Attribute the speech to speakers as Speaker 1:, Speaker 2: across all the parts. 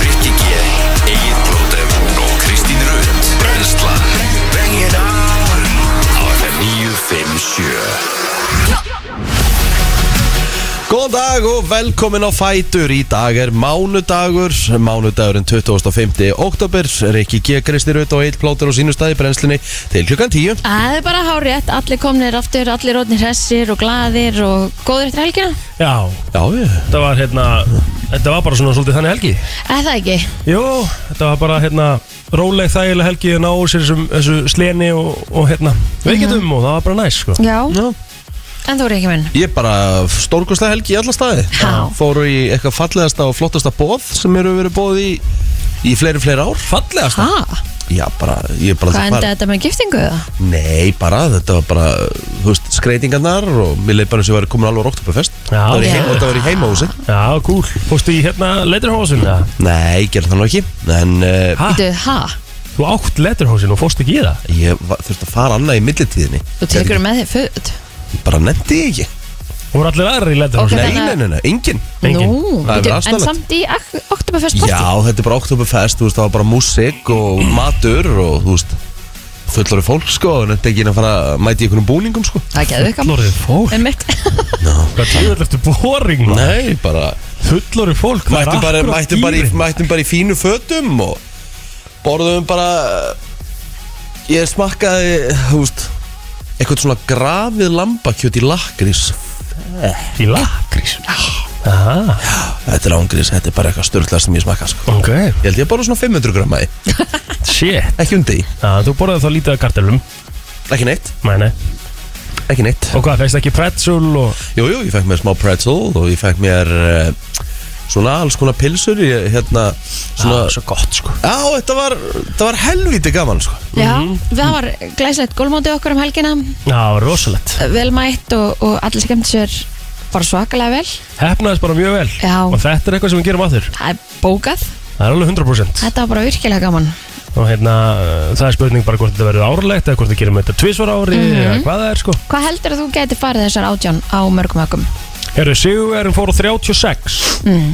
Speaker 1: Rikki G, Egil Blóter og Kristín Rund Brenslan Bring it on Á FM 957
Speaker 2: Góðan dag og velkomin á Fætur Í dag er mánudagur Mánudagurinn 25. oktober Rikki G. Kristi Rutt og Eil Plóter og sínustæði brennslunni til klukkan 10
Speaker 3: Það er bara hárétt, allir komnir aftur, allir rótnir hressir og glaðir og góður eftir helgina.
Speaker 4: Já,
Speaker 2: Já, ég
Speaker 4: þetta var hérna Þetta var bara svona svolítið þannig helgi
Speaker 3: Eða það ekki?
Speaker 4: Jú, þetta var bara hérna Róleg þægileg helgi að ná úr sér þessum, þessu sleni og, og hérna Veikindum
Speaker 2: Mhm.
Speaker 4: og það var bara næs sko
Speaker 3: Já.
Speaker 2: Já.
Speaker 3: En þú er ekki minn.
Speaker 2: Ég bara stórkostlega helgi í alla staði
Speaker 3: Já.
Speaker 2: Fóru í eitthvað fallegasta og flottasta bóð sem eru verið bóð í í fleiri, fleiri ár
Speaker 4: Fallegast
Speaker 3: Ha?
Speaker 2: Já, bara, ég bara
Speaker 3: Hvað
Speaker 2: bara-
Speaker 3: endaði þetta með giftingu eða?
Speaker 2: Nei, bara, þetta var bara, þú veist, skreitingarnar og mér leið bara eins og ég væri komin alveg á Oktoberfest
Speaker 4: Já.
Speaker 2: Það var í
Speaker 3: Já.
Speaker 2: heim- og þetta var í heimahúsi
Speaker 4: Já, cool Fórstu í hérna letterhósin ja.
Speaker 2: Nei, ég gerði það nú ekki En uh,
Speaker 4: Ha?
Speaker 3: Þú, ha?
Speaker 4: Þú átt letterhósin og fórstu ekki í það
Speaker 2: ég var, þurfti að fara annað í millitíðinni
Speaker 3: Þú tekur með þig föt.
Speaker 2: Ég Bara nefndi ég ekki
Speaker 4: Og voru allir aðrir í
Speaker 3: Ok.
Speaker 4: letterhósin
Speaker 2: Nei, nei,
Speaker 3: þannig að-
Speaker 2: nei, nei, engin
Speaker 4: Engin.
Speaker 3: Nú,
Speaker 2: Það er
Speaker 3: bíddu,
Speaker 2: afstæðlegt.
Speaker 3: en samt í Oktoberfest
Speaker 2: Já,
Speaker 3: party.
Speaker 2: þetta er bara Oktoberfest, þú veist, það var bara músík og matur og, þú veist fullari fólk, sko, en þetta er ekki að fara að mæti einhvernum búningum, sko
Speaker 3: Það getur ekki.
Speaker 4: Fullorðið fólk
Speaker 3: En mitt.
Speaker 4: Hvað tíður ertu boring maður?
Speaker 2: Nei, bara
Speaker 4: Fullorðið fólk það er
Speaker 2: mættum bara,
Speaker 4: akkurat
Speaker 2: mættum, bara í,
Speaker 4: dýrin.
Speaker 2: mættum bara í fínu fötum og borðum bara ég smakkaði þú veist eitthvað svona grafið lambakjöt í lakrís
Speaker 4: Í lakrís Aha,
Speaker 2: þetta er ángrís, þetta er bara eitthvað störtlað sem ég smakka sko.
Speaker 4: ok
Speaker 2: ég held ég bara svona 500 gramma í
Speaker 4: Shit
Speaker 2: ekki um degi,
Speaker 4: Já, þú borðið þá lítið að kartelum
Speaker 2: ekki neitt
Speaker 4: Nei, nei
Speaker 2: ekki neitt,
Speaker 4: Og hvað, fegst ekki pretzel og
Speaker 2: jú jú, ég fekk mér smá pretzel og ég fekk mér uh, svona alls konar pilsur ég, hérna, svona,
Speaker 4: svo gott sko
Speaker 2: já, þetta var þetta var helviti gaman sko.
Speaker 3: Já, það var glæslegt gólmóti okkur um helgina.
Speaker 4: Já, rosalegt
Speaker 3: Velmætt og, og allir skemmt sér bara svakalega vel.
Speaker 4: Hefnaðist bara mjög vel
Speaker 3: Já.
Speaker 4: Og þetta er eitthvað sem við gerum að þurr
Speaker 3: Það er bókað.
Speaker 4: Það er alveg 100%
Speaker 3: Þetta var bara virkilega gaman.
Speaker 4: Og hérna, uh, það er spurning bara hvort þetta verður árlegt Eða hvort við gerum þetta tvisvar ári Eða
Speaker 3: Mhm.
Speaker 4: hvað það er sko
Speaker 3: Hvað heldur að þú geti farið þessar átján á mörgum ökum?
Speaker 4: Herru, Sigurverðin fór á 36
Speaker 3: Mm,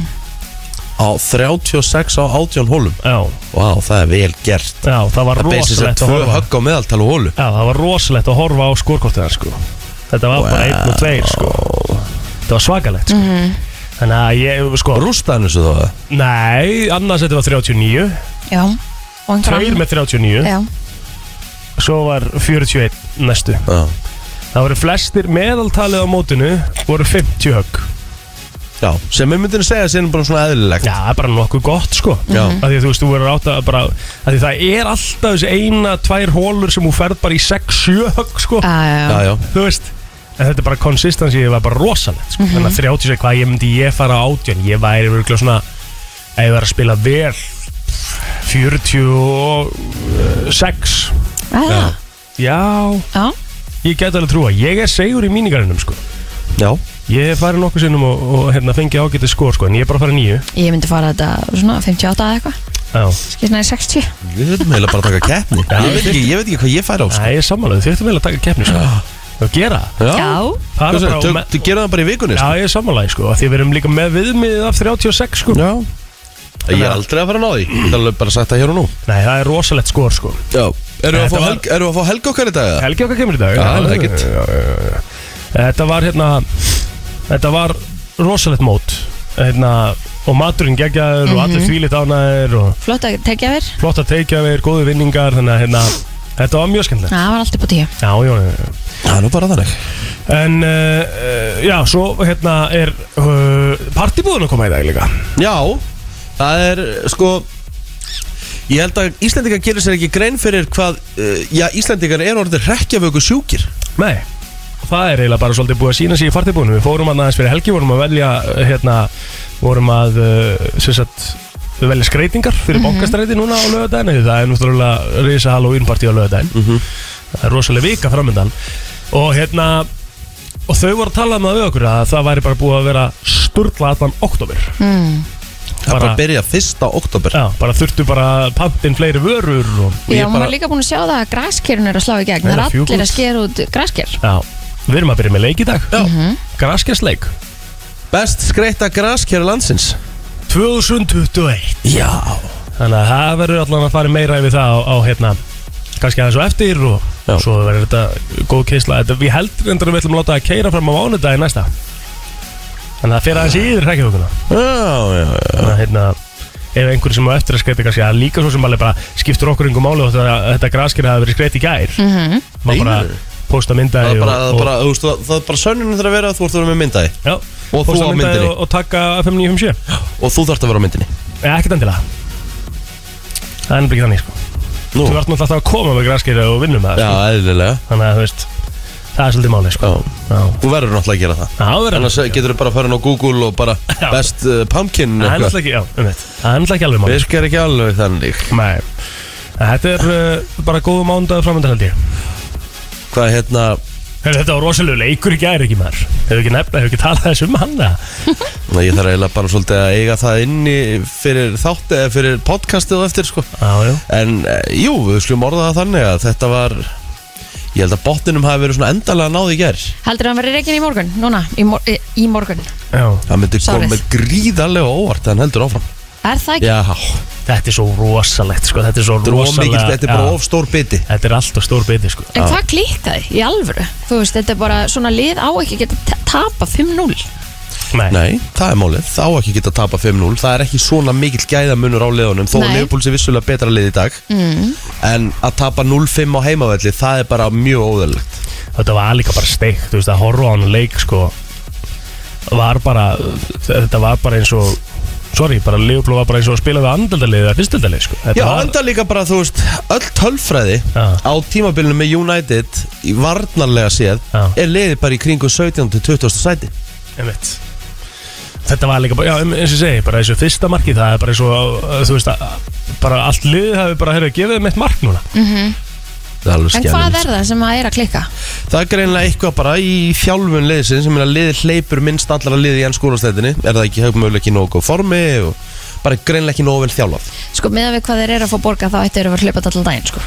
Speaker 2: á 36 á 18 hólum
Speaker 4: Já,
Speaker 2: Vá, það er vel gert
Speaker 4: já, það var
Speaker 2: Það beinst þess að
Speaker 4: rosalegt að
Speaker 2: tvö
Speaker 4: horfa
Speaker 2: högg á meðaltal og hólu
Speaker 4: Já, það var rosalegt að horfa á skorkortið hans sko Þetta var bara einn og tveir sko Þetta var svakalegt
Speaker 3: Mhm.
Speaker 4: sko
Speaker 3: mm.
Speaker 4: Þannig að ég, sko,
Speaker 2: Rústaðan þessu þá eða?
Speaker 4: nei, annars þetta var 39
Speaker 3: Já. Og einhver
Speaker 4: Tveir
Speaker 3: annar-
Speaker 4: með 39
Speaker 3: Já.
Speaker 4: Svo var 41 næstu
Speaker 2: Já.
Speaker 4: Það voru flestir meðaltalið á mótinu voru 50 högg
Speaker 2: Já, sem við myndum segja sem bara svona eðlilegt
Speaker 4: Já, það er bara nokkuð gott sko
Speaker 2: Já.
Speaker 4: Af Því að þú veist, þú verður átt að bara af Því það er alltaf þessi eina, tvær hólur sem þú ferð bara í 6-7 högg sko
Speaker 3: Já, já,
Speaker 2: Já,
Speaker 3: já.
Speaker 2: já,
Speaker 4: Þú veist En þetta er bara konsistansi, var bara rosalegt sko. Þannig
Speaker 3: Mhm.
Speaker 4: að 30 seg, hvað ég myndi ég fara á átján Ég væri virkulega svona Ef ég var að spila vel 46
Speaker 3: Já, já.
Speaker 4: Já,
Speaker 3: Ah. Já.
Speaker 4: ég gæti alveg trúa Ég er segur í míningarinnum sko
Speaker 2: já
Speaker 4: Ég hef farið nokkuð sinnum og, og hérna, fengið ágætið skor sko, en ég er bara að fara nýju
Speaker 3: Ég myndi fara þetta svona 58 eða eitthvað.
Speaker 4: Já,
Speaker 3: Skilst næri 60.
Speaker 2: Við höfum heila bara að taka keppni
Speaker 4: Já,
Speaker 2: ég, veit ekki, ég veit ekki hvað ég fær á sko.
Speaker 4: það er sammálaðið, þið ættum vel að taka keppni sko. og gera það.
Speaker 3: Já.
Speaker 4: Fara bara og með-
Speaker 2: Þú gerðu það bara í vikunni
Speaker 4: Já,
Speaker 2: sko.
Speaker 4: ég er sammálaðið sko, af því að við erum líka með viðmiðið af 36 sko
Speaker 2: já Ég er aldrei að fara að ná því Það er alveg bara sagt það hér og nú
Speaker 4: Mm. Nei, það er rosalegt skor sko
Speaker 2: Já Eru að
Speaker 4: Þetta
Speaker 2: fá
Speaker 4: var-
Speaker 2: helg- erum við að fá helga okkar í dag? eða?
Speaker 4: Helgi okkar kemur í dag
Speaker 2: Já, ekkert.
Speaker 4: já, já, já. Þetta var hérna Þetta var rosalegt mót hérna, og maturinn geggjaður og
Speaker 2: Mhm.
Speaker 4: allir þvílitt ánæður og
Speaker 3: Flott að tekja þér.
Speaker 4: flott að teikja við, góðu vinningar þannig að hérna, þetta var mjög skemmtilegt
Speaker 3: Það var allt upp á tíu.
Speaker 4: Já, já, já, já.
Speaker 2: Það er nú bara þannig
Speaker 4: En uh, uh, já, svo hérna er uh, partibúðun að koma í dag líka
Speaker 2: Já Það er sko Ég held að Íslendingar gerir sér ekki grein fyrir hvað uh, Já, Íslendingar er orðið rekjavöku sjúkir
Speaker 4: Nei Það er eiginlega bara svolítið búið að sína sig í partibúðunum Við fórum hann aðeins fyrir helgi, vorum að velja uh, hérna, vorum að uh, sem sagt, velja skreitingar fyrir mm núna á lögadaginn því það er náttúrulega risa Halloween-partí á lögadaginn Það er rosalega vika framöndan og hérna og þau voru að tala um það við okkur að það væri bara búið að vera sturla allan oktober
Speaker 3: Mm.
Speaker 2: Það er bara
Speaker 4: Bara-
Speaker 2: að byrja fyrsta oktober
Speaker 4: Já, bara þurftu bara pampin fleiri vörur og
Speaker 2: ég
Speaker 3: Já, maður
Speaker 2: bara-
Speaker 3: er líka búin að sjá það að græskirun er að slá í gegn.
Speaker 4: Nei,
Speaker 3: Það er
Speaker 4: það fjúkur.
Speaker 3: allir að sker út græskir.
Speaker 4: Já, Við erum að byrja með leik í dag mm -hmm. Graskjarsleik
Speaker 2: Best skreita graskjæri landsins
Speaker 4: 2021
Speaker 2: Já
Speaker 4: Þannig að það verður allan að fara meira yfir það á, á hérna kannski aðeins og eftir og
Speaker 2: Já.
Speaker 4: svo verður þetta góð keisla þetta, Við heldur endur að við ætlum að láta það keira fram á mánudaginn næsta Þannig að það fer aðeins í yfir hrækjafökuna
Speaker 2: Já, já, já
Speaker 4: Þannig að hérna ef einhver sem á eftir að skreita kannski að líka svo sem alveg bara skiptur okkur yngur máli og þetta, þetta graskir hafa verið skreit í gær
Speaker 1: Mhm.
Speaker 4: mm maður bara
Speaker 2: Meinarðu?
Speaker 4: posta
Speaker 2: Það
Speaker 4: myndaði
Speaker 2: er bara, það
Speaker 4: og,
Speaker 2: er
Speaker 4: og,
Speaker 2: bara, þú veist, það- það er bara sönnunum þegar að vera að þú ert að vera með myndaði
Speaker 4: já,
Speaker 2: og þú á
Speaker 4: posta myndaði
Speaker 2: myndinni.
Speaker 4: og, og taka FM957
Speaker 2: og þú þarft að vera á myndinni
Speaker 4: eða ekkert endilega það er nefnilega ekki þannig sko.
Speaker 2: Nú,
Speaker 4: þú verður náttúrulega alltaf að koma með graskir og vinnum með það
Speaker 2: já,
Speaker 4: sko.
Speaker 2: eðlilega
Speaker 4: þannig að þú veist það er svolítið máli sko.
Speaker 2: Já,
Speaker 4: já,
Speaker 2: þú verður náttúrulega að gera það
Speaker 4: það verður
Speaker 2: Annars getur þú bara að fara á Google og bara
Speaker 4: Já.
Speaker 2: best uh, pumpkin
Speaker 4: það er
Speaker 2: eitthvað.
Speaker 4: náttúrulega ekki já, um það er náttúrulega ekki alveg máli
Speaker 2: Virkar ekki alveg þannig
Speaker 4: Nei. En þetta er uh, bara góðu mándag framöndan held ég
Speaker 2: Hvað hérna,
Speaker 4: Heyrðu, Þetta var rosalega leikur í gæri ekki maður Hefur ekki nefna, hefur ekki talað þess um hann eða?
Speaker 2: Nei, ég þarf eiginlega bara svolítið að eiga það inni fyrir þátt eða fyrir podcastið og eftir sko
Speaker 4: Já, já
Speaker 2: En eh, jú, við skulum orða það þannig að þetta var Ég held að botninum hafi verið svona endalega náð í ger
Speaker 3: Heldur að hann verið reikin í morgun, núna, í, mor í- í morgun
Speaker 4: Já,
Speaker 2: Það myndi
Speaker 3: Sárið.
Speaker 2: koma gríðarlega á óvart en heldur áfram
Speaker 3: Er það ekki?
Speaker 2: Já,
Speaker 4: þetta er svo rosalegt sko, þetta er svo
Speaker 2: þetta er of
Speaker 4: rosalega
Speaker 2: mikil, þetta er bara
Speaker 4: já.
Speaker 2: of stór biti
Speaker 4: Þetta er alltaf stór beiti sko
Speaker 3: En hvað klikkaði í alvöru? Þú veist, þetta er bara svona lið á ekki að geta ta- tapa 5-0
Speaker 4: Nei,
Speaker 2: Nei, það er málið, þá ekki geta tapa 5-0 Það er ekki svona mikill gæðamunur á liðunum Þó að
Speaker 3: Nei.
Speaker 2: Leopold sé vissulega betra lið í dag mm. En að tapa 0-5 á heimavelli Það er bara mjög óðurlegt
Speaker 4: þetta var líka bara steikt, þú veist, að horfa á hann leik sko Var bara, þetta var bara eins og Sorry, bara Leopold var bara eins og að spila við andaldalið eða fyrstaldalið sko þetta
Speaker 2: Já,
Speaker 4: var,
Speaker 2: enda líka bara, þú veist, öll tölfræði
Speaker 4: Já.
Speaker 2: Á tímabilinu með United Í varnarlega séð
Speaker 4: Já.
Speaker 2: Er liðið bara í kringum 17-20 sæti
Speaker 4: einmitt Þetta var líka bara, já, em- eins og ég segi, bara þessu fyrsta marki Það er bara eins og, uh, þú veist, að, bara allt liðið hafi bara, heyrðu, gefið þeim eitt mark núna
Speaker 2: Það er alveg
Speaker 3: En
Speaker 2: skelfilegt.
Speaker 3: hvað er það sem að er að klikka?
Speaker 2: Það er greinlega eitthvað bara í þjálfun liðsins sem er að liði hleypur minnst allra liði í enn skólastættinni er það ekki höfumölu ekki í nógu góð formi og bara greinlega ekki nógu vel þjálfað
Speaker 3: Sko, meðan við hvað þeir eru að fá borga þá ættu eru að vera hlaupat allan daginn, sko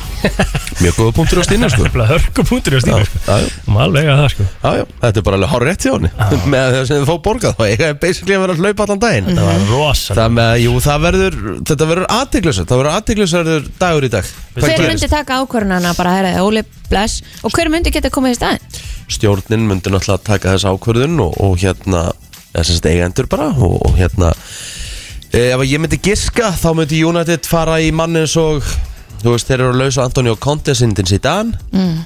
Speaker 2: Mjög góða punktur á stinnu sko
Speaker 4: Nefnilega hörkupunktur í að
Speaker 2: Já,
Speaker 4: stíma sko.
Speaker 2: já, já,
Speaker 4: Alveg að það sko
Speaker 2: já, já, þetta er bara alveg hár rétt hjá henni með það sem þið fá borgað þá eiga er basically að vera að hlaupa allan daginn
Speaker 4: Það var rosalega
Speaker 2: Það með að, jú, það verður, þetta verður aðteglusar, það verður aðteglusarður dagur í dag Hvað
Speaker 3: Hver
Speaker 2: gerist?
Speaker 3: myndi taka ákvörunana bara að herra Óli bless og hver myndi geta komið í staðinn?
Speaker 2: stjórnin myndi náttúrulega taka þessa ákvörðun og, og hérna, eða sem sagt eigendur bara og, og hérna e, ef að ég myndi giska þá myndi United fara í mann eins og þú veist, þeir eru að lausa Antonio Conte sindins í dan mm.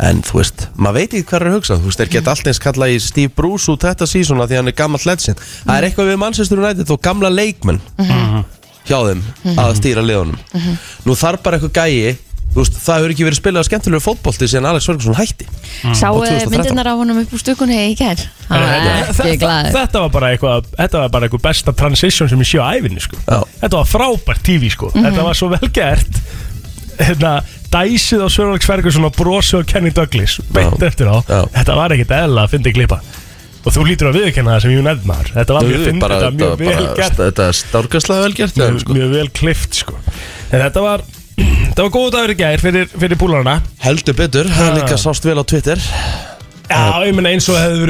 Speaker 2: en þú veist, maður veit ekki hvað er að hugsa þú veist, þeir geta allt eins kallað í Steve Bruce út þetta sísona því hann er gammal ledsinn það er eitthvað við Manchester United og gamla leikmenn hjá þeim að stýra liðunum nú þarf bara eitthvað gæi þú veist, það hefur ekki verið spilað skemmtilegur fótbolti síðan Alex Ferguson hætti
Speaker 3: Mm. Sáu
Speaker 4: Mm.
Speaker 2: Og 2013.
Speaker 3: myndirnar á honum upp úr stukunni í gær? Hann var
Speaker 4: Þetta-
Speaker 3: ekki
Speaker 4: þetta-
Speaker 3: glaður
Speaker 4: Þetta var bara eitthvað Þetta var bara eitthvað besta transition sem ég sé á ævinni sko.
Speaker 2: Já.
Speaker 4: Þetta var frábært TV sko. Þetta var svo vel gert hérna, Dæsið á Sörlags Ferguson og brosið á Kenny Douglas Beint
Speaker 2: Já.
Speaker 4: eftir á
Speaker 2: Já.
Speaker 4: Þetta var ekkit eðla að fyndi klippa Og þú lítur að viðurkenna það sem United maður Þetta var mjög fyndið, þetta var mjög vel gert
Speaker 2: Þetta er stárkastlega vel gert
Speaker 4: mjög, mjög vel klift sko. En þetta var Þetta var góð dagur í gær fyrir, fyrir búlarna
Speaker 2: Heldur betur, það er líka sást vel á Twitter
Speaker 4: Já, ég menna eins og hefði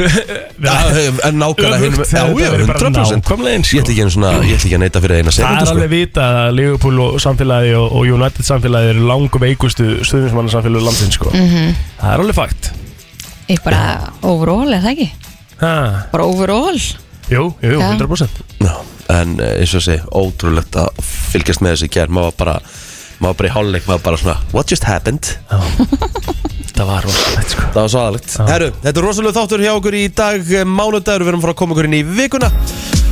Speaker 4: verið
Speaker 2: En nákvæmlega
Speaker 4: Öfugt,
Speaker 2: hinum Já,
Speaker 4: þetta
Speaker 2: já,
Speaker 4: verður bara
Speaker 2: 100%
Speaker 4: nákvæmlega eins, sko.
Speaker 2: Ég ætla ekki einu svona, ég ætla ekki að neyta fyrir eina
Speaker 4: Það er
Speaker 2: sekundu
Speaker 4: alveg
Speaker 2: sko.
Speaker 4: vita að Liverpool og samfélagi og, og United samfélagi eru langum veikustu stuðnismanna samfélagi landsins sko.
Speaker 3: Mm.
Speaker 4: Það er alveg fakt
Speaker 3: Ég Mhm. bara overall, er það ekki?
Speaker 4: ha.
Speaker 3: Bara overall
Speaker 4: Jú, jú, jú,
Speaker 3: Já.
Speaker 4: 100%
Speaker 2: Já, En eh, eins og sé, ótrúlegt að fylgjast með þessi gær Maður var bara, maður var bara í hálfleik Maður bara svona, what just happened
Speaker 4: Það var rosalegt sko.
Speaker 2: Það var svo aðalegt Herru, þetta er rosalega þáttur hjá okkur í dag eh, Mánudagur, við erum frá að koma okkur inn í vikuna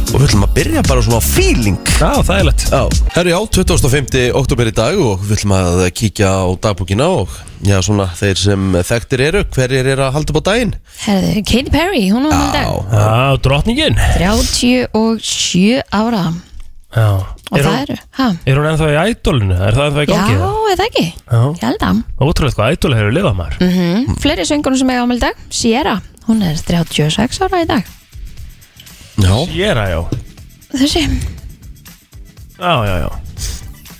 Speaker 2: Og við ætlum að byrja bara svona á feeling
Speaker 4: Já, það er lett
Speaker 2: Já, herri á 25. oktober í dag og við ætlum að kíkja á dagbúkina og já, svona þeir sem þekktir eru, hverjir eru að halda upp á daginn?
Speaker 3: Herðu, Katy Perry, hún á hann dag
Speaker 4: Já, drottningin Já.
Speaker 3: 37 ára Og
Speaker 4: Er,
Speaker 3: það
Speaker 4: hún,
Speaker 3: eru, hæ?
Speaker 4: er hún ennþá í ædolinu? Er það ennþá í
Speaker 3: Já,
Speaker 4: gangi?
Speaker 3: er það ekki?
Speaker 4: Já.
Speaker 3: Ég held að
Speaker 4: Ótrúlegt hvað ædol hefur lifað maður
Speaker 3: mm. Fleiri söngunum sem eiga ámæli í dag Sierra, hún er 36 ára í dag
Speaker 2: Já.
Speaker 4: Ég er að já
Speaker 3: Þessi,
Speaker 4: Já, já, já Mhm.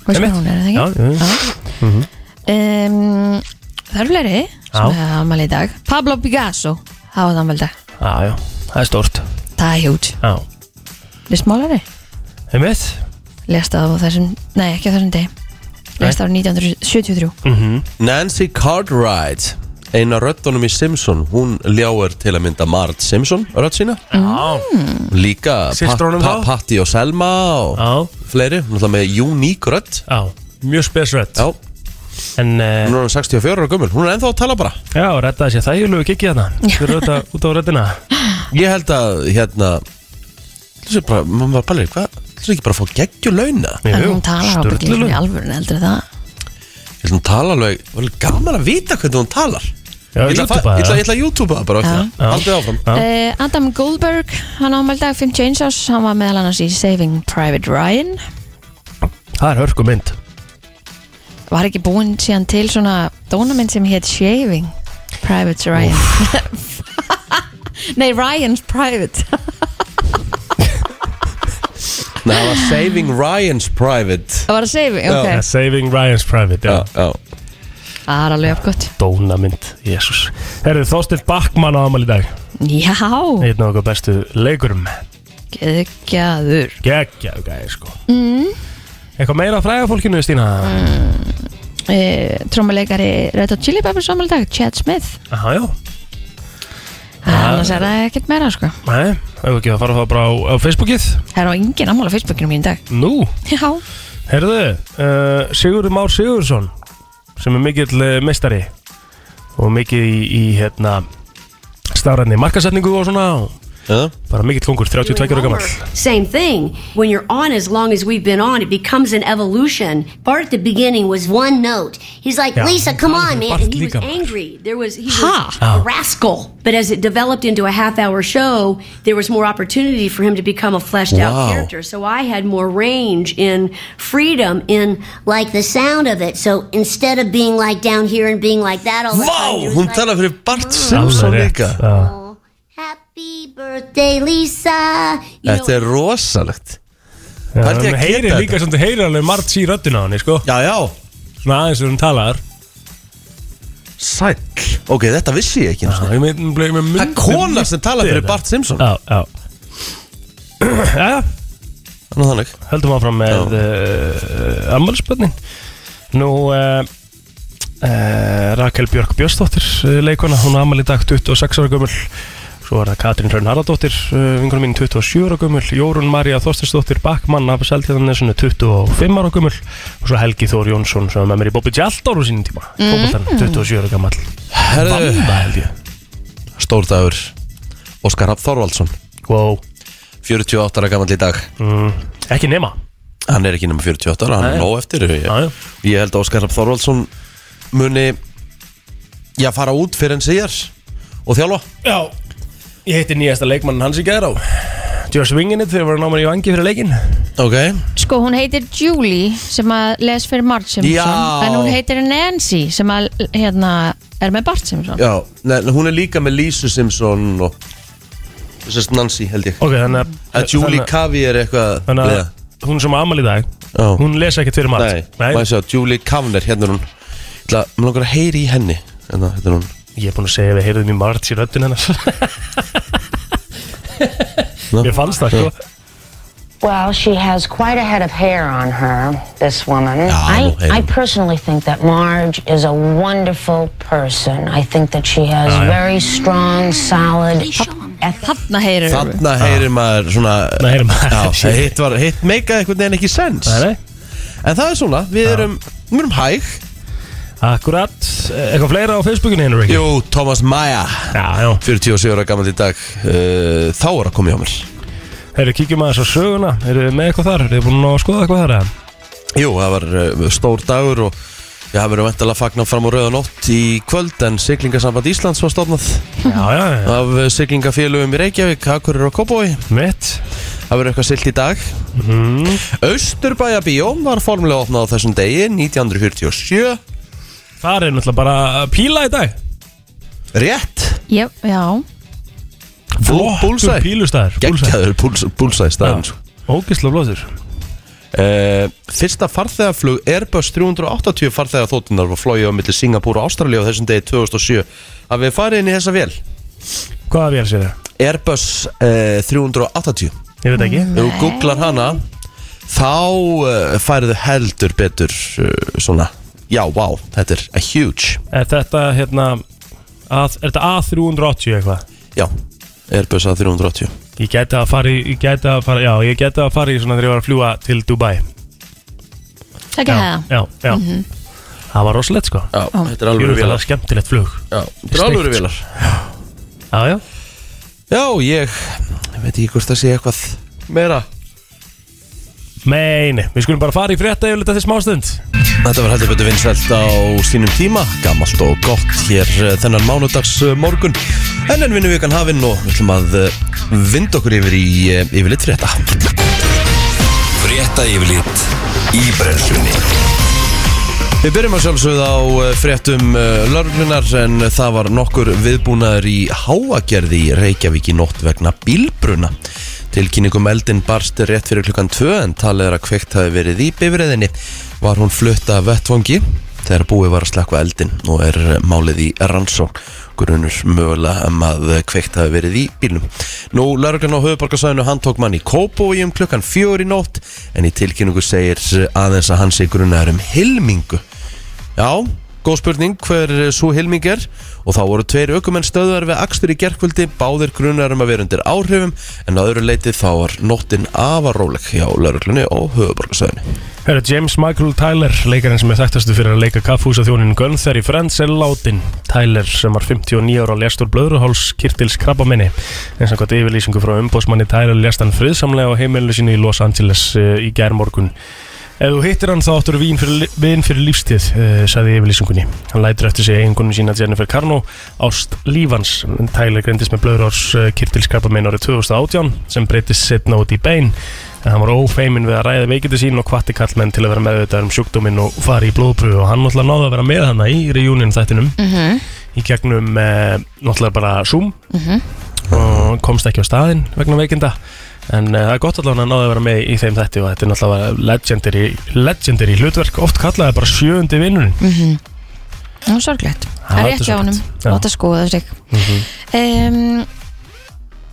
Speaker 3: veist hvað
Speaker 4: Einmitt.
Speaker 3: hún er, er það ekki?
Speaker 4: Já, jú.
Speaker 3: Já. Um, það eru fleiri sem hefði afmæli í dag Pablo Picasso hafði afmæli í dag
Speaker 4: Já, já, það er stórt
Speaker 3: það er hjút,
Speaker 4: Já,
Speaker 3: listmálari
Speaker 4: einmitt
Speaker 3: lest á þessum, nei ekki á þessum degi lest árið 1973
Speaker 4: Mhm.
Speaker 2: Nancy Cartwright eina röddunum í Simpson hún ljáir til að mynda Marge Simpson rödd sína Mhm.
Speaker 4: Já,
Speaker 2: líka Pat,
Speaker 4: Systrunum
Speaker 2: Pat,
Speaker 4: þá?
Speaker 2: Patty og Selma og
Speaker 4: já,
Speaker 2: fleiri hún er alltaf með uník rödd
Speaker 4: já Mjög spesrödd
Speaker 2: já
Speaker 4: En, uh,
Speaker 2: hún er orðin 64 ára gömul hún er ennþá að tala bara
Speaker 4: já, reddaði sér þægjulegu kikið þarna Fyrir auðvitað út á röddina
Speaker 2: ég held að hérna þessi bara maður var bara hvað þessi ekki bara að fá geggju launa
Speaker 3: en hún talar á byggjum í
Speaker 4: störtlulegu
Speaker 3: alvörun heldur það
Speaker 2: ég held að hún tala alveg var alveg gaman að vita hvernig hún talar
Speaker 4: Já,
Speaker 2: ég ætla að fa-
Speaker 4: YouTube-a
Speaker 2: ég ætla- ég
Speaker 4: það.
Speaker 2: ætla að YouTube-a það bara
Speaker 3: Já.
Speaker 2: eftir það. haldið áfram
Speaker 4: Já.
Speaker 3: uh, Adam Goldberg, hann ámæli dag 51 árs, hann var meðal annars í Saving Private Ryan
Speaker 4: Það er hörku mynd
Speaker 3: var ekki búinn síðan til svona dónaminn sem hétt Shaving Private Ryan Nei, Ryan's Private
Speaker 2: Nei, það var Saving Ryan's Private
Speaker 3: Það var að Saving, ok
Speaker 4: Yeah, Saving Ryan's Private, já
Speaker 2: já, já.
Speaker 3: Það er alveg uppgott
Speaker 4: Dónamynd, jésús Herðu, Þorsteinn Backmann á amal í dag
Speaker 3: Já,
Speaker 4: Einn af okkur bestu leikurum
Speaker 3: geðgjaður
Speaker 4: Gekkja, gæði sko mm. Eitthvað meira að fræga fólkinu, Stína?
Speaker 3: e, Trómuleikari Red Hot Chili Peppers ámæli dag, Chad Smith
Speaker 4: Já, já Ah.
Speaker 3: Annars er það ekkert meira, sko
Speaker 4: Nei, hefur ekki að fara það bara á, á Facebookið
Speaker 3: Það er á engin ámæli á Facebookinu mín í dag
Speaker 4: Nú,
Speaker 3: Já,
Speaker 4: heyrðu, uh, Sigurður Már Sigursson sem er mikill uh, meistari og mikill í, í hérna stafræðni markasetningu og svona og
Speaker 2: Já.
Speaker 4: bara mikill kongur, 32 ára gammal
Speaker 5: Same thing. When you're on as long as we've been on, it becomes an evolution. Bart at the beginning was one note. He's like,
Speaker 4: Yeah.
Speaker 5: Lisa, come on, man.
Speaker 4: Bart Ah. Oh.
Speaker 5: And he was
Speaker 4: Liga.
Speaker 5: angry. There was he
Speaker 3: Ha.
Speaker 5: was a rascal. But as it developed into a half hour show, there was more opportunity for him to become a fleshed
Speaker 2: Wow.
Speaker 5: out character. So I had more range in freedom in like the sound of it. So instead of being like down here and being like that all the
Speaker 2: Vá,
Speaker 5: time, it was
Speaker 2: hún
Speaker 5: like,
Speaker 2: talar fyrir Bart Simpson líka
Speaker 5: Happy birthday, Lisa. You know,
Speaker 2: Þetta er rosalegt Hvernig að
Speaker 4: Það heyrir
Speaker 2: geta
Speaker 4: líka sem þú heyrir alveg margt í röddina á henni, sko
Speaker 2: Já, já,
Speaker 4: svona aðeins þegar hún talar
Speaker 2: sæll Ok, þetta vissi ég ekki einu sinni.
Speaker 4: Ég með- hún bleið með
Speaker 2: Það er
Speaker 4: mynd-
Speaker 2: kona sem talar fyrir
Speaker 4: þetta.
Speaker 2: Bart Simpson
Speaker 4: Já, já Já, já
Speaker 2: Þannig að þannig
Speaker 4: höldum áfram með uh, ammálspönnin nú uh, uh, Rakel Björk Björnsdóttir uh, leikona, hún ammál í dag 26 ára gömul svo er það Katrín Hraun Haraldóttir uh, vingunum mín 27 ára gömul Jórun María Þorstinsdóttir Backmann af Seltjarnanesinu 25 ára gömul og svo Helgi Þór Jónsson sem er með mér í Bobby Gjaldóru sínum tíma mm. 27 ára gammal
Speaker 2: Herðu,
Speaker 4: Vanda held ég
Speaker 2: stór dagur Óskar Rapp Þorvaldsson
Speaker 4: wow.
Speaker 2: 48 ára gammal í dag
Speaker 4: mm. ekki nema
Speaker 2: Hann er ekki nema 48 ára, hann
Speaker 4: Nei.
Speaker 2: er nóg eftir Ég,
Speaker 4: Já, já.
Speaker 2: ég held að Óskar Rapp Þorvaldsson muni Já, fara út fyrir en síðar Og þjálfa
Speaker 4: Já, ég hitti nýjasta leikmann hans í gæðrá Josh Wingenit þegar var að ná mér í vangi fyrir leikin
Speaker 2: Ok
Speaker 3: Sko, hún heitir Julie sem að les fyrir Marge Simpson
Speaker 2: Já.
Speaker 3: en hún heitir Nancy sem að hérna, er með Bart Simpson
Speaker 2: Já, neð, hún er líka með Lísu Simpson og Sest Nancy held ég
Speaker 4: Ok, þannig að,
Speaker 2: Að Julie
Speaker 4: þannig,
Speaker 2: Cavi er eitthvað
Speaker 4: þannig
Speaker 2: leiða.
Speaker 4: að hún sem á amal í dag
Speaker 2: Já.
Speaker 4: Hún lesa ekkert fyrir
Speaker 2: Nei,
Speaker 4: margt
Speaker 2: maður sjá, Julie Kavner, hérna er hún Ég ætla, maður langar að heyri í henni Hérna, hérna er hún
Speaker 4: Ég er búin að segja að við heyrðum í margt í röddun hennar Mér fannst það sko
Speaker 6: Well, she has quite a head of hair on her, this woman. I,
Speaker 2: hey.
Speaker 6: I personally think that Marge is a wonderful person. I think that she has very strong, solid ethics.
Speaker 3: Þarna heyrir
Speaker 2: Þarna heyrir maður svona
Speaker 4: Ah. Þarna heyrir maður-
Speaker 2: Já, hitt var, hitt meika einhvern veginn ekki sens
Speaker 4: Nei, nei.
Speaker 2: En það er svona, við erum, við erum hæg
Speaker 4: Akkurat, eitthvað fleira á Facebookinu hennar ekki?
Speaker 2: Jú, Thomas Maja
Speaker 4: Já, já
Speaker 2: 47 ára gammal í dag uh, Þá er að koma hjá mér
Speaker 4: Herru, kíkjum aðeins á söguna Eru þið með eitthvað þar? Eru þið búin að skoða eitthvað þar? eða?
Speaker 2: Jú, það var uh, stór dagur og Já, það verður vantilega að fagna fram á rauðanótt í kvöld en siglingasamband Íslands var stofnað
Speaker 4: Já, já, já
Speaker 2: af uh, siglingafélögum í Reykjavík, Akurur og Kóbói
Speaker 4: Mitt Mhm.
Speaker 2: Það verður eitthvað silt í dag Austurbæjabíó var formulega opnað á þessum degi 1947
Speaker 4: Þar er náttúrulega bara píla í dag
Speaker 2: Rétt
Speaker 3: Jep, já,
Speaker 2: Bú- Bullseye
Speaker 4: Pílustæður
Speaker 2: Gekkjaður búlsæði staðan
Speaker 4: Ógislega blóður
Speaker 2: Uh, fyrsta farþegaflug Airbus 380 farþegaþótunar var flóið á milli Singapúr og Ástralíu á þessum degi 2007 að við farið inn í þessa vél
Speaker 4: Hvaða vél sér það?
Speaker 2: Airbus uh, 380
Speaker 4: Ég veit ekki
Speaker 2: Ef þú googlar hana þá uh, færðu heldur betur uh, svona Já, vá, þetta er a huge
Speaker 4: Er þetta hérna að, Er þetta A380 eitthvað?
Speaker 2: Já, Airbus A380
Speaker 4: Ég gæti að fara í, ég gæti að fara, já, ég gæti að fara í svona þegar ég var að fljúa til Dubai
Speaker 3: Það ekki það
Speaker 4: Já, já
Speaker 3: Mhm.
Speaker 4: Það var rosalegt sko
Speaker 2: Já, þetta er alveg
Speaker 4: Jú, það var
Speaker 2: vélar
Speaker 4: skemmtilegt flug
Speaker 2: Já, þetta er alveg
Speaker 4: Steiked.
Speaker 2: vélar
Speaker 4: Já, já
Speaker 2: Já, ég, ég veit ekki hvort það sé eitthvað meira
Speaker 4: Meini, við skulum bara fara í frétta yfirleita þessi smástund
Speaker 2: Þetta var heldur betur vinsælt á sínum tíma, gammalt og gott hér eh, þennan mánudags eh, morgun. En enn vinnum vikan hafinn og við ætlum að eh, vinda okkur yfir í eh, yfirleitt frétta.
Speaker 1: Frétta yfirlit í brennslunni
Speaker 2: Við byrjum að sjálfsögð á eh, fréttum lauruglunar en það var nokkur viðbúnaður í háagerði í Reykjavík í nótt vegna bílbruna. Tilkynningum eldin barst rétt fyrir klukkan 2 en talið er að kveikt hafi verið í bifriðinni. Var hún flutt af vettvangi þegar búið var að slakva eldin og er eh, málið í rannsókn. grunur mögulega um að kveikt hafi verið í bílnum. Nú, lauruglan á höfuborgarsæðinu handtók mann í Kópói um klukkan fjóri nótt en í tilkynningu segir aðeins að hann sé grunar um hilmingu. Já, góð spurning hver svo hilming er og þá voru tveir aukumenn stöðar við akstur í gerkvöldi, báðir grunar um að vera undir áhrifum en að öðru leiti þá var nóttin afaróleg hjá lauruglunni og höfuborgarsæðinu.
Speaker 4: Herra James Michael Tyler, leikarinn sem er þekktastu fyrir að leika kaffhúsa þjónin Gunther í Friends er látin. Tyler sem var 59 ára léstur blöðruháls Kirtils krabbaminni. En samkvæmt yfirlýsingu frá umbósmanni Tyler lést hann friðsamlega á heimilu sínu í Los Angeles uh, í gærmorgun. Ef þú hittir hann þá áttur vín fyrir, li- vin fyrir lífstíð, uh, sagði í yfirlýsingunni. Hann lætur eftir sig eiginkonu sína Jennifer Carno ást lífans. Tyler greindist með blöðurháls uh, Kirtils krabbaminni árið 2018 sem breytist setna út í bein en hann var ófeimin við að ræða veikindi sín og kvatti kallmenn til að vera meðvitað um sjúkdóminn og fara í blóðpröfu og hann náttúrulega náði að vera með hana í reunion þættinum
Speaker 1: Mm.
Speaker 4: í gegnum eh, náttúrulega bara Zoom og komst ekki á staðinn vegna veikinda en eh, það er gott allavega að hann náði að vera með í þeim þætti og þetta er náttúrulega legendary, legendary hlutverk, oft kallaði bara sjöundi vinnurinn
Speaker 3: Nú, mhm. sorglegt.
Speaker 4: Já,
Speaker 3: Það er
Speaker 4: þetta er
Speaker 3: ekki á honum.
Speaker 4: sorglegt. Já.
Speaker 3: Láta skoða sig. um,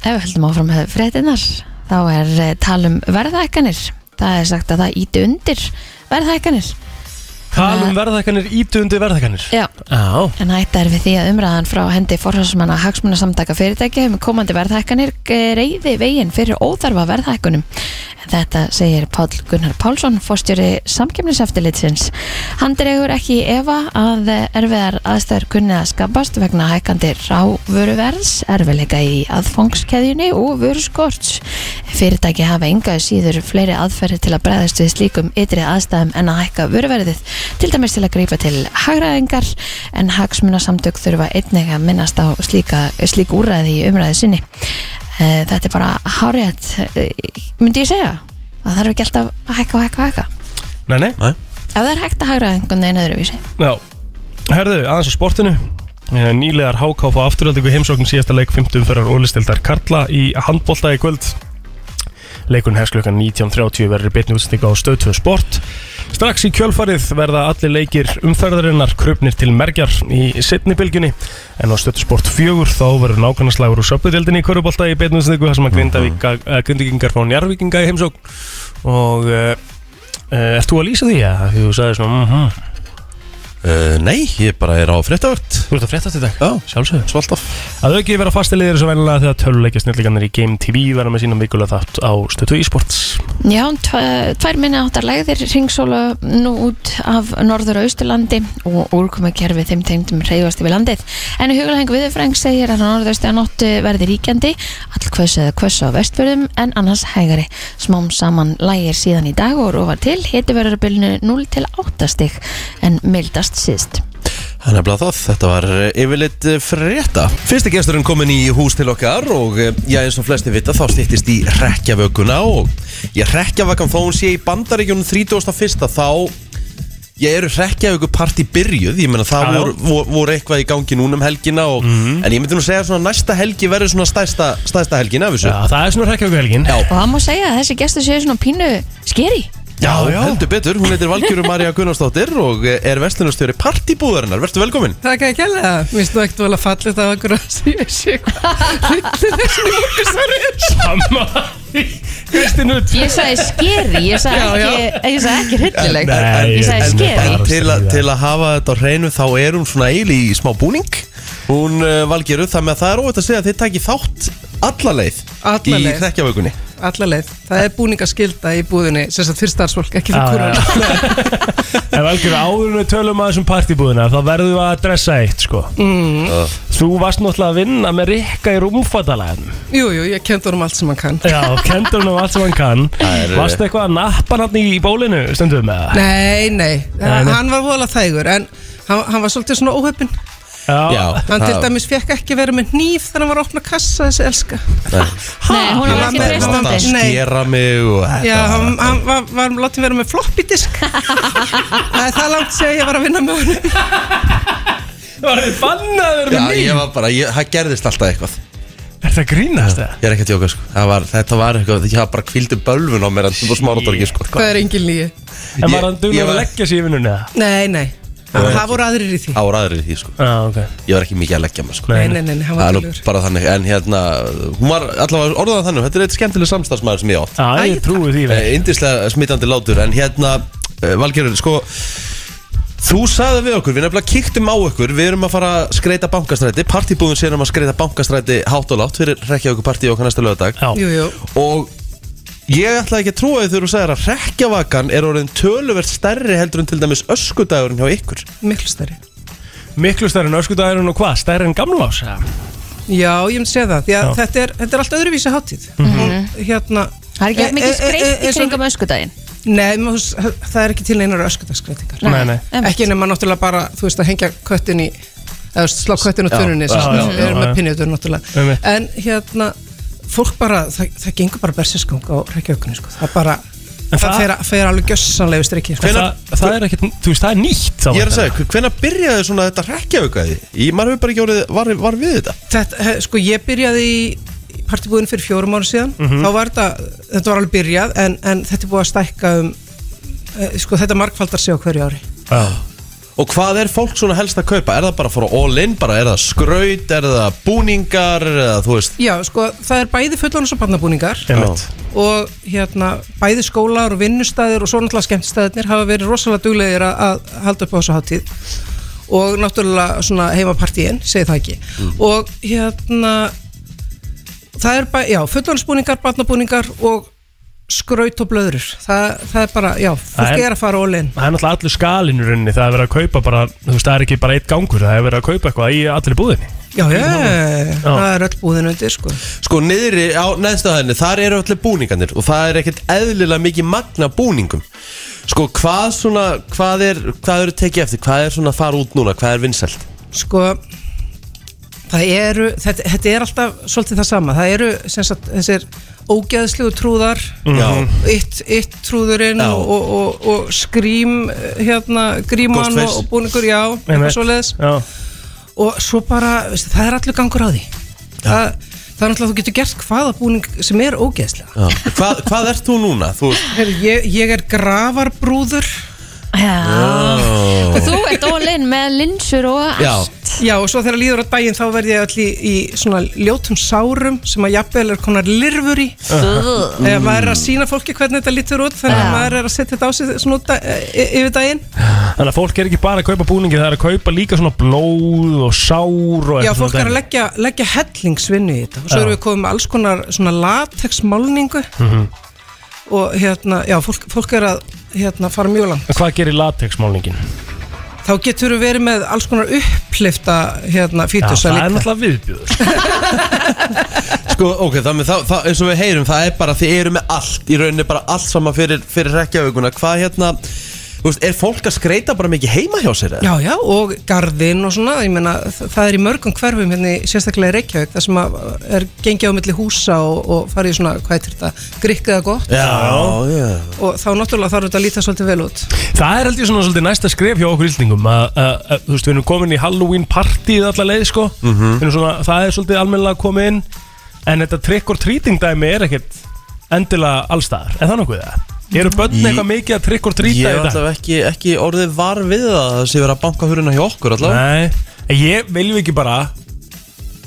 Speaker 3: ef við höldum áfram með fréttinnar, þá er eh, tal um verðhækkanir. Það er sagt að það íti undir verðhækkanir.
Speaker 4: Talum verðækkanir, ítundi verðækkanir
Speaker 3: Já.
Speaker 4: Já,
Speaker 3: En hætta er við því að umræðan frá hendi forhásmanna hagsmunna samtaka fyrirtækja um komandi verðhækkanir eh, reyði veginn fyrir óþarfa verðhækkunum. En Þetta segir Páll Gunnar Pálsson, fórstjóri samkjöfniseftilitsins. Hann dregur ekki í efa að eh, erfiðar aðstæður kunni að skapast vegna hækandi rávöruverðs, erfiðleika í aðfangskeðjunni og vöruskorts. Fyrirtæki hafa enga síður fleiri aðferði til að bregðast við slíkum ytri aðstæðum en að hækka vöruverðið, til dæmis til að grípa til hagraðingar en hagsmunasamtök þurfa einnig að minnast á slíka, slík úræði í umræði sinni. Eh, Þetta er bara hárétt, eh, myndi ég segja, að það er ekki alltaf að hækka og hækka og hækka.
Speaker 4: nei, nei
Speaker 3: Ef það er hægt að hagraða einhvern veginn öðruvísi.
Speaker 4: Já, herðu, aðeins á sportinu Eh, Nýlegar HK fá afturöldingu heimsókn síðasta leik 50 umferðar ólistildar Karla í handbólta í kvöld Leikun hefst klukkan 19.30 verður bitni útsendinga á stöðtöðu sport Strax í kjölfarið verða allir leikir umferðarinnar krupnir til mergjar í sittni bylgjunni en á stöðtöðu sport 4 þá verður nákvæmnaslagur úr söpudildinni í körubólta í bitni útsendingu þar sem að Grindavíka- eh, grindvíkingar fá njárvíkinga í heimsókn og uh, ert þú að lýsa því? Ja? Þú sagði svona mhm
Speaker 2: Uh, nei, ég bara er á fréttavögt.
Speaker 4: Þú ert að frétta þetta í dag?
Speaker 2: Já,
Speaker 4: Sjálfsögðu
Speaker 2: svo alltaf.
Speaker 4: Að auki vera fastilegir svo venlega þegar töluleikja snillingarnir í Game TV verða með sínum vikulega þátt á stötu e-sports
Speaker 3: Já, tva- tvær minni áttar lægðir ringsóla nú út af norður og austurlandi og úrkomakerfi þeim tegndum reyðast yfir landið. En huglaheng viðurfræng segir að norðaustu að nóttu verði ríkjandi, allkvöss eða kvöss á vestfjörðum en annars hægari. Smám saman lægir síðan í dag og rofa til, hiti verður á bylnu 0 til 8 stig en mildast síðst.
Speaker 2: Það er nefnilega það, þetta var eh, yfirleitt eh, frétta. Fyrsti gesturinn kominn í hús til okkar og eh, já, eins og flesti vita þá stýttist í rekjavökuna og ég rekjavökan þó hún sé í bandaríkjunum 31. þá ég eru rekjavöku part í byrjuð, ég meina það
Speaker 4: Já, Mhm. já.
Speaker 2: voru, voru, voru eitthvað í gangi núna um helgina og, en ég myndi nú segja svona næsta helgi verður svona stæsta, stæsta helgin af þessu.
Speaker 4: Já, það er svona rekjavíku helgin
Speaker 2: Já.
Speaker 3: Og það má segja að þessi gestur séu svona pínu skeri.
Speaker 2: Já,
Speaker 4: já.
Speaker 2: heldur betur, hún heitir Valgjörur Marja Gunnarsdóttir og er vestlunarstjóri partibúðarinnar, verður velkomin
Speaker 7: Takk ekki alveg það. Mér finnst nú ekkert vel að falla þetta á okkur að ég sé hvað hryllir þessu morgusverði er.
Speaker 4: Amma Kristín Rutt
Speaker 3: Ég sagði skeri, ég sagði
Speaker 7: Já, já.
Speaker 3: ekki, Ég sagði ekki hryllileg
Speaker 4: Nei,
Speaker 3: Ég sagði
Speaker 4: en-
Speaker 3: skeri
Speaker 4: bara-
Speaker 2: til, að- til að hafa þetta á hreinu þá er hún svona eil í smá búning hún uh, Valgjörur, þannig að það er óvægt að segja að þið takki þátt alla leið
Speaker 7: Alla
Speaker 2: í
Speaker 7: leið.
Speaker 2: hrekkjavögunni
Speaker 7: Alla leið. Það er búningaskylda í búðinni, sem sagt fyrir starfsfólk, ekki fyrir kúrun.
Speaker 4: En velgjur áður en við tölum að þessum partibúðina þá verðum við að dressa eitt sko
Speaker 7: Mm.
Speaker 2: Uh.
Speaker 4: Þú varst náttúrulega að vinna með Rikka í rúmfattalæðin
Speaker 7: Jú, jú, ég kendur um allt sem hann kann.
Speaker 4: Já, kendur hann um allt sem hann kann
Speaker 2: Það er-
Speaker 4: Varstu eitthvað að nappa hann í bólinu stundum með það?
Speaker 7: Nei, nei,
Speaker 4: Nei, nei.
Speaker 7: hann var vola þægur, en hann, hann var svolítið svona óhöppin.
Speaker 2: Já,
Speaker 7: Hann til
Speaker 2: það-
Speaker 7: dæmis fekk ekki verið með hníf þegar hann var að opna kassa þessi elska.
Speaker 3: Nei, hún
Speaker 7: Ég
Speaker 3: var
Speaker 7: var
Speaker 3: ekki
Speaker 7: með-
Speaker 2: Þetta
Speaker 3: treystandi
Speaker 7: Nei.
Speaker 2: skera mig og þetta
Speaker 7: Já, hann, hann var, var látið verið með floppy disk. það er það langt sem ég var að vinna með honum.
Speaker 4: Var þið bannað að vera
Speaker 2: Já,
Speaker 4: með
Speaker 2: ég
Speaker 4: nýjum?
Speaker 2: var bara, ég, það gerðist alltaf eitthvað
Speaker 4: Er það grínast það?
Speaker 2: Ég er ekki að djóka, sko Það var, Þetta var eitthvað, ég var bara kvildu bölvun á mér en þú var smáratorgi, sko
Speaker 7: Það er engin lígi.
Speaker 4: En
Speaker 2: Ég-
Speaker 4: var hann duglur
Speaker 2: ég
Speaker 4: að
Speaker 2: var-
Speaker 4: leggja sér í vinnunni eða?
Speaker 7: Nei, nei, það voru aðrir í því.
Speaker 2: Það voru aðrir í því, sko
Speaker 4: Já, Ah, ok
Speaker 2: Ég var ekki mikið að leggja mig, sko
Speaker 7: Nei, nei, nei, nei hann
Speaker 2: Það
Speaker 7: var
Speaker 2: er nú
Speaker 7: dölur.
Speaker 2: bara þannig, en hérna Hún var allavega orðað þannig, þetta er eitt skemmtileg samstarfsmaður sem ég átt
Speaker 4: Já, ég trúi því vel
Speaker 2: Eh, Indislega smittandi látur En hérna, eh, Valgerður, sko Þú sagði við okkur, við nefnilega kíktum á okkur Við erum að fara að skreita bankastræti Partibúðun sér um að skreita bankastræti hátt og látt Fyrir rekja okkur partí okkar næsta lögadag
Speaker 4: Já,
Speaker 7: Jú, jú,
Speaker 2: Og ég ætla ekki að trúa því þegar þú sagðir að Rekkjavakan er orðin töluvert stærri heldur en til dæmis öskudagurinn hjá ykkur
Speaker 7: miklu stærri.
Speaker 4: miklu stærri en öskudagurinn og hvað? Stærri en gamla ás?
Speaker 7: Já, ég myndi segja það, því að
Speaker 4: Já. Mhm.
Speaker 7: þetta er, þetta er allt öðruvísi hátíð Hún, hérna,
Speaker 3: Mhm. Það er ekki jafn mikið
Speaker 7: Eh, eh, eh,
Speaker 3: skreitt
Speaker 7: eh,
Speaker 3: í
Speaker 7: eins og-
Speaker 3: kringum öskudaginn
Speaker 7: Nei, maður, þú veist, það er ekki til einar öskutagsgreitingar
Speaker 4: Nei, nei.
Speaker 3: einmitt.
Speaker 7: Ekki nema náttúrulega bara, þú veist, að hengja köttin í eða þú veist, slá köttin á
Speaker 2: Já,
Speaker 7: tunnunni sem
Speaker 4: já,
Speaker 7: sagt,
Speaker 4: já,
Speaker 7: við erum
Speaker 4: já,
Speaker 7: með
Speaker 4: já.
Speaker 7: pinniður náttúrulega
Speaker 4: Einmitt.
Speaker 7: En hérna, fólk bara, það, það gengur bara bersiskang á reykjaukunni, sko Það bara, það,
Speaker 4: En
Speaker 7: það
Speaker 4: það-
Speaker 7: fer, fer alveg gjössanlegu strikki sko.
Speaker 4: Það, það er ekkert, þú veist, það er nýtt þá
Speaker 2: Ég er að
Speaker 4: væntanlega.
Speaker 2: segja, hvenær byrjaði svona þetta Rekkjavakaði? Ég maður hefur bara ekki orðið, var, var við þetta
Speaker 7: Þetta, he- sko, ég byrjaði í partibúðin fyrir fjórum ára síðan
Speaker 2: Mhm.
Speaker 7: þá var þetta, þetta var alveg byrjað en, en þetta er búið að stækka um eh, sko, þetta markfaldar sig á hverju ári
Speaker 2: Og hvað er fólk svona helst að kaupa? Er það bara að fara all in? Bara er það skraut? Er það búningar? Er það, þú veist
Speaker 7: Já, sko, það er bæði fullónus og barnabúningar
Speaker 4: Einmitt.
Speaker 7: og hérna, bæði skólar og vinnustæðir og svo náttúrulega skemmtstæðirnir hafa verið rosalega duglegir að, að halda upp á þessu hátíð og náttúrulega svona heimapartíin, segi það ekki og hérna það er bæði, já, fullónusbúningar, barnabúningar og skraut og blöður það, það er bara, já,
Speaker 4: Það
Speaker 7: fólk
Speaker 4: er-
Speaker 7: er að fara ólinn
Speaker 4: Það er náttúrulega allur skalinn í rauninni, það er verið að kaupa bara, þú veist, það er ekki bara eitt gangur, það er verið að kaupa eitthvað í allir búðinni.
Speaker 7: Já, já, það er öll búðin undir, sko
Speaker 2: Sko niðri á neðstöðaðinni, þar eru allir búningarnir Og það er ekkert eðlilega mikið magna búningum Sko hvað svona, hvað er, hvað eru tekið eftir? Hvað er svona að fara út núna? Hvað er vinsælt?
Speaker 7: sko það eru, þetta, þetta er alltaf svolítið það sama, það eru sem sagt, þessir ógeðslugu trúðar
Speaker 2: Mhm. Já.
Speaker 7: ytt, ytt trúðurinn
Speaker 2: Já.
Speaker 7: og, og, og, og skrím eh, hérna, gríman
Speaker 2: Ghostface.
Speaker 7: og, og búningur já, eitthvað
Speaker 4: Einmitt.
Speaker 7: svoleiðis
Speaker 4: Já,
Speaker 7: og svo bara, veistu, það er allur gangur á því það, það er náttúrulega þú getur gert hvaða búning sem er ógeðslega
Speaker 2: Já. Hvað, hvað ert þú núna? Þú veist
Speaker 7: Heyrðu, ég, ég er gravarbrúður
Speaker 3: Já Og þú ert ólinn með linsur og
Speaker 2: Já.
Speaker 3: allt
Speaker 7: já og svo þegar líður á daginn þá verð ég öll í, í svona ljótum sárum sem að jafnvel er konar lirfur í
Speaker 3: Ugh.
Speaker 7: mm. maður er að sína fólki hvernig þetta lítur út þannig
Speaker 3: Já.
Speaker 7: að maður er að setja þetta á sig svona út að, e, yfir daginn
Speaker 4: þannig að fólk er ekki bara að kaupa búningi, það er að kaupa líka svona blóð og sár
Speaker 7: já,
Speaker 4: og eitthvað
Speaker 7: fólk er að
Speaker 4: dæmi.
Speaker 7: leggja, leggja hellingsvinnu í þetta og svo
Speaker 4: Já.
Speaker 7: erum við komið með alls konar svona latexmálningu
Speaker 4: Mhm.
Speaker 7: og hérna, já, fólk, fólk er að hérna, fara mjög langt
Speaker 4: En Hvað gerir latexmálningin?
Speaker 7: þá getur við verið með alls konar upplifta hérna,
Speaker 4: Já,
Speaker 7: fítusa
Speaker 4: það er
Speaker 7: líka
Speaker 4: náttúrulega viðbjöður.
Speaker 2: Sko, ok, þannig það, það, eins og við heyrum, það er bara, þið eru með allt, í rauninni bara allt sama fyrir, fyrir rekjauguna, hvað hérna, þú veist, er fólk að skreita bara mikið heima hjá sér eða?
Speaker 7: Já, já, og garðinn og svona, ég meina, þa- það er í mörgum hverfum hérna, í- sérstaklega í Reykjavík, það sem að er gengið á milli húsa og, og farið í svona, hvað heitir þetta, grikk eða gott
Speaker 4: sko.
Speaker 2: Já, já,
Speaker 7: og þá náttúrulega þarf þetta að líta svolítið vel út
Speaker 4: Það er heldur svona svolítið næsta skref hjá okkur yllningum að, að, að, þú veist, við erum komin í Halloween partíð allar leið, sko,
Speaker 2: Mhm.
Speaker 4: Við erum svona, það er svolítið almennilega komið inn, en þetta trick or treating dæmi er ekkert endilega allstaðar, er það nokkuð það? Eru börn
Speaker 2: Í-
Speaker 4: eitthvað mikið að trikk og
Speaker 2: Ég
Speaker 4: trýta
Speaker 2: er
Speaker 4: í dag?
Speaker 2: allavega ekki, ekki orðið var við það að það sé verið að banka huruna hjá okkur allavega
Speaker 4: Nei, en ég viljum ekki bara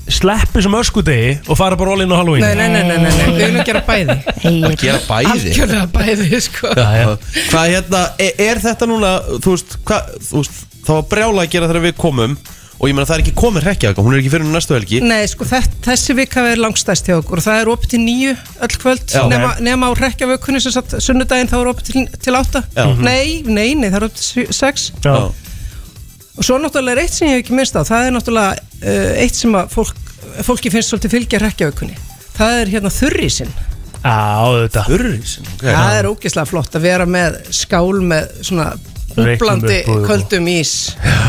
Speaker 4: sleppi sem öskudegi og fara bara all in á Halloween
Speaker 7: Nei, nei, nei, nei, nei, nei. við viljum gera bæði
Speaker 2: Að
Speaker 3: Egil,
Speaker 2: gera bæði
Speaker 7: Algjörlega bæði, sko
Speaker 4: Já, já.
Speaker 2: Hvað hérna, er, er þetta núna þú veist, hvað, þú veist, það var brjála að gera þegar við komum og ég meina það er ekki komin hrekkja hún er ekki fyrir núna næstu helgi
Speaker 7: Nei, sko, þess, þessi vika er langstæst hjá okkur og það er opið til nýju öll kvöld
Speaker 2: Já.
Speaker 7: nema, nema á rekkjavökunni sem satt sunnudaginn þá er opið til, til átta
Speaker 2: Já.
Speaker 7: nei, nei, nei, það er opið til sjö- sex
Speaker 4: Já.
Speaker 2: Já.
Speaker 7: og svo náttúrulega er eitt sem ég hef ekki minnst á það er náttúrulega uh, eitt sem að fólk, fólki finnst svolítið fylgja rekkjavökunni það er hérna þurrísinn
Speaker 4: Á, þetta
Speaker 2: Þurrísin, ok
Speaker 7: það er ógeðslega flott að vera með skál með svona húblandi
Speaker 4: upp og-
Speaker 7: köldum ís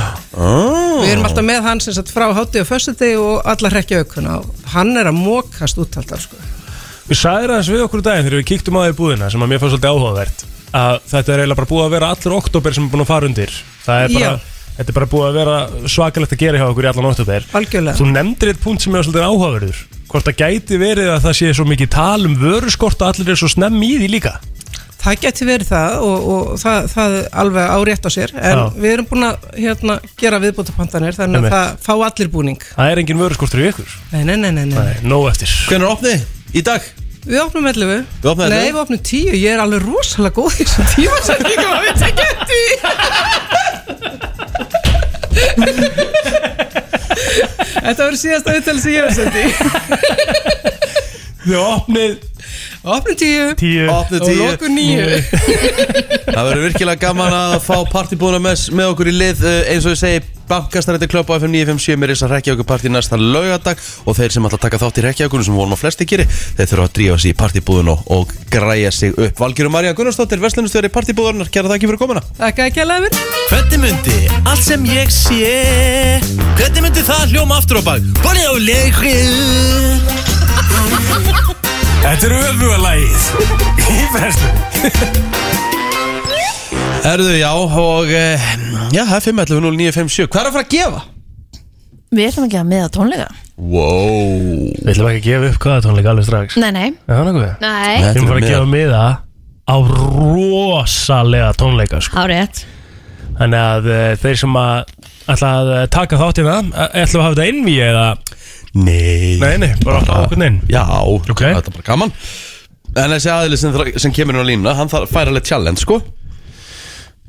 Speaker 2: Ah.
Speaker 7: Við erum alltaf með hann sem satt frá hátíð og föstudegi og alla rekkjaukuna og hann er að mókast út alltaf sko.
Speaker 4: Við sagðir aðeins við okkur í daginn þegar við kíktum á því búðina sem að mér fannst svolítið áhugavert að þetta er eiginlega bara búið að vera allur oktober sem er búin að fara undir það er bara,
Speaker 7: Já.
Speaker 4: þetta er bara búið að vera svakalegt að gera hjá okkur í allan oktober
Speaker 7: Algjörlega.
Speaker 4: Þú nefndir eitt punkt sem er svolítið áhugaverður hvort það gæti verið að það sé svo mikið tal um vöruskort og allir er svo snemm í því líka
Speaker 7: Það geti verið það og, og það, það er alveg árétt á sér en
Speaker 4: Já.
Speaker 7: við erum búin að hérna, gera viðbótapantanir þannig
Speaker 4: Einmitt.
Speaker 7: að það fá allir búning
Speaker 4: Það er engin vörurskortur í ykkur
Speaker 7: Nei, nei, nei, nei, nei.
Speaker 4: Nei, nóg eftir
Speaker 2: Hvernig er opnið? Í dag?
Speaker 7: Við opnum 11
Speaker 2: Við opnum 11?
Speaker 7: Nei, við opnum 10 Ég er alveg rosalega góð í þessum tíma sem ég kom að við tekja því Þetta voru síðasta viðtal sem ég hef sendi
Speaker 4: Þið opnið
Speaker 7: Opnum 10
Speaker 4: tíu
Speaker 2: Opnið
Speaker 7: og
Speaker 2: tíu
Speaker 7: lokum 9
Speaker 2: Það verður virkilega gaman að fá partybúna með, með okkur í lið eh, eins og ég segi Bankastar þetta klöpa á FM 957 mér er þess að rekja okkur partí næsta laugardag og þeir sem ætla að taka þátt í rekja okkur sem vonum að flesti gerir þeir þurfa að drífa sig í partybúðun og, og græja sig upp Valgjörur Marja Gunnarsdóttir, Vestlunustjóri partybúðunar kæra þakki fyrir komuna
Speaker 7: Takk að ekki að lefin
Speaker 2: Hvernig myndi allt sem ég sé Hvernig myndi það hljóma aftur á bak Bóli á leikrið
Speaker 4: Þetta er öfuga lagið Í verðslu
Speaker 2: Erðu já og eh, já það er 511 0957 Hvað er að fara að gefa?
Speaker 3: við ætlum ekki að meða tónleika
Speaker 2: Wow
Speaker 4: Við ætlum ekki að gefa upp hvaða tónleika alveg strax
Speaker 3: Nei, nei,
Speaker 4: Er það nokkuð?
Speaker 3: nei,
Speaker 2: Nei.
Speaker 4: Við erum bara að
Speaker 2: Þetta er
Speaker 4: gefa miða á rosalega tónleika sko.
Speaker 3: árétt
Speaker 4: Þannig að uh, þeir sem að ætla að eh, taka þáttina eh, ætla að hafa þetta innví eða
Speaker 2: Nei
Speaker 4: Nei, nei, bara opna okkur inn
Speaker 2: Já,
Speaker 4: Ok.
Speaker 2: þetta er bara gaman En þessi aðili sem, þra- sem kemur nú á línuna Hann þarf- fær alveg challenge sko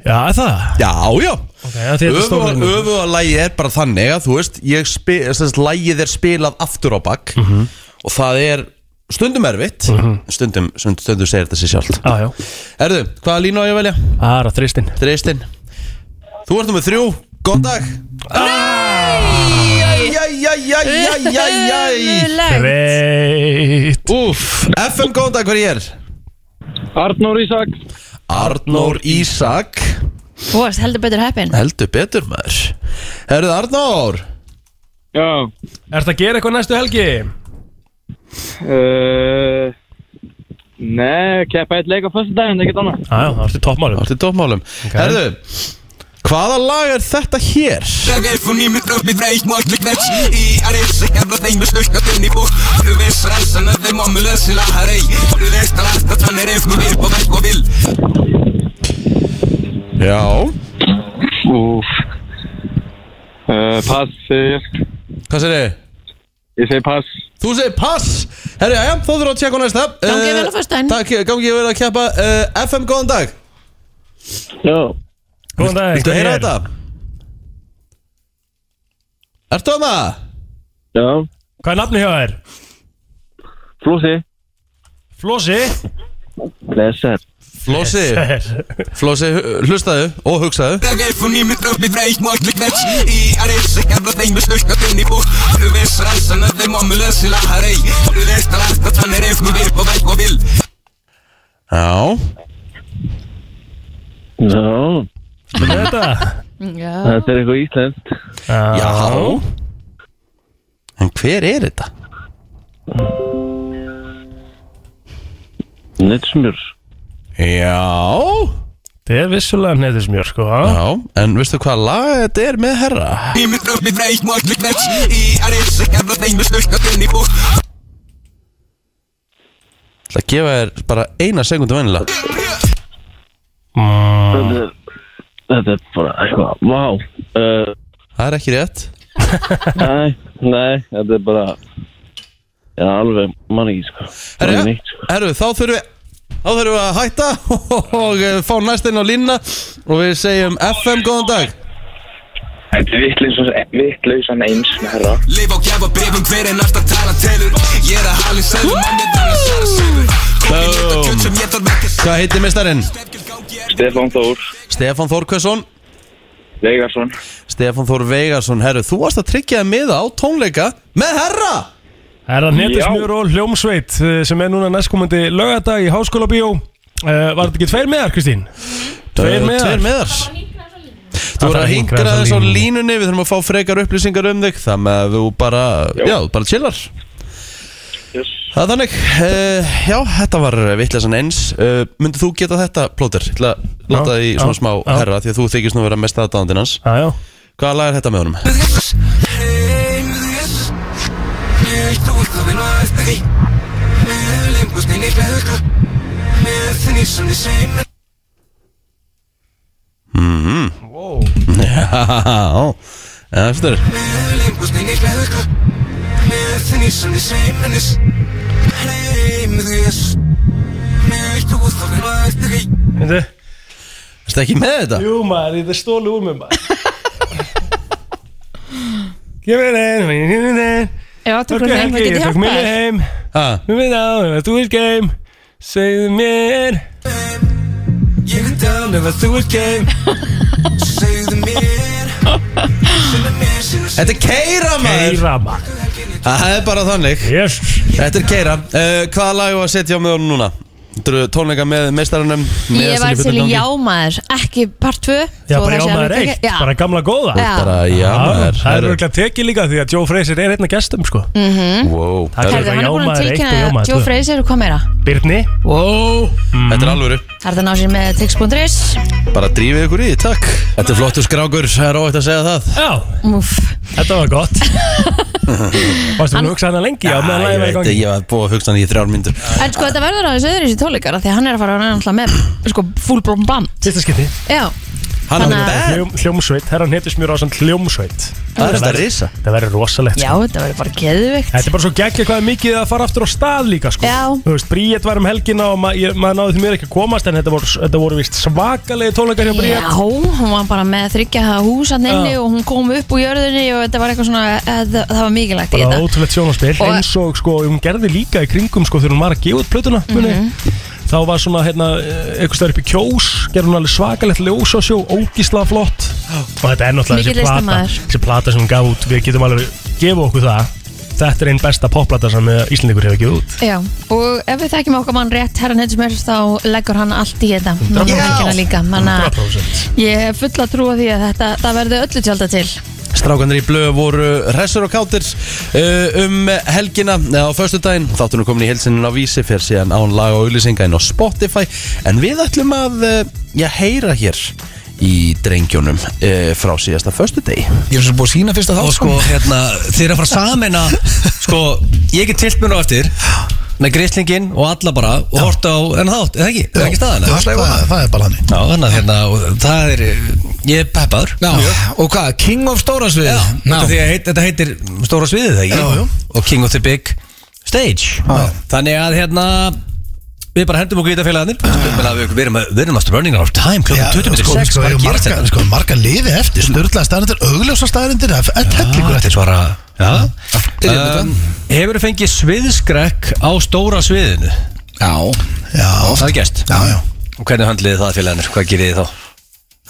Speaker 4: Já, er það
Speaker 2: Já, já
Speaker 4: Ok, já, því þetta er
Speaker 2: Öfuga
Speaker 4: stóra línu.
Speaker 2: öfuga lagið er bara þannig að þú veist ég spi, sest, Lagið er spilað aftur á bak
Speaker 4: Mhm.
Speaker 2: Og það er stundum erfitt Stundum, stundum, stundum segir þetta sér sjálft
Speaker 4: Já, já,
Speaker 2: Erðu, hvaða línu á ég að velja?
Speaker 4: aðra þristinn
Speaker 2: Þreistinn Þú ert nummið þrjú, góð dag Æjæjæjæjæjæjæjæj
Speaker 4: Reit
Speaker 2: Úf, FM góðan dag, hver ég er? Arnór Ísak Arnór Ísak,
Speaker 3: Þú varst heldur betur heppin
Speaker 2: heldur betur maður Herðu Arnór
Speaker 8: Já,
Speaker 4: Ertu að gera eitthvað næstu helgi?
Speaker 8: uh, nei, keppa eitt leik á fyrstu daginn, ekkert annað.
Speaker 4: Já, já, það ertu toppmálum
Speaker 2: Þú ert í toppmálum Herðu, hvaða lag er þetta hér?
Speaker 1: E
Speaker 2: Já
Speaker 8: Úf, uh, pass, segi ég.
Speaker 2: Hvað segir þið?
Speaker 8: Ég segi pass.
Speaker 2: Þú segir pass Herru, já, já, þú þurfa að tjekka á næsta
Speaker 3: Gangi
Speaker 2: Eh,
Speaker 3: vel á föstudaginn.
Speaker 2: Takk, gangi vel að keppa uh, FM, góðan dag
Speaker 8: Já.
Speaker 4: Góðan dag
Speaker 2: Viltu
Speaker 4: hver
Speaker 2: heyra
Speaker 4: er?
Speaker 2: þetta? Ertu að maður?
Speaker 8: Já.
Speaker 4: Hvað er nafni hjá þér?
Speaker 8: Flósi.
Speaker 4: Flósi
Speaker 8: Blessar.
Speaker 2: Flósi, Flósi, hu- hlustaðu og hugsaðu
Speaker 1: E
Speaker 2: Já,
Speaker 8: Já,
Speaker 4: Þetta
Speaker 3: Já,
Speaker 8: þetta er eitthvað íslenskt.
Speaker 2: já En hver er þetta?
Speaker 8: Netsmjör.
Speaker 2: Já
Speaker 4: Þetta er vissulega neðismjör sko
Speaker 2: Já, en veistu hvað lag þetta er með herra?
Speaker 1: E
Speaker 2: Það gefa þér bara eina sekundu vennilega
Speaker 4: mm,
Speaker 8: Þetta er, þetta er bara eitthvað, vá uh,
Speaker 2: Það er ekki rétt
Speaker 8: Nei, nei, þetta er bara Já, alveg mann ekki, sko
Speaker 2: Herru,
Speaker 8: Alveg neitt, sko.
Speaker 2: herru, þá þurfum við Þá þurfum við að hætta og eh, fá næstinn á línna og við segjum FM góðan dag
Speaker 9: Þetta er vitlausan- vitlausan eins með herra
Speaker 1: Leif á gjafa brefum hver en alltaf tala telur Ég er að halin sæður, menn er þannig að sæða sæður Kókin þetta kjöld sem ég þarf ekki
Speaker 2: Hvað heitir mestarinn?
Speaker 9: Stefán Þór
Speaker 2: Stefán Þór Kvesson
Speaker 9: Vegarsson
Speaker 2: Stefán Þór Vegarsson, herru, þú varst að tryggja þig miða á tónleika með herra
Speaker 4: Er það
Speaker 9: Já.
Speaker 4: netismjör og hljómsveit eh, sem er núna næstkomandi laugardag í Háskóla Bíó Eh, Var þetta ekki tveir meðar, Kristín? Tveir
Speaker 2: Eh,
Speaker 4: miðar.
Speaker 2: Tveir miðar Þú voru
Speaker 4: Það þarf
Speaker 2: að
Speaker 4: að hinkra
Speaker 2: hingra þess á
Speaker 4: þessa línu.
Speaker 2: línunni Við þurfum að fá frekar upplýsingar um þig Þannig að þú bara,
Speaker 9: Já.
Speaker 2: já, bara chillar
Speaker 9: yes.
Speaker 2: Það er þannig, uh, já, þetta var vitleysan eins uh, Myndið þú geta þetta, Plóter? Ég ætla að láta
Speaker 4: Já,
Speaker 2: því
Speaker 4: já,
Speaker 2: svona smá
Speaker 4: já.
Speaker 2: herra Því að þú þykist nú vera mest aðdáðandinn hans
Speaker 4: Já, já
Speaker 2: Hvaða lag er þetta með honum? Mhm. Já, eftir
Speaker 4: Þetta-
Speaker 2: Erstu ekki með þetta?
Speaker 4: Jú maður, þetta er stólu úr mér maður Gefið þeim, gefið þeim
Speaker 3: Já, tökum við þeim, það getur
Speaker 4: Takk mér
Speaker 3: hjálpað
Speaker 4: heim,
Speaker 2: Ha,
Speaker 4: við við á, ef þú ert geim Segðu mér Ég er down ef að þú ert geim
Speaker 2: Þetta er Keira maður
Speaker 4: Eira maður
Speaker 2: Það er bara þannig
Speaker 4: Yes
Speaker 2: Þetta er Keira uh, Hvaða lag var að setja á með honum núna? Þetta eru tónleika með meistarunum
Speaker 3: Ég var til í jámaður, ekki part 2
Speaker 4: Já, bara jámaður eitt, bara gamla góða
Speaker 3: Já.
Speaker 2: Bara já,
Speaker 4: Já,
Speaker 2: maður
Speaker 4: það er
Speaker 2: Herru,
Speaker 4: örgulega tekið líka því að Joe Fraser er einn af gestum sko
Speaker 2: wow.
Speaker 4: Það
Speaker 3: Herðu, Mhm. hann er búin að
Speaker 4: Jámaður eitt og
Speaker 3: tilkynna
Speaker 4: jámaður
Speaker 3: Joe
Speaker 4: tvö.
Speaker 3: Fraser og hvað meira?
Speaker 4: Birni
Speaker 2: Wow. Þetta er alvöru
Speaker 3: Það er það ná sér með tix.is
Speaker 2: Bara drífið ykkur í, takk Þetta er flottur skrákur, það er óvægt að segja það
Speaker 4: Já,
Speaker 3: Úff,
Speaker 4: þetta var gott Varstu búin að hugsa hana lengi á
Speaker 2: Æ,
Speaker 4: meðan lagið
Speaker 2: ég
Speaker 4: var í
Speaker 2: veit,
Speaker 4: gangi
Speaker 2: ég var búið að hugsa hann í þrjár myndur
Speaker 3: En sko þetta verður aðeins öðru í sér tólikara Því að hann er að fara að náttúrulega með sko, full blown band
Speaker 4: Fyrsta skipti
Speaker 3: Já,
Speaker 2: Hann er
Speaker 3: Þannig að-
Speaker 2: bad
Speaker 4: Hljóm, Hljómsveit, herran hittis mjög rásan hljómsveit
Speaker 2: Það er þetta risa
Speaker 4: Það verður rosalegt
Speaker 3: já
Speaker 4: sko.
Speaker 3: þetta verður bara geðvikt
Speaker 4: Þetta er bara svo geggja hvað er mikið að fara aftur á stað líka sko.
Speaker 3: Já.
Speaker 4: Þú veist, Bríett var um helgina og ma ég, maður náði því mér ekki að komast en þetta voru, þetta voru vist svakalegi tónleikar hjá
Speaker 3: Já,
Speaker 4: Bríett
Speaker 3: hún var bara með þryggja hús hann inni
Speaker 4: Já.
Speaker 3: og hún kom upp úr jörðinni og þetta var eitthvað svona, eh, það, það var mikilvægt í
Speaker 4: bara
Speaker 3: þetta
Speaker 4: ótrúlegt sjónaspil
Speaker 3: Og-
Speaker 4: eins og sko, hún gerði líka í kringum sko, þegar hún var að gefa út plötuna
Speaker 3: Mhm.
Speaker 4: mm þá var svona hérna, eitthvað stær upp í kjós gerði hún alveg svakalegt ljós á sjó ógísla flott og þetta er náttúrulega
Speaker 3: Mikill
Speaker 4: þessi plata,
Speaker 3: listamaður.
Speaker 4: þessi plata sem hún gaf út við getum alveg gefa okkur það þetta er einn besta popplata sem eh, Íslendingur hefur gefið út
Speaker 3: Já, og ef við þekkjum okkar mann rétt herran hittis mér þá leggur hann allt í þetta núna um helgina líka þannig að
Speaker 4: 100%
Speaker 3: ég hef fulla trú á því að þetta það verður öllu tjálta til
Speaker 2: Strákanir í blöð voru hressur og kátir uh, um helgina eða á föstudaginn, þáttunum komin í helsinin á vísi fyrir síðan án laga og auðlýsinga inn á Spotify en við ætlum að uh, já, heyra hér í drengjónum uh, frá síðasta föstudegi
Speaker 10: Ég er svo búið að sína fyrsta þátt Og sko, hérna, þeir eru að fara samina Sko, ég get tilt mér á eftir Með grislingin og alla bara Og horta á enn þátt, eða ekki? Það er ekki staðan, eða?
Speaker 11: það, það er bara hann
Speaker 10: Já, þannig að hérna, og það er Ég er peppaður
Speaker 11: Já, og hvað, King of Stóra sviðið?
Speaker 10: Já, þetta, því að heit, þetta heitir Stóra sviðið, það ekki?
Speaker 11: Já, já.
Speaker 10: Og King of the Big Stage
Speaker 11: Já.
Speaker 10: Þannig að hérna Við bara hendum okkur í þetta félagarnir Við við erum að- við erum að running out of time Klokkan 20 minnir
Speaker 11: sko,
Speaker 10: 6
Speaker 11: sko,
Speaker 10: Hvað
Speaker 11: sko,
Speaker 10: gerist
Speaker 11: marga,
Speaker 10: þetta?
Speaker 11: sko, marga liði eftir Sturla staðarindir, augljósa staðarindir Það er hellingur
Speaker 10: þetta
Speaker 11: eftir
Speaker 10: er svara ja.
Speaker 11: Byrjum við þetta.
Speaker 10: um, Hefur þú fengið sviðskrekk á stóra sviðinu?
Speaker 11: Já Já,
Speaker 10: Það er gæst
Speaker 11: já, já
Speaker 10: Og hvernig höndliði það félagarnir? Hvað gerði þið þá?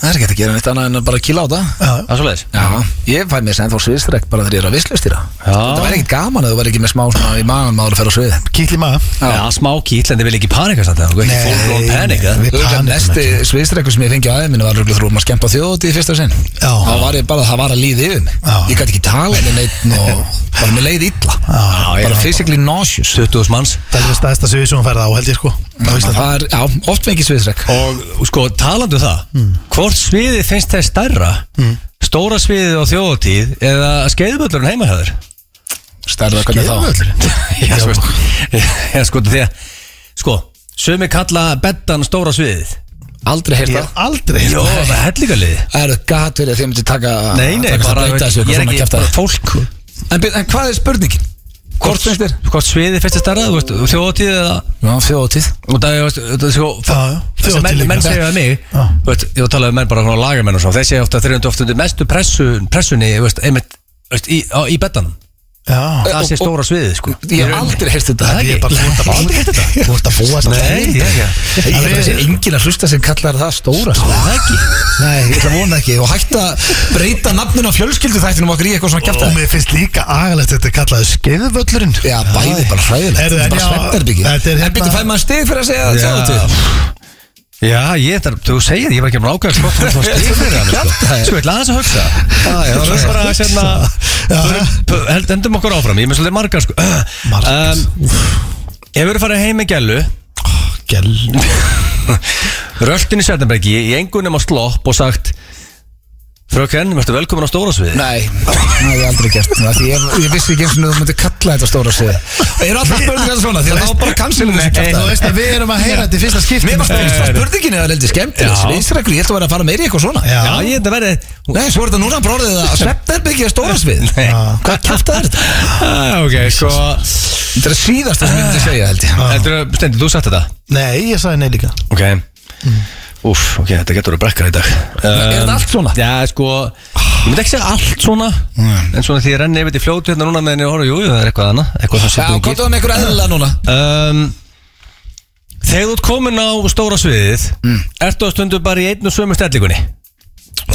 Speaker 11: Það er ekki hægt að gera neitt annað en að bara kýla á það Já,
Speaker 10: Það er svoleiðis
Speaker 11: ég fæ mér sem þá sviðstrekk bara þegar ég er að visslustýra
Speaker 10: Já.
Speaker 11: Það væri ekkit gaman að þú væri ekki með smá svona í magan maður að ferða á svið Kýtli maður
Speaker 10: Já, smá kýll en þið vil ekki panika samt það Ekki full blown panic eh? eða?
Speaker 11: Við panikum Næsti sviðstrekkur sem ég fengi á aðeins minni var röglega þrúum að skempa þjóðóti í fyrsta sinn Já Það var ég bara, það var að líði yfir mig Ég gæti ekki tala með neitt og bara með leið illa Já, Bara physically nauseous
Speaker 10: 20.000 manns
Speaker 11: Það er staðista svið sem hún ferða á held ég sko Það er, já, oft fengi sviðstrekk
Speaker 10: Og sko, talandu það
Speaker 11: Hmm.
Speaker 10: Hvort sviðið finnst þið stærra? Stóra sviðið á þjóðatíð eða skeiðböllurinn heima hjá þér?
Speaker 11: Stærða hvernig þá
Speaker 10: Já, sko, já, sko, því að Sko, sumi kalla beddan stóra sviðið
Speaker 11: Aldrei heyrt
Speaker 10: Ég
Speaker 11: það
Speaker 10: hef aldrei heyrt það. Það er hellingaliði.
Speaker 11: Það eru gat fyrir að þið myndir taka
Speaker 10: Nei, nei,
Speaker 11: taka
Speaker 10: bara-
Speaker 11: að breyta þessu eitthvað
Speaker 10: ég er
Speaker 11: svona
Speaker 10: ekki-
Speaker 11: kjafta
Speaker 10: bara fólk
Speaker 11: en, byrju, en hvað er spurningin? Hvort finnst þér?
Speaker 10: Hvort sviði fyrst er starra, þú veist, þjóðatíð eða
Speaker 11: Já, þjóðatíð
Speaker 10: Og það er, veist, þetta er sko Þessi
Speaker 11: þjóðhátíð
Speaker 10: menn,
Speaker 11: líka.
Speaker 10: menn segja að mig
Speaker 11: Já.
Speaker 10: Þú veist, ég var að tala um menn bara frá lagamenn og svo Þeir segja ofta að þeir eru ofta undir mestu pressun, pressunni, þú veist, einmitt þú veist, í, á, í betanum
Speaker 11: Já.
Speaker 10: Það sé
Speaker 11: Og- og-
Speaker 10: stóra sviðið, sko
Speaker 11: Ég hef aldrei heyrst þetta
Speaker 10: Það
Speaker 11: Ég er
Speaker 10: ekki
Speaker 11: bara- þú ert að-
Speaker 10: Aldrei heyrt þetta
Speaker 11: Þú ert að búa þetta
Speaker 10: Nei,
Speaker 11: til.
Speaker 10: ég ekki.
Speaker 11: Ég held að það sé engin að hlusta sem kallar það stóra Stóra ekki Nei, ég ætla að vona ekki Og hætta að breyta nafnun á fjölskyldu þættinum okkar í eitthvað svona kjafta
Speaker 12: Og mér finnst líka agalegt þetta kallaði skeiðvöllurinn
Speaker 11: Já, bæði bara hræðilegt
Speaker 12: Herðu,
Speaker 11: Þetta er
Speaker 12: en
Speaker 11: bara
Speaker 12: já,
Speaker 11: svefnherbergi
Speaker 12: þetta er
Speaker 11: En
Speaker 12: hérna-
Speaker 11: byrju, fær maður stig fyrir að segja
Speaker 10: Já.
Speaker 11: þjóðatíð
Speaker 10: Já, ég þarf, þú segir, það, ég var ekki með ákveðast hvort þú fórst í fyrir hann, sko Sko, ég ætla aðeins að hugsa
Speaker 12: Já, já,
Speaker 10: Svo
Speaker 12: já.
Speaker 10: bara að sérna Endum okkur áfram, ég er með svolítið margar, sko Margar Hefur þú farið heim með gælu
Speaker 12: Gælu
Speaker 10: Röltin í Sjarnabæki í engunum á slopp og sagt Fröken, verður velkomin á stóra sviði
Speaker 11: Nei, það hef ég aldrei gert það, því ég, ég vissi ekki eins og þú myndir kalla þetta stóra svið Það eru alltaf spurningar svona því að það var bara kansilum þessi
Speaker 12: Nei,
Speaker 11: kjafta
Speaker 12: þú veist að við erum að heyra þetta í fyrsta skipti
Speaker 11: Mér varst
Speaker 12: Nei,
Speaker 11: ekki
Speaker 12: nei.
Speaker 11: spurningin eða heldur skemmtileg
Speaker 12: Já.
Speaker 11: Sviðsreglur, ég ætla að vera að fara meiri í eitthvað svona
Speaker 12: Já.
Speaker 10: ég þetta verið
Speaker 11: Nei, svo er þetta núna bara orðið að svefnherbyggja er stóra svið
Speaker 10: Nei.
Speaker 11: Hvað kjafta er þetta?
Speaker 10: Ah, ok, sko
Speaker 11: Þetta er síðast það sem ég myndi segja held ég
Speaker 10: Heldur að, Stendi, þú sagt þetta
Speaker 12: Nei, ég sagði nei líka
Speaker 10: Ok Úff, ok, þetta getur að brekka í dag
Speaker 11: Er þetta allt svona?
Speaker 10: Já, sko, ég myndi ekki segja allt svona En svona því ég renni yfir til fljótu hérna núna meðan ég horf Jú, jú, það er eitthvað hana Eitthvað sem
Speaker 11: Já,
Speaker 10: setur
Speaker 11: komdu það með einhver eðla núna
Speaker 10: um, Þegar þú ert komin á stóra sviðið
Speaker 11: Mm.
Speaker 10: Ertu að stundu bara í einn og sömu stellingunni?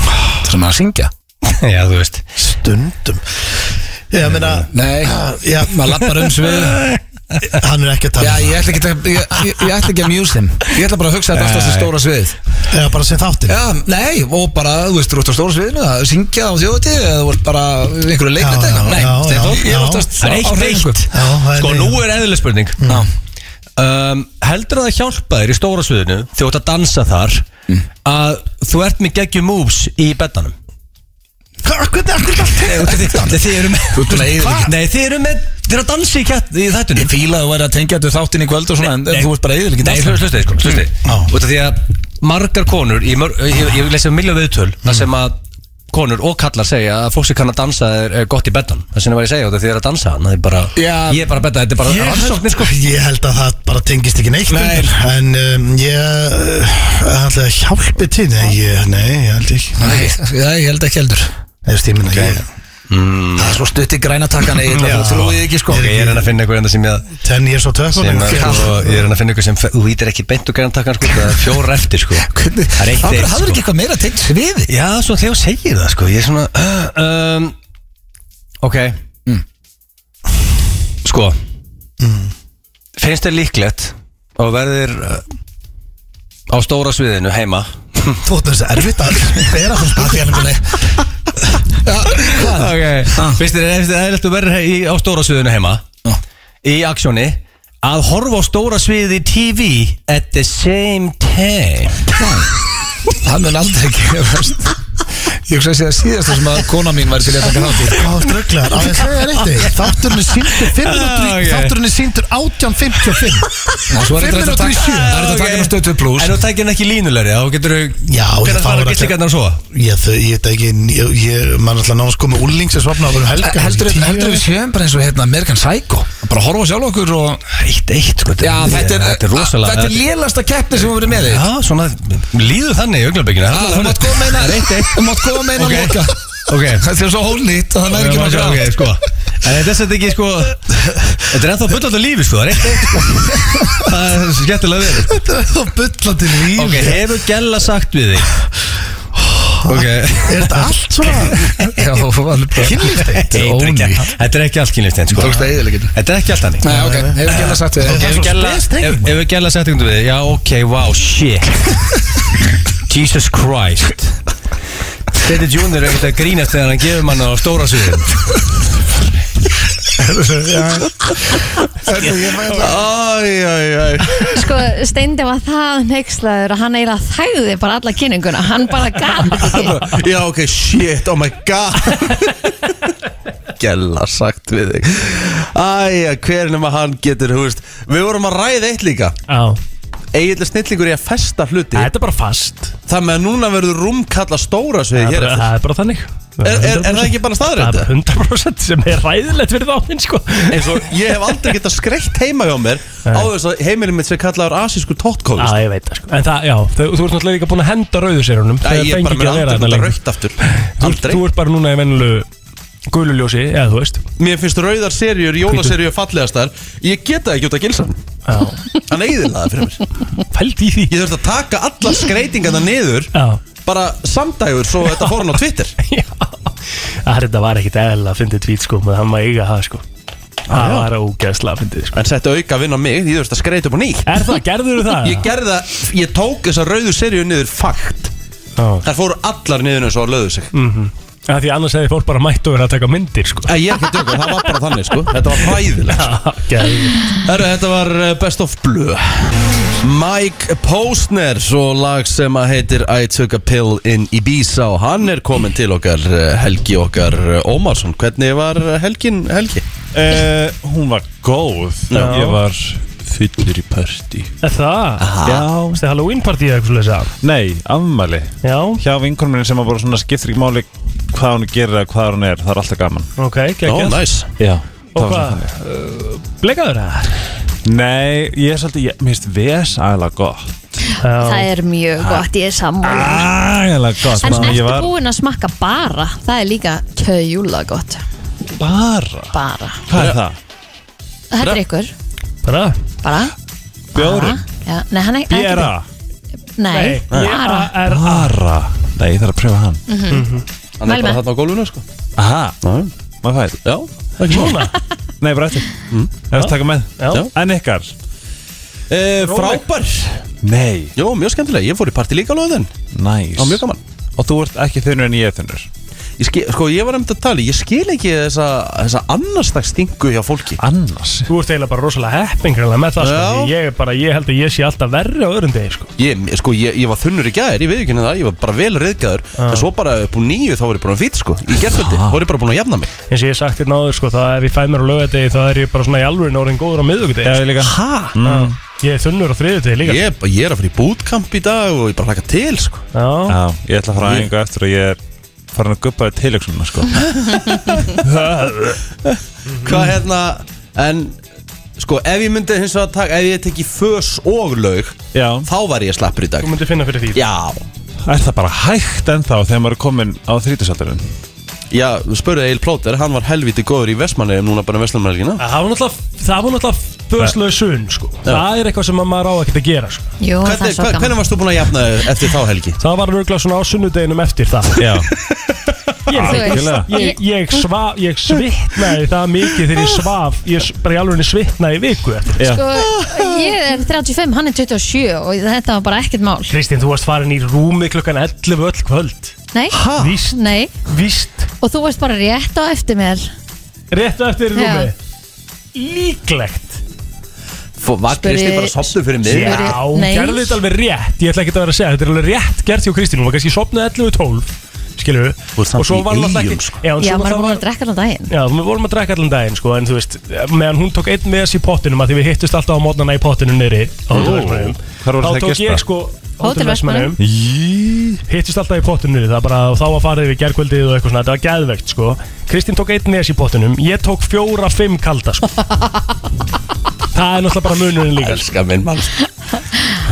Speaker 11: Það sem að syngja
Speaker 10: Já, þú veist
Speaker 12: Stundum Ég meina
Speaker 11: Nei,
Speaker 12: já.
Speaker 11: maður lappar um svið
Speaker 12: Hann er ekki að
Speaker 11: Já,
Speaker 12: tala um
Speaker 11: ég ætla ekki að, ég, ég, ég ætla ekki að mjúsa þeim Ég ætla bara að hugsa þetta alltaf sem stóra svið
Speaker 12: það. Já, bara sem þáttir
Speaker 11: Já, nei, og bara, þú veist, þú ert á stóra sviðinu að syngja á þjóðatíð eða þú ert bara í einhverju leikrætt
Speaker 12: Já,
Speaker 11: eitthvað
Speaker 12: já,
Speaker 11: Nei,
Speaker 12: já,
Speaker 11: Steindór,
Speaker 12: já,
Speaker 11: ég er
Speaker 12: já.
Speaker 11: oftast
Speaker 10: Það er eitt,
Speaker 11: hreyfingu.
Speaker 10: eitt.
Speaker 12: Já, það er eitt.
Speaker 10: Sko,
Speaker 12: Mm.
Speaker 10: nú er eðlileg spurning
Speaker 11: Já.
Speaker 10: um, Heldur að það hjálpa þér í stóra sviðinu Þegar þú ert að dansa þar
Speaker 11: Mm.
Speaker 10: Að þú ert með geggjum moves í betanum
Speaker 12: Hvað, hvernig er þetta allt
Speaker 10: Nei, út af því- Nei, þið eru með
Speaker 11: Þú ert búin að eyða
Speaker 10: Hva?
Speaker 11: ekki-
Speaker 10: Nei, þið eru með Þið eru að dansa í kjætt í þættunum
Speaker 11: Ég fíla að þú væri að tengja þetta þáttin í kvöld og svona, en
Speaker 10: Nei.
Speaker 11: þú ert bara eðilegir
Speaker 10: Nei, hlustu, hlustu, sko, hlustu
Speaker 11: Mm.
Speaker 12: Já.
Speaker 10: Út af því að margar konur Ég, mör, ég, ég lesi um milja viðtöl
Speaker 11: Mm.
Speaker 10: Það sem að konur og kallar segja að fólk sem kann að dansa er, er gott í betan það sem ég var að segja út af því að þið eru að dansa hann það er bara,
Speaker 11: Já.
Speaker 10: ég er bara að betta, þetta er bara
Speaker 12: Ég held,
Speaker 10: rannsóknir sko
Speaker 12: ég held að það bara tengist ekki neitt
Speaker 11: Nei.
Speaker 12: undir, En um, ég uh, ætla að hjálpi til Nei, ég, nei, ég held ekki Nei,
Speaker 11: Nei, já, ég held ekki heldur
Speaker 12: þú veist, ég minna okay.
Speaker 11: Það er svo stutt í græna takkan eða þú trúið ekki sko
Speaker 10: Mm. ég er hann að finna einhver enda sem ég að
Speaker 12: Tenn ég er svo
Speaker 10: sem
Speaker 12: tökum
Speaker 10: að, sko, ég er hann að finna einhver sem fe- þú ítir ekki beint og gæðan takkan sko það er fjóra eftir sko
Speaker 11: Hvernig-
Speaker 10: það er eitt
Speaker 11: Af hverju
Speaker 10: eitt,
Speaker 11: hafðirðu
Speaker 10: sko.
Speaker 11: ekki eitthvað meira tengt sviði?
Speaker 10: Já, svona þegar þú segir það sko Ég er svona uh, um, Ok
Speaker 11: Mm.
Speaker 10: Sko Finnst þér líklegt Og verðir uh, Á stóra sviðinu heima
Speaker 12: Þú ert þess að erfitt að bera hérna, þú spurt ég
Speaker 10: Ok Finnst þér finnst þér eðlilegt að verðir í- á stóra sviðinu heima
Speaker 11: Ah. Já.
Speaker 10: Í aksjóni Að horfa á stóra sviði í TV At the same time
Speaker 11: Það mun aldrei ekki gerast. Ég hugsa að segja síðast sem að kona mín væri til að taka þátt í
Speaker 12: Hvað strögglar, á ég að segja þér eitt eitt Þátturinn er síndur 5
Speaker 10: Ah,
Speaker 12: mínútur í-
Speaker 10: ok.
Speaker 12: Þátturinn er síndur 18.55
Speaker 11: Já, svo er
Speaker 12: 5
Speaker 11: þetta reyndar að
Speaker 12: mínútur í
Speaker 11: taka-
Speaker 12: 7
Speaker 11: það er þetta að taka um hann á stötu pluss.
Speaker 10: En þú tækir hann ekki línulegri Þá getur þú
Speaker 12: Já, ég
Speaker 10: Hvernig
Speaker 12: fá
Speaker 10: fara
Speaker 12: að-
Speaker 10: gíslingarnar að sofa?
Speaker 12: Ég þau- ég veit ekki, ég, ég- maður ætla að náðast komið úling sem svapna á hverju helga
Speaker 11: Heldur
Speaker 12: Tíu-
Speaker 11: við sjöfum bara eins og hérna American Psycho Bara horfa á sjálf okkur og
Speaker 10: Eitt, eitt, sko
Speaker 11: Já, þetta er,
Speaker 10: þetta er rosalega
Speaker 11: Þetta er lélasta keppni sem við verið með þig
Speaker 10: Já, svona, líður þannig í augnabekinu
Speaker 11: Já, Þú Ah, mátt koma eina Þú mátt koma eina
Speaker 10: Ok.
Speaker 11: loka
Speaker 10: Ok.
Speaker 11: Þetta er svo hólnýtt að það næri ekki nokkuð
Speaker 10: Ok,
Speaker 11: annað.
Speaker 10: sko En þetta er þetta ekki, sko Þetta er ennþá fullt alltaf lífi, sko Það er eitt, eitt, sko Það er svo skemmtilega verið sko.
Speaker 12: Þetta er þá byllandi líf
Speaker 10: Ok, hefur Gjalla sagt við þig Ok
Speaker 12: Er þetta allt svona
Speaker 11: Já, alveg bara
Speaker 12: Kynlífstengt?
Speaker 11: Þetta er
Speaker 10: Þetta er ekki-
Speaker 11: ónýtt
Speaker 10: Þetta er ekki allt kynlifstein, sko
Speaker 11: Tókst það eðilegir
Speaker 10: Þetta er ekki allt þannig
Speaker 11: Nei, ok, hefur ekki alveg sagt við þig.
Speaker 10: Hefur Gjalla hef- Hefur Gjalla sagt eitthvað við þig Já, ok, wow, shit Jesus Christ Þetta Junior er ekkert að grínast þegar hann gefur manna á stóra sviðin Æjæjæj
Speaker 3: Sko, Steindi var það neykslaður og hann eiginlega þægði bara alla kynninguna Hann bara gaf ekki
Speaker 2: Já, ok, shit, oh my god Gjalla sagt við þig Æja, hver nema hann getur, þú veist Við vorum að ræða eitt líka
Speaker 4: Já
Speaker 2: Egil er snillingur í að festa hluti Þetta
Speaker 4: er bara fast
Speaker 2: Það með að núna verður rúmkalla stóra svið
Speaker 4: Það er
Speaker 2: hér
Speaker 4: bara- það er bara þannig
Speaker 2: Er, er, er það ekki bara staðrætt?
Speaker 4: Það er 100% sem er ræðilegt fyrir þáttinn sko
Speaker 2: eins og ég hef aldrei getað skreitt heima hjá mér á þess að heimilin mitt sem kallaður asískur tóttkóð
Speaker 4: Já, ég veit það sko En það, já, þú, þú ert náttúrulega líka búin að henda rauðu sérunum
Speaker 2: Æ, ég er bara með aldrei þetta raukt aftur
Speaker 4: Þú, ert- þú ert bara núna í venlu gululjósi, eða þú veist
Speaker 2: Mér finnst rauðar serjur, jólaserjur fallegastar Ég geta það ekki út að gilsa Hann eigðir það fyrir mér
Speaker 4: Fælt í því
Speaker 2: Ég þurfti að taka alla skreitingarna niður
Speaker 4: Já. sko.
Speaker 2: Bara samdægur svo þetta fór hann á Twitter
Speaker 4: Það þetta var ekkit eðla að fyndi tvít sko Menn hann maður eiga það sko
Speaker 2: Ah,
Speaker 4: Það var ógeðslega að fyndi sko
Speaker 2: En sett auka vinn á mig, því þú veist að skreita upp á nýtt
Speaker 4: Er það, gerður það?
Speaker 2: Ég gerði það, ég tók þessa rauðu serjur niður fakt
Speaker 4: Já.
Speaker 2: Þær fóru allar niður eins og að löðu sig
Speaker 4: mm Því annars hefði fólk bara mætt og verið að taka myndir sko
Speaker 2: Æ, Ég er ekki að dögum, það var bara þannig sko Þetta var hræðilegt Herru, þetta var eh, Best of Blue Mike Posner Svo lag sem að heitir I took a pill in Ibiza Og hann er komin til okkar eh, Helgi okkar eh, Ómarsson Hvernig var eh, helgin Helgi?
Speaker 13: Eh, hún var góð
Speaker 2: Já.
Speaker 13: Ég var fullur í party
Speaker 4: Er það? Já Þetta er Halloween party eða eitthvað svoleiðis að
Speaker 13: Nei, afmæli
Speaker 4: Já
Speaker 13: Hjá vinkonum minni sem var bara svona skiptir ekki máli Hvað hún gerir eða hvað hún er Það er alltaf gaman
Speaker 4: Ok, geggjað. Ó, nice.
Speaker 13: Já
Speaker 4: Og
Speaker 13: það var
Speaker 4: hvað, Eh,
Speaker 13: svona
Speaker 4: Bleikaður það?
Speaker 13: þannig. Nei, ég er svolítið Mér finnst VS aðeinslega gott
Speaker 3: Það er mjög gott, ég er sammála
Speaker 4: Ah.
Speaker 13: Aðeinslega gott
Speaker 3: En
Speaker 13: Svona,
Speaker 3: ertu
Speaker 13: ég var-
Speaker 3: búin að smakka bara Það er líka kjöjúla gott
Speaker 13: Bara?
Speaker 3: Bara
Speaker 13: Hvað er það?
Speaker 3: Þetta er ykkur
Speaker 4: Bara?
Speaker 3: Bara
Speaker 13: Bjóri?
Speaker 3: Já, nei, hann er
Speaker 13: Bjera?
Speaker 3: Nei, bara
Speaker 13: Bara? Nei, ég þarf að pröfa hann
Speaker 3: Mhm. Mhm.
Speaker 2: Hann er
Speaker 3: Mæli
Speaker 2: bara
Speaker 3: með.
Speaker 2: þarna á gólfinu sko
Speaker 13: Aha, maður fær
Speaker 2: Já, ekki
Speaker 13: svona Nei, bara eftir Það er að taka með
Speaker 2: Mm. Já.
Speaker 13: En ykkar?
Speaker 2: Eh,
Speaker 13: Róleg.
Speaker 2: Frábær
Speaker 13: Nei
Speaker 2: Jó, mjög skemmtilega, ég fór í partí líka á löðin
Speaker 13: Næs
Speaker 2: Já, mjög gaman
Speaker 13: Og þú ert ekki þunnur en ég er þunnur
Speaker 2: Ég skil, sko, ég var nefnd að tala, ég skil ekki þessa, þessa annarsdags stingu hjá fólki
Speaker 13: Annars?
Speaker 4: Þú ert eiginlega bara rosalega heppin greinlega með það sko.
Speaker 2: Já.
Speaker 4: ég, er bara, ég held að ég sé alltaf verri á öðrum degi sko.
Speaker 2: Ég, sko, ég, ég var þunnur í gæðir, ég veit ekki henni það, ég var bara vel reyðgæður En svo bara upp úr nýju þá var ég bara fýtt, sko Í gerðföldi, þá var ég bara búin að jafna mig
Speaker 4: eins og ég hef sagt þér náður sko, það ef ég fæ mér á lögadegi þá er ég bara svona í alveg orðin góður á miðugdegi
Speaker 13: Já, ég líka.
Speaker 4: Hæ? Ég er þunnur á þriðudegi líka
Speaker 2: Mm. Ég, ég er að fara í bootcamp í dag og ég bara hlaka til, sko
Speaker 4: Já,
Speaker 13: Já, ég ætla að fara að enga eftir og ég er farin að guppa þér tilöksunum sko.
Speaker 2: Hvað hérna, en sko, ef ég myndi hins vegar að taka, ef ég teki fös og laug
Speaker 13: Já
Speaker 2: Þá var ég slappur í dag
Speaker 4: Þú myndir finna fyrir því
Speaker 2: Já
Speaker 13: Er það bara hægt ennþá þegar maður er komin á þrítusaldurinn?
Speaker 2: Já, spurði Egil Plóter, hann var helviti góður í Vestmannegjum núna bara um Vestmannegjum
Speaker 4: Það var náttúrulega, það var náttúrulega föðslega sunn sko. Það er eitthvað sem að maður á ekkert að gera sko.
Speaker 3: Jú,
Speaker 2: Hvernig- það er svo hva- gaman. hvernig varst þú búin að jafna þig eftir þá helgi?
Speaker 4: Það var röglega svona á sunnudeginum eftir það
Speaker 13: Já
Speaker 4: Ég,
Speaker 2: Þú veist,
Speaker 4: ég, ég, ég, sva, ég svitnaði það mikið þegar ég svaf Ég s- bara í alveg svitnaði í viku eftir
Speaker 3: Sko, ég er 35, hann er 27 Og þetta var bara ekkert mál
Speaker 4: Kristín, þú varst farin í rúmi klukkan 11 öll kvöld
Speaker 3: Nei,
Speaker 4: Víst.
Speaker 3: nei
Speaker 4: Víst
Speaker 3: Og þú varst bara rétt á eftir mér
Speaker 4: Rétt á eftir í
Speaker 3: Já.
Speaker 4: rúmi Líklegt
Speaker 2: Var Kristi bara sopnuð fyrir mig?
Speaker 4: Já, hún
Speaker 3: Nei.
Speaker 4: gerði þetta alveg rétt Ég ætla ekki að vera að segja, þetta er alveg rétt gert hjá Kristín Hún var kannski sopnuð 11.12 Skilju Og
Speaker 2: samt
Speaker 4: svo
Speaker 2: í
Speaker 4: var alltaf ekki
Speaker 2: Eyjum, sko.
Speaker 4: Já, en
Speaker 3: Já,
Speaker 4: svo var
Speaker 3: maður
Speaker 4: það-
Speaker 3: er búin að drekka allan daginn
Speaker 4: Já, við vorum að drekka allan daginn sko, en þú veist, meðan hún tók einn með þessi í pottinum að því við hittust alltaf á mótnana í pottinu nýri á
Speaker 13: Ó,
Speaker 4: hótelversmanum
Speaker 13: hvar voru
Speaker 4: þá
Speaker 13: það
Speaker 4: tók
Speaker 13: gista?
Speaker 4: ég sko
Speaker 13: Hótelverslunum.
Speaker 4: hótelversmanum hittust alltaf í pottinu nýri það bara, og þá var farið við gerkvöldið og eitthvað svona þetta var geðvegt sko, Kristín tók einn með þessi í pottinum ég tók fjóra, fimm kalda sko það er náttúrulega bara munurinn líka sko.
Speaker 2: Elskar minn mann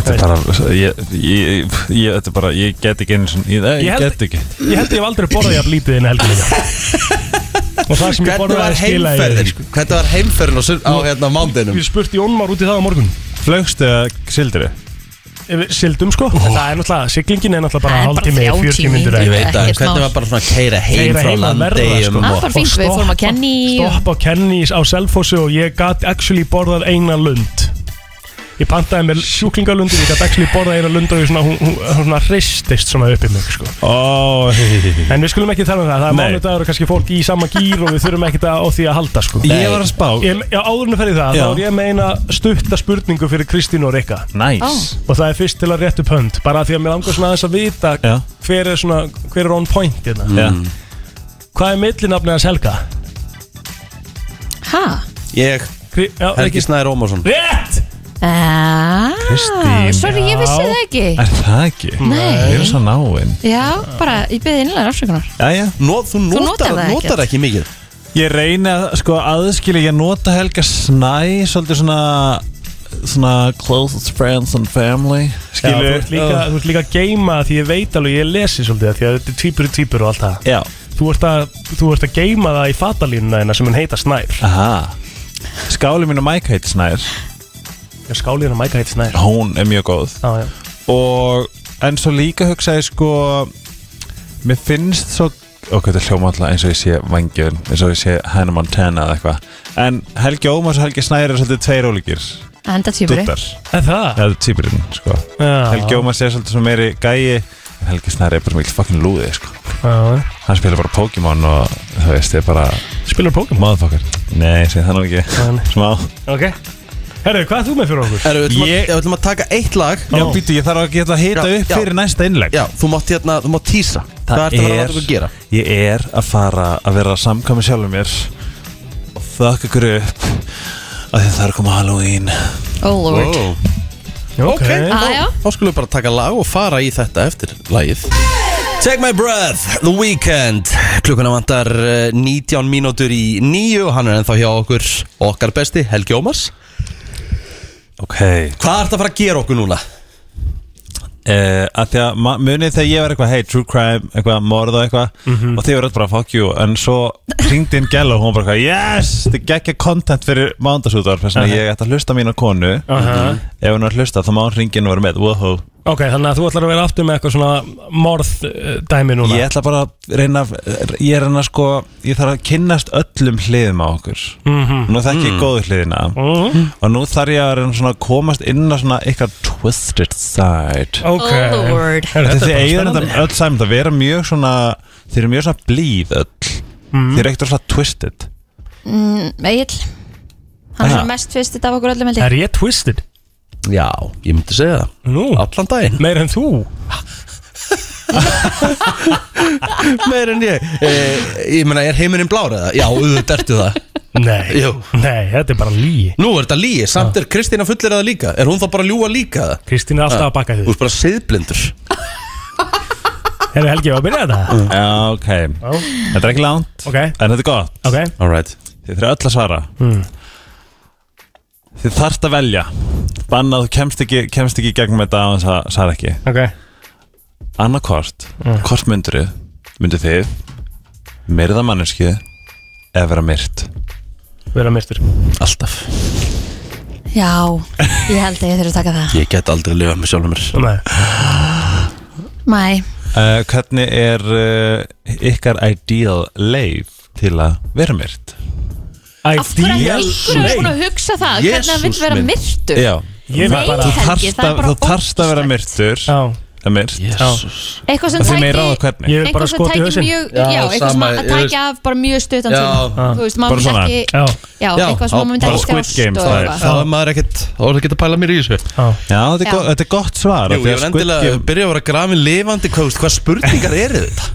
Speaker 13: Þetta er bara, ég, ég, ég, þetta er bara, ég get ekki einu sinni, ég,
Speaker 4: Ég
Speaker 13: ég
Speaker 4: held-
Speaker 13: get ekki
Speaker 4: ég held að ég hef aldrei borðað jafn lítið inn í helginni og það sem ég
Speaker 2: Hvernig var
Speaker 4: borðaði skilaði ég
Speaker 2: heimferðin? sko? Hvernig var heimferðin á, sun- á hérna mándinum?
Speaker 4: Ég spurti Jónmar út í það á morgun
Speaker 13: Flaugstu eða sildri?
Speaker 4: Sildum sko, það er náttúrulega, siglingin er náttúrulega
Speaker 3: Það
Speaker 4: bara
Speaker 3: er bara
Speaker 4: hálftími,
Speaker 3: 30
Speaker 4: 40 myndir
Speaker 2: Ég veit að hvernig var bara svona keira heim
Speaker 4: Keyra
Speaker 2: frá
Speaker 4: heim að verða,
Speaker 2: landegjum
Speaker 4: sko.
Speaker 3: Það var bara fínt, við fórum að kenni
Speaker 4: Stopp á Kenny's á Selfossi og ég gat actually borðað eina lund Ég pantaði mér sjúklingalundir, ég gat actually borðað eina lund og ég svona, hún, hún, hún svona hristist svona upp í mig sko
Speaker 13: Ó,
Speaker 4: En við skulum ekki tala um það, það er
Speaker 13: Nei.
Speaker 4: mánudagur og kannski fólk í sama gýr og við þurfum ekki á því að halda sko
Speaker 13: Ég var að spá
Speaker 4: Ég, já, áðurinn fer í það,
Speaker 13: Já.
Speaker 4: þá er ég að meina stutta spurningu fyrir Kristín og Rikka
Speaker 13: Næs
Speaker 4: Og það er fyrst til að rétt upp hönd Bara af því að mér langar svona aðeins að vita
Speaker 13: Já.
Speaker 4: hver er, svona, hver er on point hérna.
Speaker 13: Já.
Speaker 4: Hvað er millinafnið hans Helga?
Speaker 3: Hæ?
Speaker 2: Ég,
Speaker 4: Kri- já,
Speaker 2: Helgi
Speaker 4: ekki-
Speaker 2: Snæður Ómarsson
Speaker 4: Rétt!
Speaker 3: Kristín Ah, Sorry, ég vissi það ekki
Speaker 13: Er það ekki?
Speaker 3: Nei.
Speaker 13: Við erum svo náinn
Speaker 3: Já, bara, ég byrði innlega afsökunar
Speaker 13: Jæja
Speaker 2: Nó, Þú
Speaker 3: notar notar það notar
Speaker 2: ekki mikið
Speaker 13: Ég reyni að sko aðskilja Ég nota Helga Snæ Svolítið svona Svona closest friends and family
Speaker 4: Já, þú
Speaker 13: Skilur
Speaker 4: ert líka, þú ert líka að geima því ég veit alveg, ég lesi svolítið það, því að þetta er týpur í týpur og allt það
Speaker 13: Já.
Speaker 4: Þú ert að, þú ert að geima það í fatalínuna þeirna sem hún heita Snær
Speaker 13: Aha Skáli mín og Mike heitir Snær
Speaker 4: Já, skálið hennar Mæka heitir Snær
Speaker 13: Hún er mjög góð
Speaker 4: Já, já.
Speaker 13: Og en svo líka hugsaði sko Mér finnst svo Ok, þetta hljóma alltaf eins og ég sé vangjörn eins og ég sé Hannah Montana eða eitthvað En Helgi Ómars og Helgi Snær eru svolítið tveir ólíkir
Speaker 3: Enda týpuri
Speaker 13: Duttar
Speaker 4: Er það?
Speaker 13: Já, það er típurinn, sko
Speaker 4: Já.
Speaker 13: Helgi Ómar sé svolítið sem meiri gæi en Helgi Snæri er bara mikil fucking lúði, sko
Speaker 4: Já,
Speaker 13: Hann spilar bara Pokémon og þú veist, ég bara
Speaker 4: Spilar Pokémon?
Speaker 13: Motherfucker Nei, segi það nú ekki
Speaker 4: nei.
Speaker 13: Smá
Speaker 4: ok Herru, hvað er þú með fyrir okkur?
Speaker 2: Herru, við ætlum, ég... að, við ætlum að taka eitt lag
Speaker 13: Já, býtu, ég þarf að geta að hita upp fyrir næsta innlegg
Speaker 2: Já, þú mátt hérna, þú mátt tísa Hvað ertu að fara að láta okkur gera?
Speaker 13: Ég er að fara að vera að samkama sjálfum mér og þökk ykkur upp að þið þarf að koma Halloween
Speaker 3: Oh lord
Speaker 2: Wow.
Speaker 4: Ok,
Speaker 3: Ah, já.
Speaker 2: þá, þá skulum við bara taka lag og fara í þetta eftir lagið Take my breath, The Weeknd Klukkuna vantar eh, 19 mínútur í nýju Hann er ennþá hjá okkur, okkar besti, Helgi Ómars
Speaker 13: Ok
Speaker 2: Hvað ertu að fara að gera okkur núna?
Speaker 13: uh, að því að ma- munið þegar ég var eitthvað hey, true crime, eitthvað morð og eitthvað
Speaker 4: Mhm.
Speaker 13: og þið voru öll bara fuck you en svo ringdi inn Gell og hún bara eitthvað yes, þið gekkja content fyrir mándasútar þess að
Speaker 4: Aha.
Speaker 13: ég ætti að hlusta á mína konu
Speaker 4: Aha.
Speaker 13: ef hún var að hlusta þá má hún ringin og vera með wow.
Speaker 4: Ok, þannig að þú ætlar að vera aftur með eitthvað svona morðdæmi núna
Speaker 13: ég ætla bara að reyna ég er hann að sko, ég þarf að kynnast öllum hliðum á okkur
Speaker 4: Mhm.
Speaker 13: nú þekki ég
Speaker 4: Mm.
Speaker 13: góðu hliðina
Speaker 4: Mhm.
Speaker 13: og nú þarf ég að reyna svona að komast inn á svona eitthvað twisted side
Speaker 4: Ok. Oh, Lord. Herra,
Speaker 13: Þetta
Speaker 4: þetta er
Speaker 13: þið
Speaker 4: bara
Speaker 13: eigin
Speaker 4: spennandi.
Speaker 13: þetta öll saman það vera mjög svona þeir eru mjög svona blíð öll
Speaker 4: Mm.
Speaker 13: þeir eru ekkert svona twisted
Speaker 3: mm, Egil Hann er
Speaker 13: Aha.
Speaker 3: svona mest fyrstitt af okkur öllum held ég.
Speaker 4: Er ég twisted?
Speaker 2: Já, ég myndi segja það
Speaker 4: Nú?
Speaker 2: Allan daginn
Speaker 4: Meir en þú?
Speaker 2: Meir en ég eh, Ég meina, er heimurinn blár eða? Já, auðvitað ertu það
Speaker 4: Nei,
Speaker 2: Jú.
Speaker 4: nei, þetta er bara líi
Speaker 2: Nú er þetta líi, samt er Kristína fullir það líka Er hún þá bara að ljúa líka það?
Speaker 4: Kristín er alltaf að baka þig
Speaker 2: Þú ert bara siðblindur
Speaker 4: Herru, Helgi, ég var að byrja þetta
Speaker 13: Já, ok Þetta er ekki langt
Speaker 4: Ok.
Speaker 13: En þetta er gott
Speaker 4: Ok.
Speaker 2: right.
Speaker 13: Þið þurfið öll að svara
Speaker 4: Mm.
Speaker 13: Þið þarft að velja Bannað, þú kemst ekki, kemst ekki í gegnum þetta á þess að svara ekki
Speaker 4: Ok
Speaker 13: Annarkort,
Speaker 4: Mm.
Speaker 13: hvort myndirðu? Myndir þið Myrða manneski Eða vera myrt
Speaker 4: Vera myrtur
Speaker 2: Alltaf
Speaker 3: Já, ég held að ég þurfi að taka það
Speaker 2: Ég get aldrei að lifa með sjálfum mér
Speaker 4: Nei
Speaker 3: Mæ,
Speaker 13: uh, Hvernig er uh, ykkar ideal leif til að vera myrt?
Speaker 3: af hverju ætti einhverjum er búin að hugsa það Hvernig hann vil
Speaker 13: Jesús
Speaker 3: vera
Speaker 13: minn.
Speaker 3: myrtur
Speaker 13: Já
Speaker 3: Ég Nei, bara-
Speaker 13: Þú
Speaker 3: Helgi,
Speaker 13: þarft
Speaker 3: það er
Speaker 13: að-
Speaker 3: bara
Speaker 13: Þú þarft að vera myrtur
Speaker 4: Já
Speaker 13: Það myrt
Speaker 2: Jésús
Speaker 3: Eitthvað sem
Speaker 13: Og þið megið
Speaker 3: tæki-
Speaker 13: ráða hvernig. Ég er bara
Speaker 3: Eitthvað sem
Speaker 13: skotið í
Speaker 3: tæki
Speaker 13: hausinn.
Speaker 3: mjög
Speaker 13: Já,
Speaker 3: Já, eitthvað sem
Speaker 13: sama,
Speaker 3: að
Speaker 13: ég veist-
Speaker 3: tækja af bara mjög stöðan
Speaker 2: Já.
Speaker 3: tíma Þú veist,
Speaker 13: Bara
Speaker 3: maður vil
Speaker 13: svona.
Speaker 3: ekki
Speaker 13: Já.
Speaker 3: Já, eitthvað sem maður myndi
Speaker 13: bara
Speaker 3: ekki
Speaker 13: Squid
Speaker 3: sjást
Speaker 13: Game
Speaker 3: og
Speaker 13: style.
Speaker 3: eitthvað.
Speaker 2: Þá er maður ekkert, þá er ekkert að pæla mér í þessu
Speaker 4: Já,
Speaker 13: þetta er,
Speaker 3: Já.
Speaker 13: go, þetta er gott svar
Speaker 2: Jú,
Speaker 13: af því
Speaker 2: ég
Speaker 13: að
Speaker 2: var
Speaker 13: Squid
Speaker 2: endilega að
Speaker 13: Game-
Speaker 2: byrja að vera grafin lifandi Hvað, veist, hvað spurningar eru þetta?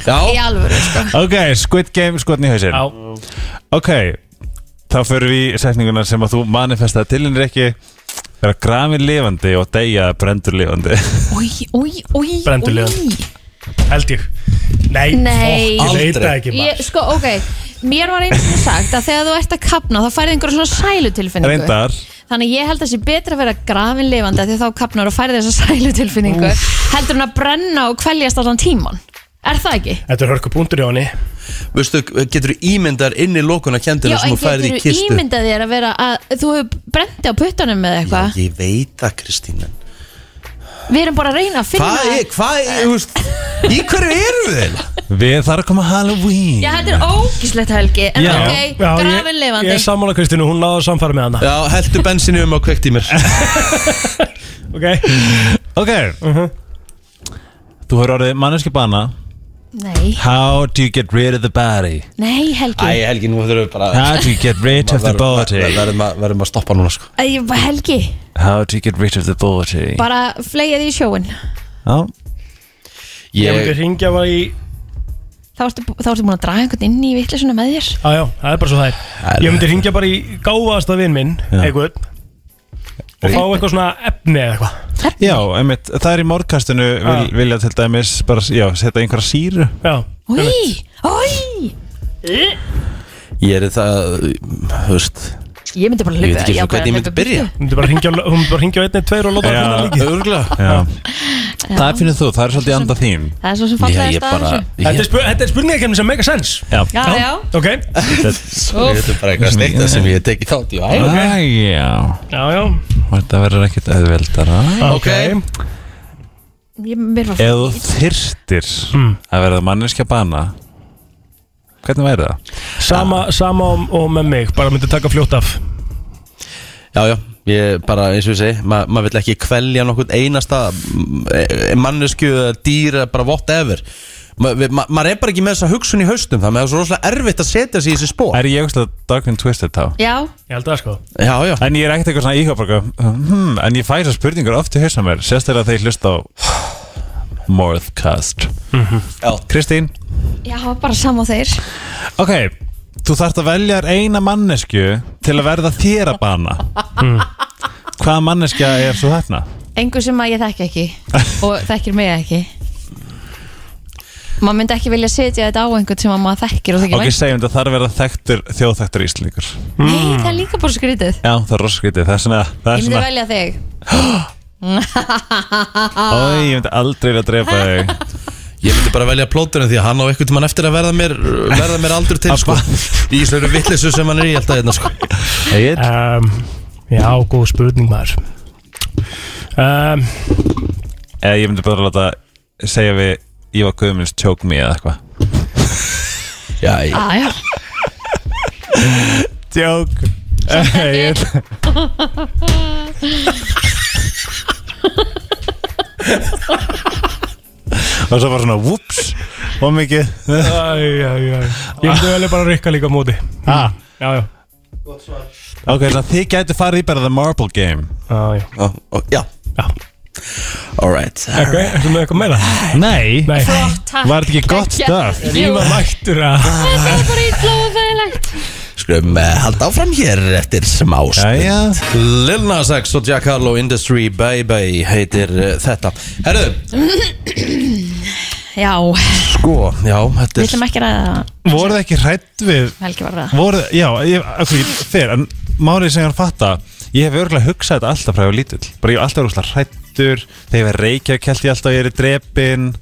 Speaker 3: Í
Speaker 2: Já,
Speaker 3: alvöru, sko
Speaker 13: Ok, Squid Game skotni í hausinn Ok, þá förum við í setninguna sem að þú manifestaði til henni ekki Vera grafin lifandi og deyja brendur lifandi
Speaker 3: Új, új, új
Speaker 13: Brenndur lifandi.
Speaker 4: Held ég Nei,
Speaker 3: Nei.
Speaker 4: fokk, Ég veit
Speaker 13: Aldrei.
Speaker 4: það ekki maður
Speaker 3: Ég, sko, ok, mér var eins og sagt að þegar þú ert að kapna þá færði einhverja svona sælu tilfinningu
Speaker 13: Reyndar
Speaker 3: Þannig að ég held að sé betra að vera grafin lifandi af því að þá kapnar og færði þessa sælu tilfinningu heldur hún að brenna og kveljast allan tíman Er það ekki?
Speaker 4: Þetta er hörku í honni
Speaker 2: veistu, getur þú ímyndar inn í lókuna
Speaker 3: Já,
Speaker 2: kendina sem
Speaker 3: en
Speaker 2: þú færði í
Speaker 3: getur þú
Speaker 2: kistu?
Speaker 3: ímyndað þér að vera að þú hefur brendi á puttunum með eitthvað
Speaker 2: Ég veit það, Kristína
Speaker 3: Við erum bara að reyna að finna
Speaker 2: Hvað er, hvað er, þú veist Í hverju eru við þeim?
Speaker 13: Við þarfum að koma Halloween
Speaker 3: Já, þetta er ógislegt helgi En ok, grafin lifandi
Speaker 4: Ég er sammála Kristínu, hún náðu að samfara með hana
Speaker 2: Já, heldur bensinni um og kveikt í mér
Speaker 4: Ok
Speaker 13: Ok Mhm. Þú hefur orðið manneski bana
Speaker 3: Nei,
Speaker 13: How do you get rid of the body?
Speaker 3: nei helgi
Speaker 2: Æ, Helgi, nú þurfum við bara
Speaker 13: How do you get rid of the body?
Speaker 2: Verðum að- verðum að stoppa núna, sko
Speaker 3: Æ, ég bara helgi
Speaker 13: How do you get rid of the body?
Speaker 3: Bara flegið í sjóin
Speaker 13: Já
Speaker 4: Ég myndi hringja bara í
Speaker 3: Þá ertu, bú- þá ertu búin að draga einhvern inn í vitleysuna með þér
Speaker 4: Já, já, það er bara svo það er Ég myndi hringja bara í gáfaðasta vinn minn,
Speaker 13: Já.
Speaker 4: einhvern og fá eitthvað svona efni eða eitthvað
Speaker 13: Já, einmitt, það er í morgkastinu vil, vilja til dæmis bara, já, setja einhverja síru
Speaker 4: Já,
Speaker 3: Í, oi
Speaker 5: Eh?
Speaker 3: Í.
Speaker 2: Ég er það, þú veist
Speaker 3: Ég myndi bara
Speaker 2: Ég veit
Speaker 3: hlaupa
Speaker 2: ekki eins og
Speaker 3: bara
Speaker 2: hvernig ég myndi
Speaker 3: hlaupa í
Speaker 2: byrja
Speaker 4: Hún myndi bara hringja á- hún myndi bara hringja á 1, 2 og láta
Speaker 13: Já,
Speaker 4: það líka
Speaker 2: Örgulega
Speaker 13: Já.
Speaker 3: Já.
Speaker 13: Það finnir þú, það er svolítið anda þín
Speaker 3: Það er svo sem fallegast að þessu.
Speaker 4: Þetta er, spu- þetta er spurningakefni sem make a sense
Speaker 13: Já,
Speaker 3: Já, já.
Speaker 4: Ok
Speaker 2: Þetta er bara eitthvað steikta sem ég hef tekið þátt í
Speaker 13: Æ, já
Speaker 4: Já, já
Speaker 13: Þetta verður ekkert auðveldara
Speaker 4: Ok
Speaker 3: Ég, mér var
Speaker 13: Ef þú þyrstir
Speaker 4: Hmm.
Speaker 13: að verða manneskja bana Hvernig væri það?
Speaker 4: Sama, sama og, og með mig, bara myndi taka fljótt af
Speaker 2: Já, já, ég bara eins og ég segi ma- maður vill ekki kvelja nokkurn einasta mm, e- mannesku, eða dýr eða bara whatever Ma- við- ma- maður er bara ekki með þessa hugsun í haustum þannig að það er svo rosalega erfitt að setja sig í þessi spór
Speaker 13: Er ég auðvitað Darkwing Twisted þá?
Speaker 3: Já
Speaker 4: Ég held það sko
Speaker 2: Já, já
Speaker 13: En ég er ekkert eitthvað svona íhjáfarka hmm, En ég fæ þessar spurningar oft í hausna mér Sérstaklega þegar ég hlusta á Morthcast
Speaker 4: Mhm.
Speaker 13: Kristín
Speaker 3: Já, bara sama og þeir
Speaker 13: Ok, þú þarft að velja þér eina mannesku Til að verða þér að bana Hvaða manneskja er svo þarna?
Speaker 3: Engu sem að ég þekki ekki Og þekkir mig ekki Maður myndi ekki vilja setja þetta á einhvern sem að maður þekkir og þekkir
Speaker 13: Ok,
Speaker 3: vænt.
Speaker 13: segjum þetta þarf að verða þekktur Þjóðþekktur íslendingur
Speaker 3: Nei, það er líka bara skrítið
Speaker 13: Já, það er roskvítið, það er svona
Speaker 3: Ég
Speaker 13: Það er
Speaker 3: myndi
Speaker 13: svona,
Speaker 3: velja þig
Speaker 13: oi, ég myndi aldrei vilja drepa þig
Speaker 2: Ég myndi bara velja plóturinn því að hann á eitthvað tímann eftir að verða mér, verða mér aldur til sko. Í þessu vittlisu sem hann er í alltaf hérna sko.
Speaker 13: Egil?
Speaker 4: um, Já, góð spurning maður um,
Speaker 13: Eða ég myndi bara láta segja við Ég var guðmunds tjók mig eða eitthvað
Speaker 2: Já,
Speaker 3: Æja
Speaker 13: Tjók Egil Og svo bara svona, whoops Og mikið
Speaker 4: Æ, æ, æ. Ég
Speaker 3: Ah.
Speaker 4: myndi velja bara rikka líka á móti
Speaker 13: ah.
Speaker 4: Já, já
Speaker 13: Ok, þannig að þið gætu farið í bara The Marble Game
Speaker 4: ah, Já,
Speaker 2: oh, oh, já.
Speaker 4: já.
Speaker 2: Alright
Speaker 4: Ok, ertu með eitthvað meira?
Speaker 13: Nei,
Speaker 4: Nei.
Speaker 3: Flott, takk.
Speaker 13: Var þetta ekki gott
Speaker 3: Geggjað.
Speaker 13: stöf?
Speaker 3: Jú.
Speaker 4: Líma mættur að
Speaker 3: Þetta var bara ítla og þægilegt
Speaker 2: Skulum uh, halda áfram hér eftir smá
Speaker 13: Jæja.
Speaker 2: stund Lil Nas X og Jack Harlow Industry Baby heitir uh, þetta Herðu,
Speaker 3: Já,
Speaker 2: sko, já, þetta
Speaker 3: við
Speaker 2: er
Speaker 3: ætlum ekki að ræða það.
Speaker 13: Voruð þið ekki hrætt við
Speaker 3: Helgi var það
Speaker 13: voru, já, ég, ok, ég fer en málið sem ég er að fatta ég hef örgulega hugsað þetta alltaf frá ég var lítill bara ég hef alltaf örgulega hrættur þegar ég verið reykja kælt ég alltaf að ég er í drepin er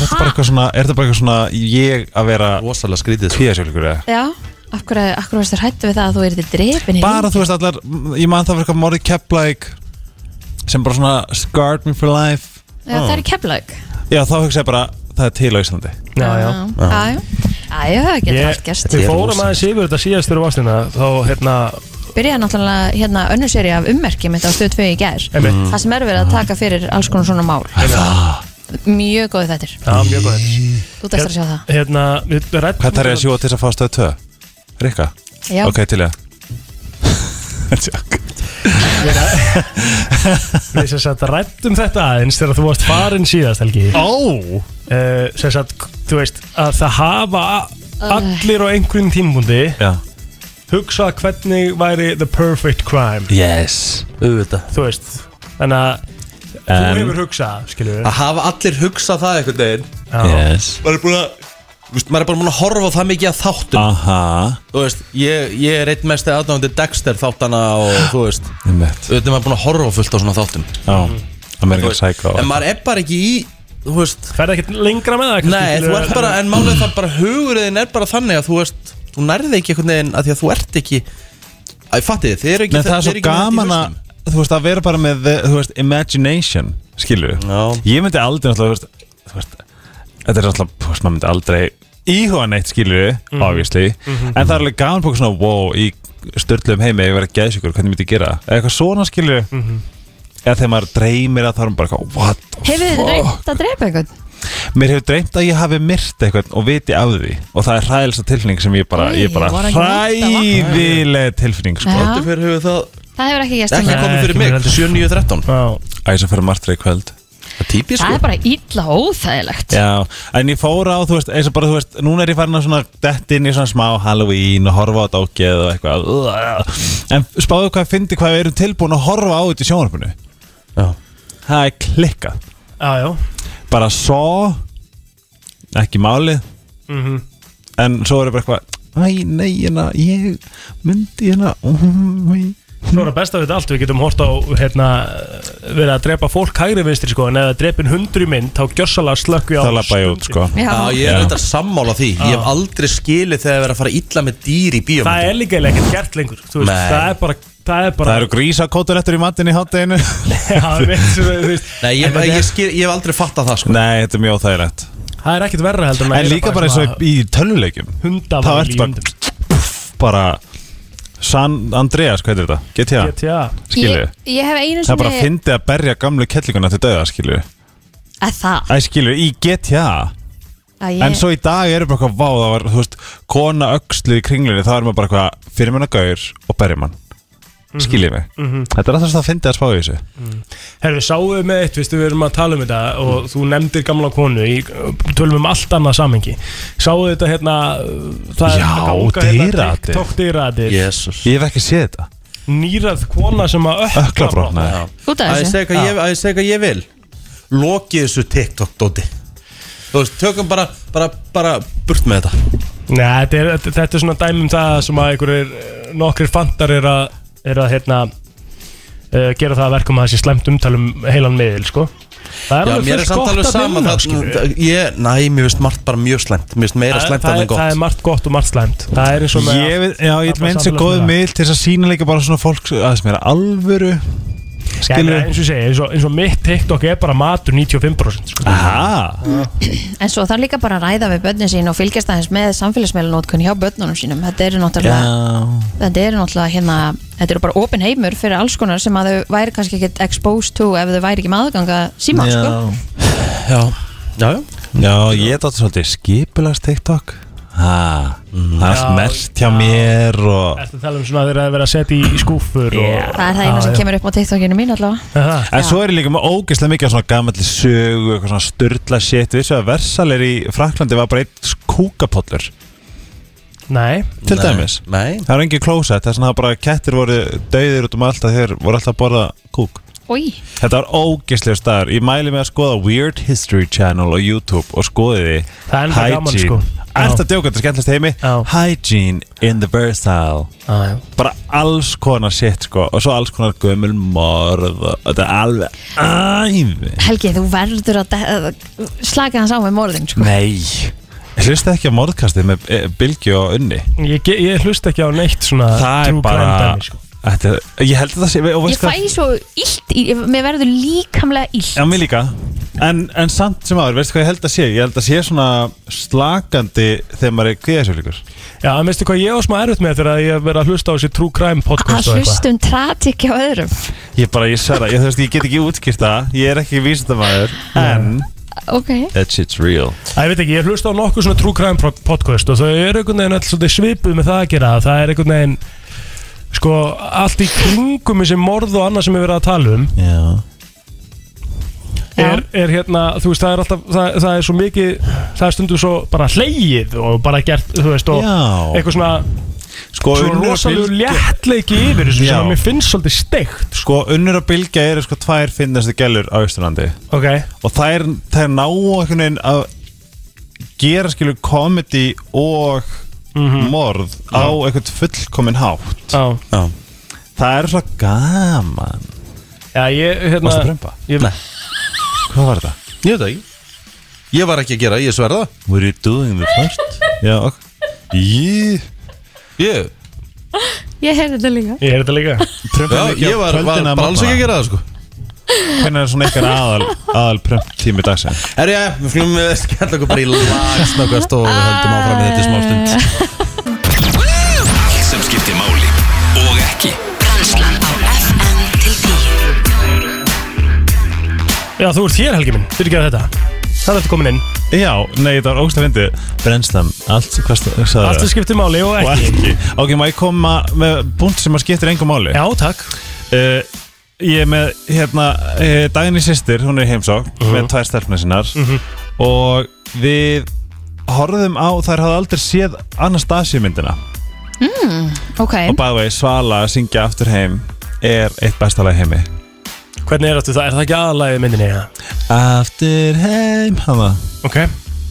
Speaker 13: þetta bara eitthvað svona er þetta bara eitthvað svona ég að vera
Speaker 2: rosalega skrítið sko.
Speaker 13: tíðasjálfur eða
Speaker 3: Já, af hverju, af hverju varstu hrættu við það að þú erið drefin í
Speaker 13: bara
Speaker 3: lífinu?
Speaker 13: þú veist allar m- ég man það var eitthvað morið kepplæk sem bara svona scarred me for life
Speaker 3: Já, það er í keflaug
Speaker 13: já þá hugsa ég bara það er til á Íslandi
Speaker 4: Já, já
Speaker 3: Já, já, já, það getur allt
Speaker 4: Ég,
Speaker 3: gerst
Speaker 4: við fórum aðeins yfir þetta síðast fyrir vastina þá hérna,
Speaker 3: byrjaði náttúrulega hérna önnur seri af ummerkjum þetta á stöð 2 í gær
Speaker 4: Einmitt.
Speaker 3: það sem er verið að taka fyrir alls konar svona mál mjög góð þettir
Speaker 4: hérna- já, mjög góð
Speaker 3: þú dæst að sjá það
Speaker 4: hérna, við rætt
Speaker 13: hvað þarf ég að sjúa til þess að fá stöð 2? Rikka?
Speaker 3: Já.
Speaker 13: ok til ég
Speaker 4: Við sem sagt rættum þetta aðeins þegar þú varst farin síðast Helgi uh,
Speaker 13: ó
Speaker 4: sem sagt, þú veist að það hafa allir á einhverjum tímbundi
Speaker 13: já
Speaker 4: hugsa hvernig væri the perfect crime
Speaker 2: Yes, auðvitað
Speaker 4: þú veist, þannig að
Speaker 13: En-
Speaker 4: þú hefur hugsað, skilur við
Speaker 2: Að hafa allir hugsað það einhvern veginn
Speaker 13: yes
Speaker 2: Maður er búin að Vist, maður er bara búin að horfa á það mikið að þáttum
Speaker 13: Ah. Aha,
Speaker 2: Þú veist, ég, ég er einn mesti aðdáðandi Dexter þáttana og þú veist
Speaker 13: einmitt
Speaker 2: Auðvitað maður er búin að horfa á fullt á svona þáttum
Speaker 13: Já, American Psycho
Speaker 2: En maður er bara ekki í, þú veist
Speaker 4: ferði ekkert lengra með það kannski,
Speaker 2: Nei,
Speaker 4: skilurðu,
Speaker 2: þú ert bara, en málið er það bara hugurinn er bara þannig að þú veist Þú nærði ekki einhvern veginn að því að þú ert ekki Æ, fatti þið, þið eru ekki
Speaker 13: Nei, það er
Speaker 2: þið
Speaker 13: svo
Speaker 2: eru ekki með þetta í
Speaker 13: gaman að Þú veist, að vera bara með, the- þú veist, imagination Skilur
Speaker 2: Já.
Speaker 13: Ég myndi aldrei, náttúrulega, þú veist, þú veist Þetta er náttúrulega, þú veist, maður myndi aldrei Íhuga neitt, skilur
Speaker 2: Mhm.
Speaker 13: obviously En það er alveg gaman búið svona, wow Í störtluðum heimi, ef ég verið geðsjúkur, hvernig myndi ég gera það? Eða eitthvað svona, skilur
Speaker 2: Mhm.
Speaker 13: Eða þegar maður dreymir að það er maður bara eitthvað, What the
Speaker 3: hefur þið
Speaker 13: fuck?
Speaker 3: reynd að drepa einhvern
Speaker 13: Mér hefur dreymt að ég hafi myrt eitthvað og viti af því og það er hræðilegsta tilfinning sem ég bara, ég er bara
Speaker 3: Nei, var ekki neitt
Speaker 13: hræðileg tilfinning sko.
Speaker 3: Já.
Speaker 2: Þetta fyrir höfuð það
Speaker 3: það hefur ekki gerst
Speaker 2: ekki
Speaker 3: hingað.
Speaker 4: Nei,
Speaker 2: komið
Speaker 4: ekki
Speaker 2: fyrir mig
Speaker 4: mér heldur.
Speaker 2: 7.9.13
Speaker 4: Já,
Speaker 13: Æ, sem fyrir martrið í kvöld
Speaker 2: Það sko. típist
Speaker 3: Það er bara illa óþægilegt
Speaker 13: Já, en ég fór á, þú veist, eins og bara, þú veist, núna er ég farin að svona dett inn í svona smá Halloween og horfa á dókið og eitthvað Ugh. En spáðu hvað fyndi hvað við erum tilbúin að horfa á þetta í sjónvarpinu
Speaker 2: Já
Speaker 13: Það er klikkað
Speaker 4: Ah, Já, já
Speaker 13: Bara svo, ekki málið
Speaker 4: Mhm.
Speaker 13: En svo er bara eitthvað, æ, nei, hérna, ég myndi hérna mm,
Speaker 4: Svo er það besta við þetta allt, við getum hort á hérna, verið að drepa fólk hægri vinstri sko, en eða drepin hundru mynd þá gjössalega slökk við á
Speaker 13: Það lappa ég út, sko
Speaker 4: Já.
Speaker 2: Já, ég er
Speaker 4: Já.
Speaker 2: auðvitað sammála því Ég hef aldrei skilið þegar það er að fara illa með dýr í bíómyndum
Speaker 4: Það er líka eiginlega ekkert gert lengur þú veist,
Speaker 2: Nei.
Speaker 4: það er bara, það er bara
Speaker 13: Það eru grísakótur eftir í matinn í hátteginu
Speaker 4: Já, við- þú veist,
Speaker 2: Nei, ég,
Speaker 4: en þetta
Speaker 2: ég,
Speaker 4: er-
Speaker 2: skil, ég hef aldrei fattað það sko
Speaker 13: Nei, þetta er mjög óþægilegt
Speaker 4: það er ekkert verra heldur
Speaker 13: En líka bara eins og í töluleikjum
Speaker 4: hundavæl
Speaker 13: Þá
Speaker 4: í
Speaker 13: ertu bara pff, Bara San Andreas, hvað er þetta? GTA,
Speaker 4: GTA.
Speaker 13: Skilju
Speaker 3: Ég- ég hef einu
Speaker 13: Það er bara
Speaker 3: sinni-
Speaker 13: að fyndi að berja gamlu kettlinguna til döða, skilju
Speaker 3: að það
Speaker 13: Æ, skilju, í GTA
Speaker 3: að ég,
Speaker 13: En svo í dag eru bara eitthvað vá Það var, þú veist, kona öxlu í kringlunni þá er maður bara eitthvað fyrir manna gaur og berja mann Skiljið mig
Speaker 4: Mhm.
Speaker 13: Þetta er alltaf svona að fyndi að spá í þessu
Speaker 4: Herðu, Mm. sáuðu með eitt, veistu, við erum að tala um þetta
Speaker 13: Mm.
Speaker 4: og þú nefndir gamla konu í tölum um allt annað samengi Sáuðu þetta hérna uh, það er
Speaker 13: Já,
Speaker 4: að ganga,
Speaker 13: dýraraddir.
Speaker 4: hérna, TikTok dýraðir
Speaker 2: Jesus.
Speaker 13: Ég hef ekki séð þetta
Speaker 4: Nýrað kona sem að ökla
Speaker 13: Öklabrotnaði.
Speaker 3: Út
Speaker 2: Að
Speaker 3: af
Speaker 2: ég
Speaker 3: þessu.
Speaker 2: segi hvað ég- að ég segi hvað ég vil Lokið þessu TikTok-dóti Þú veist, tökum bara, bara, bara burt með þetta
Speaker 4: Nei, þetta er, þetta- þetta er svona dæmum það sem að einhverjir eh, nokkrir fantar er að, er að hérna uh, gera það að verkum að það sé slemt umtalum heilan miðil, sko Það
Speaker 2: Já, mér er
Speaker 4: fullt
Speaker 2: samt
Speaker 4: gott
Speaker 2: alveg
Speaker 4: að
Speaker 2: sama
Speaker 4: vinna,
Speaker 2: það,
Speaker 4: skilur.
Speaker 2: það- ég, Næ, mér finnst margt bara mjög slæmt Mér finnst meira
Speaker 4: Það-
Speaker 2: slæmt
Speaker 4: það
Speaker 2: alveg en
Speaker 4: er-
Speaker 2: gott
Speaker 4: Það er margt gott og margt slæmt Það er eins og með
Speaker 13: Ég
Speaker 4: allt-
Speaker 13: veit, já, ég
Speaker 4: alla
Speaker 13: menn sér góð
Speaker 4: samfélagsmiðla.
Speaker 13: miðl til þess að sína líka bara svona fólk aðeins meira alvöru
Speaker 4: Já,
Speaker 13: skilur
Speaker 4: en eins og ég segi, eins og, eins og mitt TikTok er bara matur 95% sko.
Speaker 13: Aha
Speaker 3: En svo þarf líka bara að ræða við börnin sín og fylgjast aðeins með samfélagsmeilunótkun hjá börnunum sínum Þetta eru náttúrulega þetta eru náttúrulega hérna, þetta eru bara open heimur fyrir alls konar sem að þau væri kannski ekkit exposed to ef þau væri ekki með aðganga síma, sko.
Speaker 2: Já Já,
Speaker 13: já ég er þetta svolítið skipulast TikTok ha, Það er
Speaker 4: Já,
Speaker 13: allt mert hjá mér og
Speaker 4: Ertu að tala um svona að þeir eru að vera að setja í skúfur yeah.
Speaker 3: Það er það eina sem kemur upp á TikTokinu mín allavega.
Speaker 13: En svo er ég líka með ógeðslega mikið af svona gamalli sögu, eitthvað svona störla shit Við svo að Versalir í Fraklandi var bara eitt kúkapollur
Speaker 4: Nei
Speaker 13: Til dæmis
Speaker 2: Nei
Speaker 13: Það er engin klósett, þess að bara kettir voru dauðir út um allt að þeir voru alltaf að borða kúk
Speaker 3: Új,
Speaker 13: Þetta var ógeðslega staðar Ég mæli mig að skoða Weird History Channel á YouTube og skoði
Speaker 4: Það er
Speaker 13: því
Speaker 4: enda gaman, sko.
Speaker 13: Er þetta djóka, þetta er skemmtilegst heimi Hygiene in the Versal
Speaker 4: Já,
Speaker 13: Bara alls konar shit sko Og svo alls konar gömul morð og- Þetta er alveg æfi
Speaker 3: Helgi, þú verður að de- slaka hans á með morðin, sko.
Speaker 13: Nei Hlusta ekki á morðkastið með eh, Bylgju og Unni
Speaker 4: Ég, ge- ég hlusta ekki á neitt svona
Speaker 13: Það er
Speaker 4: true crime
Speaker 13: bara
Speaker 4: dæmi, sko.
Speaker 13: þetta, Ég held að það sé og
Speaker 3: Ég
Speaker 13: veist hvað-
Speaker 3: fæ svo illt, í, mér verður líkamlega illt.
Speaker 13: Já, mér líka En, en samt sem áður, veistu hvað ég held að sé? Ég held að sé svona slakandi þegar maður er kviðasjóflíkur
Speaker 4: Já, en veistu hvað ég á smá erfitt með þegar að ég verið að hlusta á þessi true crime podcast
Speaker 3: Að
Speaker 4: og eitthvað
Speaker 3: hlustum trat ekki á öðrum.
Speaker 13: Ég bara, ég sverða, ég, þú veist, ég get ekki útskýrt það Ég er ekki vísindamæður En
Speaker 3: Ok.
Speaker 13: That shit's real
Speaker 4: Æ, ég veit ekki, ég hlusta á nokkuð svona true crime pro- podcast og þau eru einhvern veginn alls svolítið svipuð með það að gera það er einhvern veginn sko, allt í kringum þessi morð og annað sem við verið að tala um
Speaker 13: Já
Speaker 4: er, er hérna, þú veist, það er alltaf það, það er svo mikið, það er stundum svo bara hleyið og bara gert, þú veist og
Speaker 13: Já.
Speaker 4: eitthvað svona
Speaker 13: Sko,
Speaker 4: svo
Speaker 13: Unnur og
Speaker 4: rosalegu
Speaker 13: Bylgja-
Speaker 4: léttleiki yfir þessu
Speaker 13: Já.
Speaker 4: sem að mér finnst svolítið steikt
Speaker 13: Sko, unnur að bylgja eru sko tvær finnastu gælur á Ísturlandi
Speaker 4: Ok,
Speaker 13: Og þær, þær ná einhvern veginn að gera skilur komedi og morð á einhvern fullkomin hátt
Speaker 4: Mhm. Já.
Speaker 2: Já.
Speaker 13: Það er svo gaman
Speaker 4: já, ég, hérna
Speaker 13: Varstu að prumpa?
Speaker 4: Ég,
Speaker 2: Nei.
Speaker 13: Hvað var þetta?
Speaker 2: Ég veit það ekki Ég var ekki að gera, ég sverða
Speaker 13: Were you doing the first? Já, ok Jí
Speaker 2: Ég,
Speaker 3: Ég heyrði þetta líka.
Speaker 4: ég er þetta líka
Speaker 2: já, ég var, var bara alls ekki að gera það sko
Speaker 13: Hvernig er svona ykkar aðal, aðal prömp tími dagsinn?
Speaker 2: Herri, já, við fljóum við skella okkur bara í lagsnöggast og höldum áfram í þetta í smá stund
Speaker 1: Allt sem skiptir máli og ekki
Speaker 4: Já, þú ert hér, Helgi minn, þú ert ekki að þetta Það er þetta komin inn,
Speaker 13: Já, nei, þetta var ógst að fyndi Brennstam, allt, hvað sagði það?
Speaker 4: allt sem skiptir máli og
Speaker 13: og
Speaker 4: ekki
Speaker 13: ekki Ok, má ég koma með búnt sem að skiptir engum máli?
Speaker 4: Já, takk
Speaker 13: Eh, ég er með hérna, eh, Dagný sýstir, hún er í heimsókn
Speaker 4: Mhm.
Speaker 13: með tvær stelpna sinnar og við horfðum á þær hafði aldrei séð Anastasia myndina
Speaker 3: mm, Ok,
Speaker 13: og by the way, Svala að syngja aftur heim er eitt besta lag í heimi
Speaker 4: Hvernig er þetta? Er það ekki aðalagið í myndinni? Ja?
Speaker 13: Aftur heim hana.
Speaker 4: Ok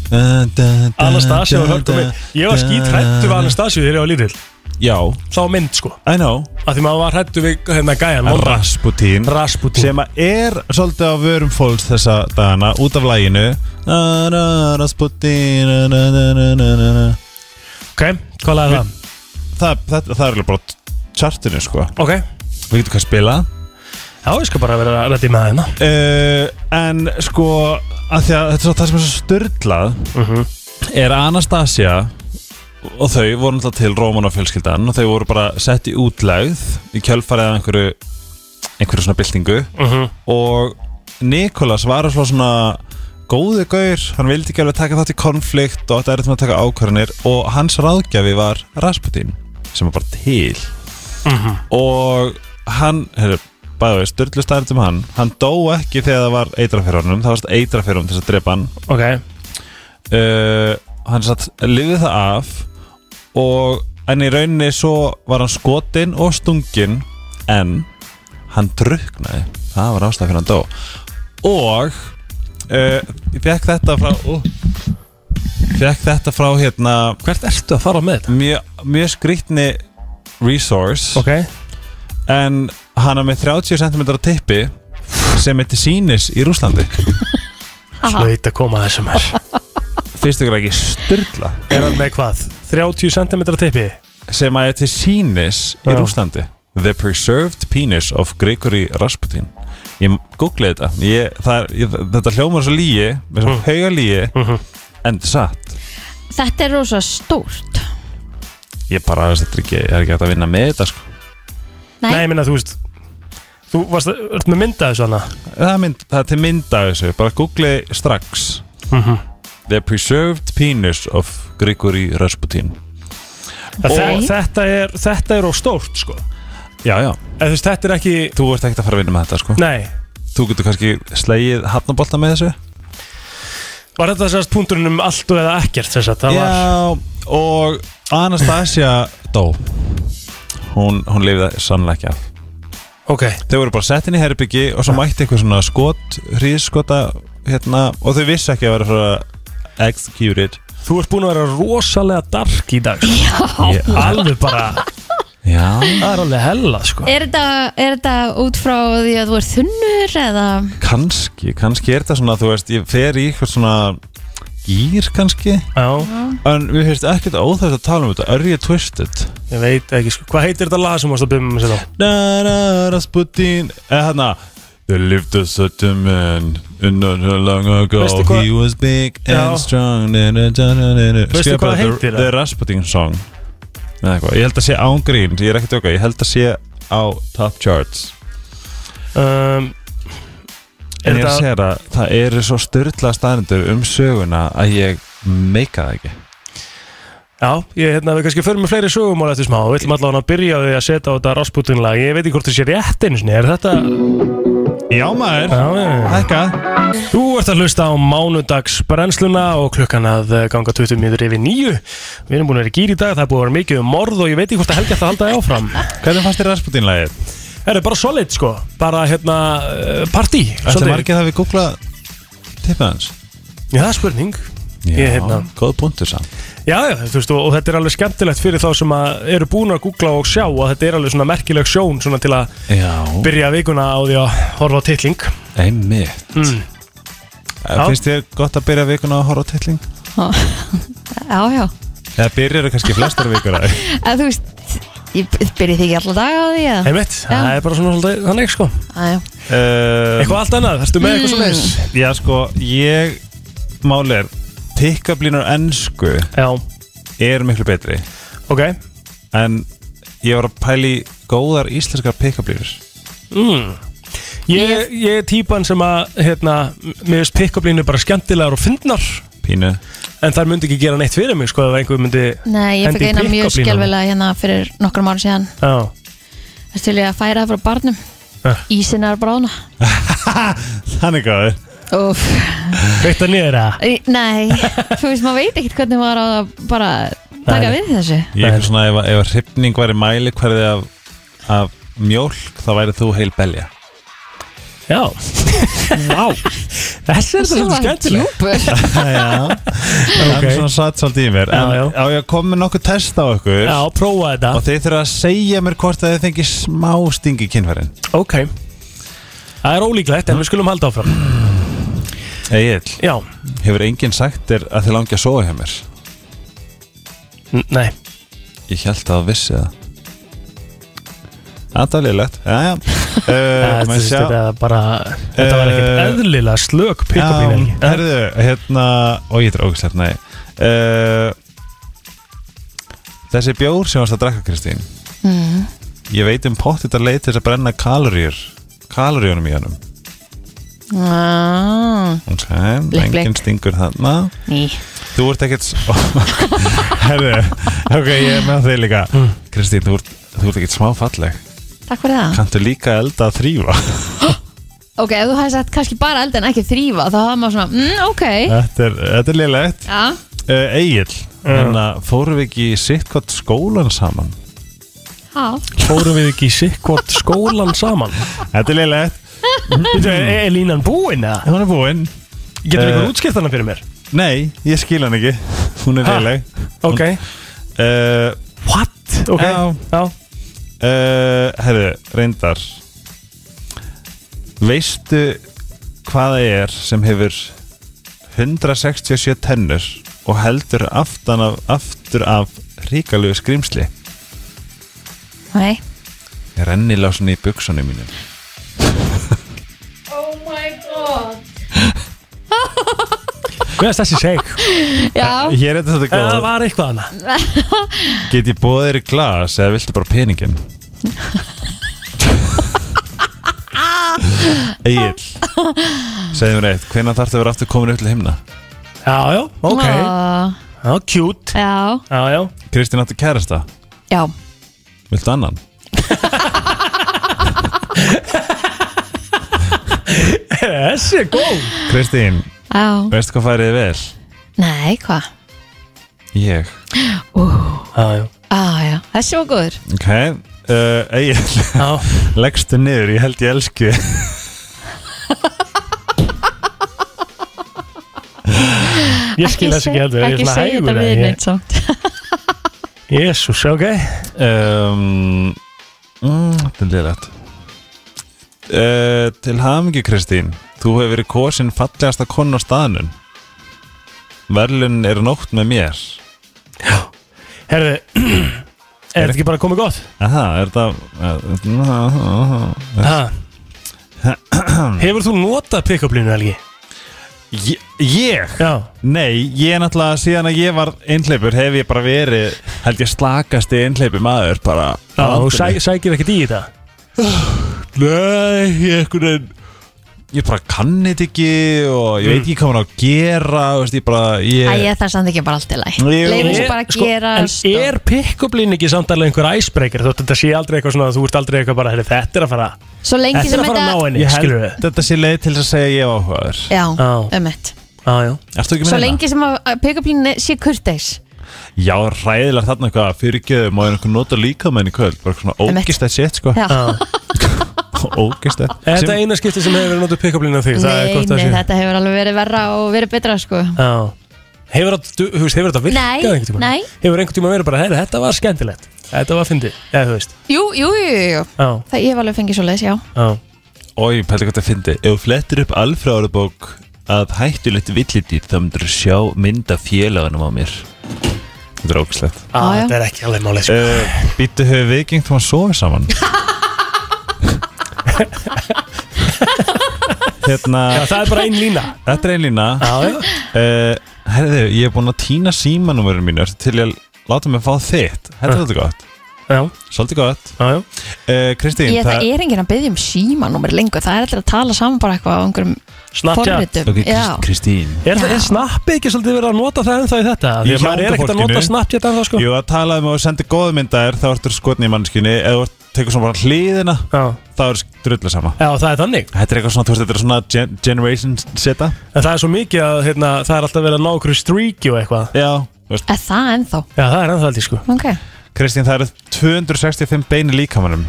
Speaker 4: Anastasia
Speaker 13: Anastasia
Speaker 4: og Hörgumi Ég var skýt hrættu við Anastasia þegar ég var lítill
Speaker 13: Já
Speaker 4: Þá mynd sko
Speaker 13: I know
Speaker 4: Af því maður var hrættu við hérna gæjan vonda.
Speaker 13: Rasputín
Speaker 4: Rasputín
Speaker 13: sem að er svolítið á vörum fólks þessa dagana út af læginu Na, na, Rasputín na, na, na, na, na, na, na.
Speaker 4: Ok, hvað lag er það?
Speaker 13: Það, það, það er alveg bara chartinu sko
Speaker 4: Ok
Speaker 13: Við getum hvað að spila
Speaker 4: Já, ég skal bara vera reddi með hérna
Speaker 13: uh, En sko að því að þetta er svo, það sem er svo styrlað er að Anastasia og þau voru náttúrulega til Róman og fjölskyldan og þau voru bara sett í útlegð í kjölfarið af einhverju einhverju svona byltingu
Speaker 4: Mhm.
Speaker 13: og Nikolas var svo svona góðu gaur, hann vildi ekki alveg taka þátt í konflikt og þetta er þetta með að taka ákvarðanir og hans ráðgjafi var Rasputin sem var bara til
Speaker 4: Mhm.
Speaker 13: og hann, heyrðu, bæði við styrlu stærnt um hann, hann dó ekki þegar það var eitrafjörunum, það varst eitrafjörunum til þess að drepa hann
Speaker 4: Ok
Speaker 13: uh, hann satt lifið það af og en í rauninni svo var hann skotinn og stunginn en hann druknaði það var ástæða fyrir hann dó og uh, ég fekk þetta frá uh, fekk þetta frá hérna
Speaker 4: hvert ertu að fara með þetta?
Speaker 13: mjög mjö skrýtni resource
Speaker 4: okay.
Speaker 13: en hann er með 30 cm tippi sem er til sínis í Rúslandi
Speaker 4: Slöitt að koma þessum er
Speaker 13: fyrstu ekki styrla
Speaker 4: Er hann með hvað? 30 cm tippi?
Speaker 13: sem að er til sínis í
Speaker 4: Já.
Speaker 13: Rúslandi The Preserved Penis of Gregory Rasputin ég googlaði þetta ég, það er, ég, þetta hljómar svo lígi með
Speaker 4: Mhm.
Speaker 13: svo hauga lígi en satt
Speaker 3: þetta er rosa stórt
Speaker 13: ég bara þetta er ekki, er ekki hægt að vinna með þetta sko.
Speaker 3: Nei.
Speaker 4: Nei, ég minna, þú veist Þú varst, ert með mynda þessu hana
Speaker 13: það, er mynd, það er til mynd af þessu bara googlaði strax
Speaker 4: Mhm.
Speaker 13: The Preserved Penis of Gregory Rasputin
Speaker 4: Þe- Þetta er, þetta er á stórt, sko
Speaker 13: já já
Speaker 4: Eða, þú veist, þetta er ekki
Speaker 13: þú ert ekkert að fara að vinna með þetta sko
Speaker 4: Nei.
Speaker 13: þú getur kannski slegið hafnabolta með þessu
Speaker 4: Var þetta þessast punkturinn um allt og eða ekkert þess að það var
Speaker 13: Já, og Anastasia dó Hún, hún lifði sannlega ekki af
Speaker 4: Ok
Speaker 13: Þau voru bara sett inn í herbyggi og svo mætti eitthvað svona skot, hríðskota hérna, og þau vissi ekki að vera frá executed
Speaker 4: Þú ert búin að vera rosalega dark í dag sko.
Speaker 13: Já.
Speaker 4: Alveg bara
Speaker 13: Já
Speaker 4: Það er alveg hella sko
Speaker 3: Er þetta, er þetta út frá því að þú er þunnur eða
Speaker 13: Kanski, kannski er þetta svona, þú veist, ég fer í eitthvað svona gýr kannski
Speaker 4: Já
Speaker 13: En við finnst ekkert óþægt að tala um þetta, er ég twisted?
Speaker 4: Ég veit ekki sko Hvað heitir þetta lag sem varst að byrja með sér á?
Speaker 13: Na na Rasputin Eða hérna There lived a certain man and Not so long ago
Speaker 4: Veistu hvað-
Speaker 13: He was big
Speaker 4: Já.
Speaker 13: and strong na, na, na, na, na, na.
Speaker 4: Veistu
Speaker 13: Skrifa
Speaker 4: hvað
Speaker 13: bara
Speaker 4: heitir
Speaker 13: The,
Speaker 4: það?
Speaker 13: the Rasputin Song Eða eitthvað Ég held að sé án grín Ég er ekkert okkar Ég held að sé á top charts
Speaker 4: um,
Speaker 13: En
Speaker 4: er
Speaker 13: ég
Speaker 4: þetta-
Speaker 13: sé að Það eru svo styrla staðendur um söguna Að ég meika það ekki
Speaker 4: Já, ég, hérna, við kannski förum með fleiri sögumál eftir smá Við ætlum allavega að byrja á því að setja á þetta Rasputin-lag Ég veit ekki hvort þú sé rétt einu sinni Er þetta...
Speaker 13: Já maður
Speaker 4: Já, já, já
Speaker 13: Hækka
Speaker 4: Þú ert að hlusta á mánudags brennsluna og klukkan að eh, ganga 20 minnur yfir nýju Við erum búin að vera í gýr í dag, það er búin að vera mikið um morð og ég veit ekki hvort að helga þetta halda því áfram
Speaker 13: Hvernig fannst þér Rasputin-lagið?
Speaker 4: Það er bara solid sko, bara hérna eh, partí
Speaker 13: Þetta
Speaker 4: svolítið.
Speaker 13: margir það við googla Tippið hans
Speaker 4: Já, það er spurning
Speaker 13: Já,
Speaker 4: Ég, hérna,
Speaker 13: góð punktur samt
Speaker 4: Já, já, þú veist, og, og þetta er alveg skemmtilegt fyrir þá sem að eru búin að googla og sjá að þetta er alveg svona merkileg sjón svona til að
Speaker 13: Já.
Speaker 4: byrja vikuna á því að horfa á titling
Speaker 13: Einmitt
Speaker 4: mm. Já.
Speaker 13: Finnst þér gott að byrja vikuna að horfa á tilling?
Speaker 3: Já, já
Speaker 13: Eða byrjar kannski flestar vikur að
Speaker 3: að þú veist, ég byrja því ekki alltaf dag á því að
Speaker 4: Einmitt, það er bara svona svolítið þannig sko
Speaker 3: Æ,
Speaker 13: Eitthvað
Speaker 4: Eitthvað allt annað, ertu með eitthvað
Speaker 3: Mm.
Speaker 4: svoleiðis?
Speaker 13: Ehm, Já sko, ég Máli er, pick-up-línar ennsku
Speaker 4: Já
Speaker 13: Er miklu betri
Speaker 4: Ok
Speaker 13: En ég var að pæli góðar íslenskar pick-up-línur
Speaker 4: mm. ég, ég er típan sem að hérna, mér veist pick-up-línu bara skemmtilegar og fyndnar
Speaker 13: Pínu
Speaker 4: en þar myndi ekki gera neitt fyrir mig sko ef einhver myndi
Speaker 3: Nei, ég fekk
Speaker 4: hendi í
Speaker 3: eina mjög
Speaker 4: pick-up línuna.
Speaker 3: skjálfilega hérna fyrir nokkrum árum síðan
Speaker 4: Já,
Speaker 3: Þess til ég að færa það frá barnum Ísinn er að brána
Speaker 13: Hann er góður
Speaker 3: Úff.
Speaker 4: Veitt að niður að
Speaker 3: Í- Nei, þú veist, maður veit ekkert hvernig maður á að bara taka
Speaker 13: Nei.
Speaker 3: við þessu
Speaker 13: Ég er svona ef, ef hrifning væri mæli hverði af, af mjólk þá væri þú heil belja
Speaker 4: Já Vá Þessi
Speaker 3: Svo
Speaker 4: er þetta svolítið
Speaker 3: djúpur.
Speaker 4: skemmtileg
Speaker 13: Já Það er svona satt svolítið í mér En já, já. ég kom með nokkuð test á ykkur Já,
Speaker 4: prófa þetta
Speaker 13: Og þið þurfa að segja mér hvort að þið fengi smá stingi kynfærin
Speaker 4: Ok Það er ólíklegt en við skulum halda áfram
Speaker 13: Egil
Speaker 4: Já
Speaker 13: Hefur enginn sagt þér að þið langi að sofa hjá mér?
Speaker 4: N nei
Speaker 13: Ég held að það vissi það Það er liðlegt Já, já
Speaker 4: Það
Speaker 13: uh,
Speaker 4: er þetta er bara Þetta var ekkert eðlilega slök pick-up-línan
Speaker 13: Eh, Já, herðu, hérna Og ég drókst hérna uh, Þessi bjór sem varst að drakka, Kristín
Speaker 3: mm.
Speaker 13: Ég veit um pott þetta leið til þess að brenna kaloríur Kaloríunum í honum
Speaker 3: ah.
Speaker 13: Ok,
Speaker 3: Blikk, blikk.
Speaker 13: enginn stingur þarna
Speaker 3: Ný
Speaker 13: Þú ert ekkert s- Herðu, ok, ég er með þig líka Kristín, þú ert, þú ert ekkert smá falleg
Speaker 3: Takk fyrir það
Speaker 13: Kanntu líka elda að þrýfa
Speaker 3: Ok, ef þú hefði sagt kannski bara elda en ekki þrýfa þá hafði maður svona, mm, ok
Speaker 13: Þetta er, þetta er liðlegt
Speaker 3: Já,
Speaker 13: uh, Egil, þannig að hérna, fórum við ekki í sitt hvað skólan saman
Speaker 3: já
Speaker 4: Fórum við ekki í sikkvort skólan saman
Speaker 13: Þetta er liðlegt
Speaker 4: Býtu, er, er línan búin eða?
Speaker 13: Hún er búin
Speaker 4: Getur við
Speaker 13: Eh,
Speaker 4: eitthvað útskipt hana fyrir mér?
Speaker 13: Nei, ég skil hann ekki Hún er
Speaker 4: Ha,
Speaker 13: liðleg
Speaker 4: ok.
Speaker 13: uh,
Speaker 4: What? Ok,
Speaker 13: Já.
Speaker 4: já.
Speaker 13: Uh, herðu, reyndar Veistu hvað það er sem hefur 167 tennur og heldur aftan af, aftur af ríkalegu skrimsli
Speaker 3: Nei
Speaker 13: rennilásin í buksunum mínum
Speaker 3: Oh my god
Speaker 4: Hvað er þessi seg?
Speaker 3: Já
Speaker 13: Hér er þetta svolítið
Speaker 4: Það
Speaker 13: góð
Speaker 4: var eitthvað hana
Speaker 13: Get ég bóðið þér í glas eða viltu bara peningin? Egil, segðu mér eitt Hvenær þarftu að vera aftur komin upp til himna?
Speaker 4: Já, já, ok
Speaker 3: Ah.
Speaker 4: Já, cute
Speaker 3: Já,
Speaker 4: Já, já
Speaker 13: Kristín áttu kærasta,
Speaker 3: já
Speaker 13: viltu annan?
Speaker 4: Þessi er góð
Speaker 13: Kristín,
Speaker 3: Já,
Speaker 13: veistu hvað færið þið vel?
Speaker 3: nei, hvað?
Speaker 13: Ég
Speaker 3: Uh.
Speaker 4: Já, já
Speaker 3: ah, já, þessi var góður
Speaker 13: Ok, uh, Egil Leggstu niður, ég held ég elsku þig.
Speaker 4: Ég skil þess ekki heldur
Speaker 3: Ekki segja þetta við neitt samt
Speaker 4: Jésús, ok
Speaker 13: um, mm, Þetta er liðlegt uh, Til hamingi Kristín Þú hefur verið kosin fallegasta konu á staðnum Verlun er nótt með mér
Speaker 4: Herðu, er þetta ekki bara komið gott?
Speaker 13: Aha, er eh, þetta
Speaker 4: Ha. Hefur þú notað pick-up línu, Helgi?
Speaker 13: Ég? ég? Nei, ég er náttúrulega síðan að ég var einhleipur hef ég bara verið held ég slakasti einhleipi maður bara
Speaker 4: Já, þú sæ, sækir ekkert í þetta
Speaker 13: Nei, ég einhvern veginn Ég bara kann þetta ekki og ég veit
Speaker 4: Mm.
Speaker 13: ekki hvað maður á að gera þú veist, ég bara,
Speaker 3: Æ,
Speaker 13: ég,
Speaker 3: ég þarf samt ekki bara allt í læg
Speaker 13: Jú.
Speaker 3: Leifum
Speaker 13: Ég-
Speaker 3: þessu bara að
Speaker 13: sko,
Speaker 3: gera
Speaker 4: En er pick-up línu ekki samt alveg einhver icebreaker? Þú þetta sé aldrei eitthvað svona, þú ert aldrei eitthvað bara, "Heyrðu, þetta er að fara
Speaker 3: Svo lengi
Speaker 4: Þetta er
Speaker 3: sem
Speaker 4: að fara að
Speaker 3: þetta-
Speaker 4: ná henni,
Speaker 13: ég
Speaker 4: skilur
Speaker 13: held þetta sé leið til þess að segja ég var áhugaður
Speaker 3: Já,
Speaker 4: Já.
Speaker 3: ömmett
Speaker 4: Já, já
Speaker 13: Ertu ekki
Speaker 3: Svo
Speaker 13: með hérna?
Speaker 3: lengi sem að að pick-up-línni sé kurteis
Speaker 13: Já, ræðilega þarna eitthvað fyrirgjöðum og einhvern nota líkamenn í kvöld bara svona
Speaker 3: Einmitt.
Speaker 13: ógist þetta sétt sko
Speaker 3: Já. Já.
Speaker 13: Ógist
Speaker 4: Er
Speaker 13: þetta
Speaker 4: þetta eina skipti sem er hefur verið notað pick-up línu af þig? Það er
Speaker 3: Nei,
Speaker 4: gott að
Speaker 3: nei,
Speaker 4: sé.
Speaker 3: þetta hefur alveg verið verra og verið betra sko
Speaker 4: Já Hefur þetta, þú veist, hefur þetta
Speaker 3: Nei,
Speaker 4: virkað einhvern tíma?
Speaker 3: nei.
Speaker 4: Hefur einhvern tíma verið bara, heyri, þetta var skemmtilegt Þetta var fyndið, eða þú veist
Speaker 3: Jú, jú, jú, jú, jú.
Speaker 4: Já,
Speaker 3: Það ég hef alveg fengið svo já
Speaker 13: Ói, pæli hvað það fyndi Ef þú flettir upp alfræðarbók að hættulegt villidýr þá myndur þú sjá mynda félagunum á mér Þetta er ógislegt
Speaker 4: Á, Já, já. þetta er ekki alveg málið, sko.
Speaker 13: uh, Býttu höfum við gengt um að sofa saman Hérna
Speaker 4: Já, það er bara ein lína
Speaker 13: Þetta er ein lína
Speaker 4: Já, já.
Speaker 13: uh, Herðu, ég er búinn að týna símanúmerun mínu til að láta mig fá þitt Þetta er þetta gott
Speaker 4: Eh. Já.
Speaker 13: Svolítið gott já, já. Uh, Kristín
Speaker 3: Ég, það er enginn að byggja um símanúmer lengur Það er allir að tala saman bara eitthvað á einhverjum forritum
Speaker 13: Ok, Krist-
Speaker 3: Já.
Speaker 13: Kristín
Speaker 4: Er, það- er snappi ekki svolítið verið að nota það ennþá í þetta?
Speaker 13: Í
Speaker 4: Því að maður er
Speaker 13: hjá
Speaker 4: ekkert að
Speaker 13: fólkinu.
Speaker 4: nota Snapchat ennþá sko
Speaker 13: Jú, að tala um að senda góð myndaðir þá ertu skotni í mannskinni eða þú ert- tekur svona bara hliðina
Speaker 4: já.
Speaker 13: þá er drullu sama
Speaker 4: Já, það er þannig
Speaker 13: Þetta er eitthvað svona, þú veist, þetta er svona gen generation seta
Speaker 4: En það er svo mikið að hérna, það er alltaf verið að ná okkur streaki og eitthvað
Speaker 13: Já, veist
Speaker 3: Er það ennþá?
Speaker 4: Já, það er ennþá aldrei sko
Speaker 3: Ok
Speaker 13: Kristín, það eru 265 bein í líkamannum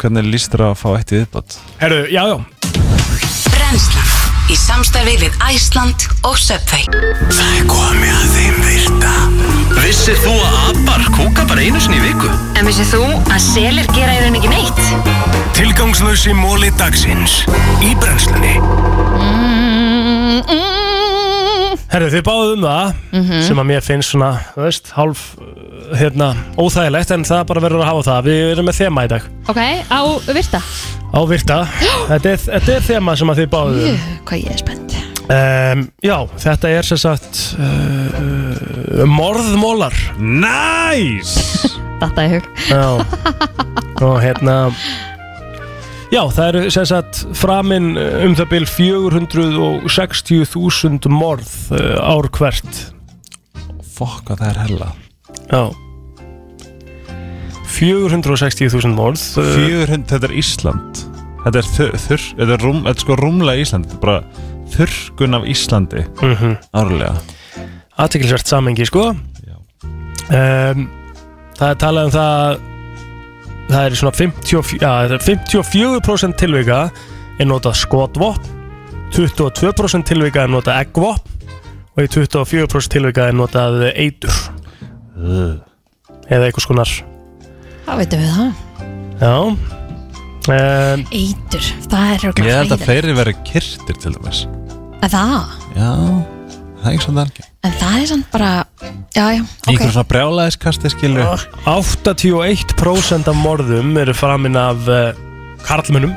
Speaker 13: Hvernig líst þér á að fá eitt í viðbót?
Speaker 4: Herru, já, já
Speaker 14: Brennslan Í samstarfi við Æsland og Subway
Speaker 1: Það er komið að þeim virta Vissir þú að abar kúka bara einu sinni í viku?
Speaker 14: En vissið þú að selir gera í raun ekki neitt?
Speaker 1: Tilgangslösi móli dagsins Í brennslunni
Speaker 4: Herru, þið báðuð um það
Speaker 1: Mhm.
Speaker 4: sem að mér finnst svona, þú veist, hálf uh, hérna, óþægilegt en það bara verður að hafa það Við erum með þema í dag
Speaker 3: Ok, á virta
Speaker 4: á virta Þetta er, þetta er þema sem að þið báðuð um
Speaker 3: Jú, Hvað ég er spennt
Speaker 4: Um, já, þetta er sem sagt uh, Morðmólar
Speaker 13: Næs nice!
Speaker 3: Þetta er hug
Speaker 4: Já Og hérna Já, það eru sem sagt framin um það bil 460.000 morð uh, ár hvert
Speaker 13: Fokk, hvað það er hella
Speaker 4: Já 460.000 morð uh,
Speaker 13: 400, þetta er Ísland Þetta er þur, þur þetta er, rúm, þetta er sko rúmlega Ísland Þetta er bara þurrkun af Íslandi
Speaker 4: Mhm.
Speaker 13: Árlega
Speaker 4: aðteklisvert samengi sko um, það er talað um það það er svona 54, ja, það er 54% tilvika er notað skotvop 22% tilvika er notað eggvop og í 24% tilvika er notað eitur eða einhvers konar
Speaker 3: Það veitum við það
Speaker 4: já um,
Speaker 3: Eitur, það er
Speaker 13: Ég held
Speaker 3: örugglega
Speaker 13: að fleiri veri kyrtir til dæmis
Speaker 3: Er Það,
Speaker 13: Já, það er ekki svona algjör
Speaker 3: en það er samt bara Já, já,
Speaker 13: Í
Speaker 3: ok
Speaker 13: einhverjum svona brjálæðiskasti skilur
Speaker 4: 81% af morðum eru framin af uh, karlmönnum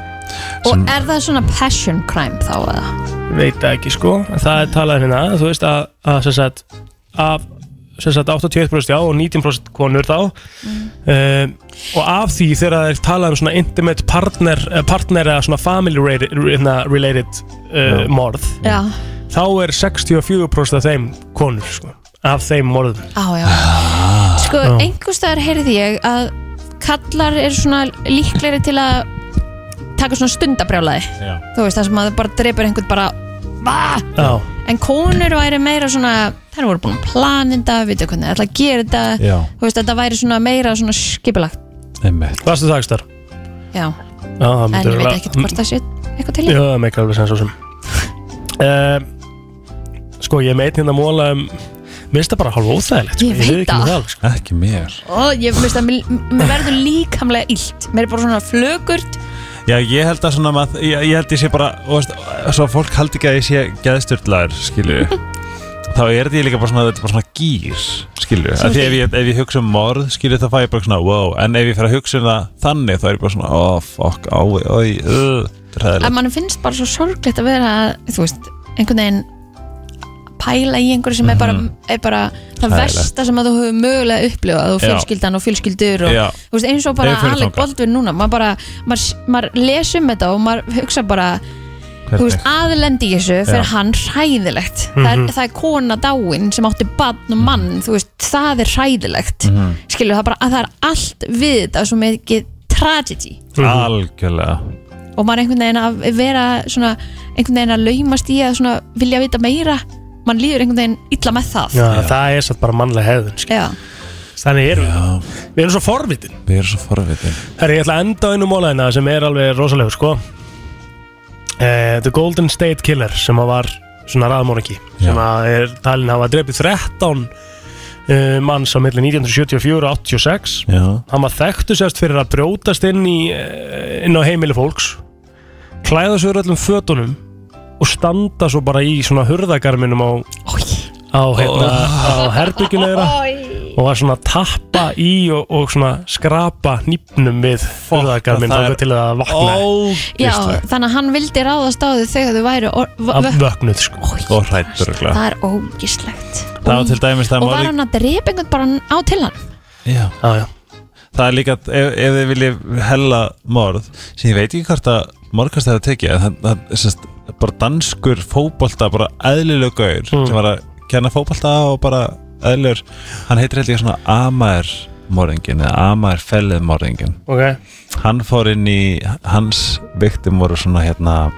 Speaker 3: Og er það svona passion crime þá eða?
Speaker 4: veit það ekki sko En það er talað hérna, þú veist að, að sem sagt, af sem sagt 81% já og 19% konur þá um, og af því þegar það er talað um svona intimate partner, eh, partner eða svona family related, hérna, related uh,
Speaker 3: Já.
Speaker 4: morð
Speaker 3: Já,
Speaker 4: þá er 64% af þeim konur sko, af þeim morðum
Speaker 3: á já
Speaker 13: Ah.
Speaker 3: Sko,
Speaker 4: Já.
Speaker 3: einhverstaðar heyrði ég að kallar eru svona líklegri til að taka svona stundabrjálaði
Speaker 4: Já.
Speaker 3: Þú veist, það sem að það bara dreipur einhvern bara Vá!
Speaker 4: Já.
Speaker 3: En konur væri meira svona þær voru búin að plana þetta, vita hvernig það ætla að gera þetta
Speaker 4: Já.
Speaker 3: Þú veist, þetta væri svona meira svona skipulagt
Speaker 4: Varstu þakstar?
Speaker 3: Já,
Speaker 4: Já, það
Speaker 3: en
Speaker 4: myndi
Speaker 3: ég veit
Speaker 4: örugglega-
Speaker 3: ekkert hvort það sé eitthvað til í
Speaker 4: Já, það meikar alveg sens og sem uh, Sko, ég meit hérna móla um Mér finnst það bara hálf óþægilegt sko.
Speaker 3: Ég veit
Speaker 4: viðurkenni
Speaker 3: það.
Speaker 4: alveg, sko.
Speaker 13: Ekki mér
Speaker 3: Og ég finnst að mér mér verður líkamlega illt Mér er bara svona flögurt
Speaker 13: Já, ég held að svona mað, ég, ég held ég sé bara og veist, Svo að fólk haldi ekki að ég sé geðstörtlaður skilur Þá er þetta ég líka bara svona, þetta er bara svona gýr skilur
Speaker 4: Svona
Speaker 13: Af Því ef ég, ef ég hugsa um morð skilur þá fæ ég bara svona wow En ef ég fer að hugsa um það þannig þá er ég bara svona Oh fuck, ái, ái, uh, þetta er
Speaker 3: að
Speaker 13: hræðilegt
Speaker 3: mann finnst bara svo sorglegt að vera að þú veist, einhvern veginn pæla í einhverju sem er bara,
Speaker 13: Mhm.
Speaker 3: er bara það
Speaker 13: Hræðilegt.
Speaker 3: versta sem að þú hefur mögulega upplifað og
Speaker 13: Já.
Speaker 3: fjölskyldan og fjölskyldur og
Speaker 13: Já.
Speaker 3: þú veist, eins og bara
Speaker 13: Ef við förum
Speaker 3: Alec
Speaker 13: þangað.
Speaker 3: Baldwin núna maður bara, maður, maður les um þetta og maður hugsa bara þú veist, aðlendi í þessu fyrir
Speaker 13: Já.
Speaker 3: hann hræðilegt það,
Speaker 13: Mhm.
Speaker 3: er, það er kona dáin sem átti barn og mann, þú veist, það er hræðilegt mm
Speaker 13: Mhm.
Speaker 3: skilur það bara að það er allt við þetta svo mikið tragedy
Speaker 4: Mhm.
Speaker 13: Algjörlega
Speaker 3: og maður einhvern veginn að vera svona, einhvern veginn að laumast í að svona vilja vita meira mann líður einhvern veginn illa með það
Speaker 4: Já, það er satt bara mannlega hefðun sko.
Speaker 3: Já.
Speaker 4: Þannig erum við Við erum svo forvitin
Speaker 13: Við erum svo forvitin
Speaker 4: Herri, ég ætla að enda á einu mólaðina sem er alveg rosalegur sko. eh, The Golden State Killer sem að var svona raðmóringi sem að er talin hafa drefið 13 eh, manns á milli 1974 og 86
Speaker 13: Já
Speaker 4: Hann var þekktu sérst fyrir að brjótast inn, í, eh, inn á heimili fólks klæða sig úr öllum fötunum og standa svo bara í svona hurðagarminum á, á, hérna, á herbygginu þeirra og var svona að tappa í og, og svona skrapa nýpnum við hurðagarmin
Speaker 13: það er
Speaker 4: þangað til að það vakna
Speaker 3: Já, þannig að hann vildi ráðast á þau þegar þau væri or- v-
Speaker 4: að
Speaker 3: v-
Speaker 4: vöknuð sko.
Speaker 13: og hrættur
Speaker 3: það er ógislegt
Speaker 13: Það var til dæmis það
Speaker 3: og var
Speaker 13: morð í-
Speaker 3: hann að drepa einhvern bara á til hann
Speaker 13: Já.
Speaker 4: Já, já.
Speaker 13: það er líka, ef, ef þið viljið hella morð, sem ég veit ekki hvort að morgast það er að tekið, en það, það er sérst, bara danskur fótbolta bara eðlileg gaur sem var að kenna fótbolta og bara eðlilegur hann heitir held ég svona Amar morðingin eða Amar fellið morðingin
Speaker 4: Ok.
Speaker 13: hann fór inn í hans viktum voru svona hérna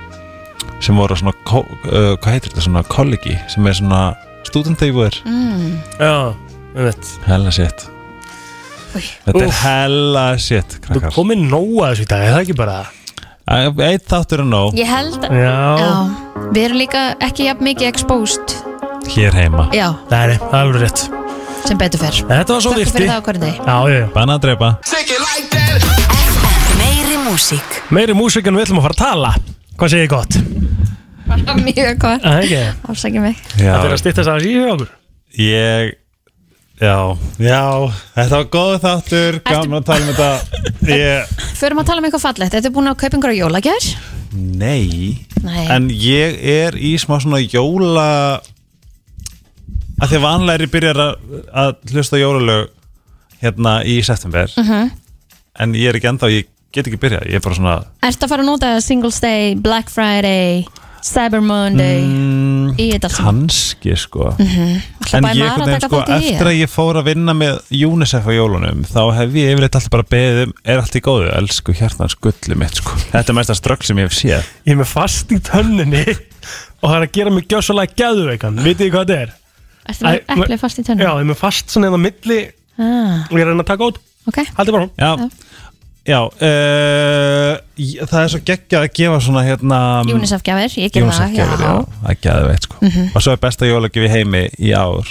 Speaker 13: sem voru svona, ko- uh, hvað heitir þetta, svona kollegi sem er svona stúdenteifur
Speaker 4: Mm. Já, við veit
Speaker 13: hella sétt Þetta er hella sétt, krakkar
Speaker 4: Þú komið nóg að þessu í dag, er það ekki bara
Speaker 13: Eitt þáttur er nóg
Speaker 3: Ég held
Speaker 13: Já.
Speaker 3: Við erum líka ekki jafn mikið exposed
Speaker 13: Hér heima
Speaker 3: Já,
Speaker 4: Nei, nei, það er verið rétt
Speaker 3: sem betur fer
Speaker 4: Þetta var svo
Speaker 3: Þakka
Speaker 4: virti
Speaker 3: fyrir það á hverjum degi.
Speaker 4: Já, já, já
Speaker 13: Banna að drepa
Speaker 14: Meiri músík
Speaker 4: Meiri músík en við ætlum að fara að tala Hvað segir ég gott?
Speaker 3: Bara Mjög gott
Speaker 4: Það er ekki
Speaker 3: Afsækjum mig
Speaker 13: Já.
Speaker 4: Þetta er að stýttast aðeins í hjá okkur
Speaker 13: Ég Já, já, þetta var góð þáttur Gaman að tala um þetta Ég,
Speaker 3: Förum að tala um eitthvað fallegt Þetta er búin að kaupa einhverja jólagjær
Speaker 13: nei
Speaker 3: Nei.
Speaker 13: En ég er í smá svona jóla að því að vanlega er ég byrjar að, að hlusta á jólalög hérna í september
Speaker 3: Mhm.
Speaker 13: en ég er ekki ennþá, ég get ekki byrjað ég er bara svona
Speaker 3: Ertu að fara að nota Singles Day, Black Friday Cyber Monday Í þetta allt saman
Speaker 13: Mm, kannski sko
Speaker 3: Mhm. Ætla bara
Speaker 13: en ég
Speaker 3: maður
Speaker 13: einhvern
Speaker 3: að
Speaker 13: veginn
Speaker 3: taka
Speaker 13: sko
Speaker 3: þátt í því,
Speaker 13: eftir að
Speaker 3: eða?
Speaker 13: ég fór að vinna með UNICEF á jólunum þá hef ég yfirleitt alltaf bara beðið um er allt í góðu, elsku hjartans gullu mitt sko þetta er mesta strögg sem ég hef séð
Speaker 4: Ég er með fast í tönninni og það er að gera mig gjössalega gæðuveikan Vitið þið hvað þetta er?
Speaker 3: Ertu með
Speaker 4: Æ,
Speaker 3: eplið fast í tönnu
Speaker 4: Já, ég er með fast svona eða milli
Speaker 3: ah,
Speaker 4: og ég er að reyna að taka út
Speaker 3: Ok
Speaker 4: Haldið bara hún
Speaker 13: Já, já uh, ég- það er svo geggjað að gefa svona hérna
Speaker 3: UNICEF gjafir, ég ger það, já.
Speaker 13: gjafir, já, að geða veit sko
Speaker 3: Mhm.
Speaker 13: Og svo er besta jólagjöf í heimi í ár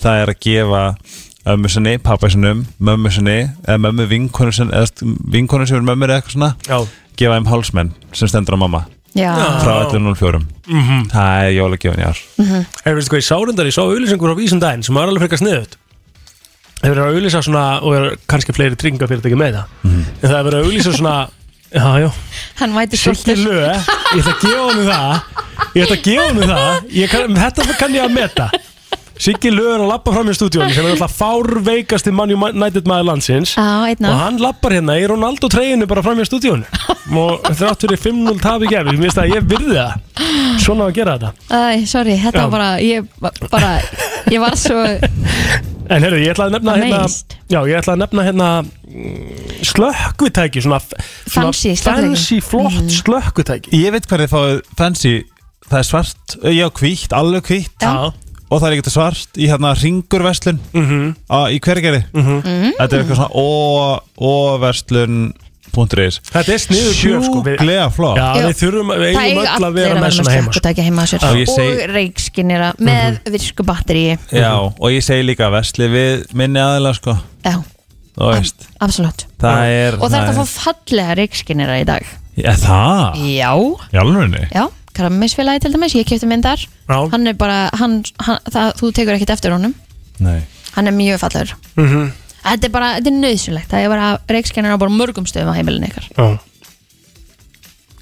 Speaker 13: Það er að gefa ömmu sinni, pappa sinum, mömmu sinni eða mömmu vinkonu sinni eða vinkonu sem er mömmur eða eitthvað svona
Speaker 4: já.
Speaker 13: gefa þeim hálsmenn sem stendur á mamma
Speaker 3: Já.
Speaker 13: frá 11.04
Speaker 4: Mhm.
Speaker 13: Það er jólagjöfin í ár
Speaker 4: Hefur veistu hvað ég sá reyndar, ég sá auðlýsingur á vísum daginn sem var alveg frekar sniðut Þeir verið að auðlýsa svona og er kannski fleiri tryggingafyrirtæki með það en það er verið að auðlýsa svona já, já,
Speaker 3: Hann mæti
Speaker 4: Siggi
Speaker 3: svolítið
Speaker 4: Lö ég ætla að gefa honum það ég ætla að gefa honum það ég kann, þetta kann ég að meta Siggi Lö er að lappa fram í stúdíónu sem er alltaf fárveikasti mann United maður landsins
Speaker 3: Já, einna.
Speaker 4: og hann lappar hérna í Ronaldo treyinu bara fram í stúdíónu og þrátt fyrir 5-0 tap í gefi, mér finnst það að ég virði það svona á að gera þetta
Speaker 3: Æ, sorry, þetta
Speaker 4: Já.
Speaker 3: var bara ég, var- bara, ég var svo
Speaker 4: En heyrðu, ég ætlaði að nefna hérna,
Speaker 3: Amazed.
Speaker 4: Já, ég ætlaði að nefna hérna mm, Slökkvitæki svona, svona
Speaker 3: Fancy slökkvitæki.
Speaker 4: fancy flott mm. slökkvitæki
Speaker 13: Ég veit hvað þið fáið fancy Það er svart, eh, já hvítt, alveg hvítt
Speaker 3: Já.
Speaker 13: Og það er ekkert svart í hérna ringurverslun mm -hmm. Í hvergeri
Speaker 3: Mhm.
Speaker 13: Þetta er eitthvað svona ó- óverslun.is
Speaker 4: Þetta er sniður gjöf, sko, við-
Speaker 13: Sjúklega flott
Speaker 4: Já, við þurfum, við eigum öll að vera með svona heima sko.
Speaker 3: slökkutæki heima á sér
Speaker 13: sko. Já, ég
Speaker 3: og
Speaker 13: segi- Mhm.
Speaker 3: reikskinnira með virku batteríi
Speaker 13: Já, og ég segi líka versli við minni aðila sko
Speaker 3: Já,
Speaker 13: Þú veist,
Speaker 3: absolutt
Speaker 13: það er Ah.
Speaker 3: Og það er að
Speaker 13: það
Speaker 3: fá fallega reikskinnira í dag
Speaker 13: Já, það?
Speaker 3: Já,
Speaker 13: Í alvegni?
Speaker 3: já, krammisfélagi til dæmis, ég kefti myndar
Speaker 13: Já.
Speaker 3: Hann er bara, hann, hann, það, þú tekur ekkert eftir honum
Speaker 13: Nei
Speaker 3: Hann er mjög fallegur
Speaker 4: Mhm.
Speaker 3: Þetta er bara, þetta er nöðsynlegt Það er bara reikskinnir á bara mörgum stöðum á heimilinu ykkar
Speaker 4: Já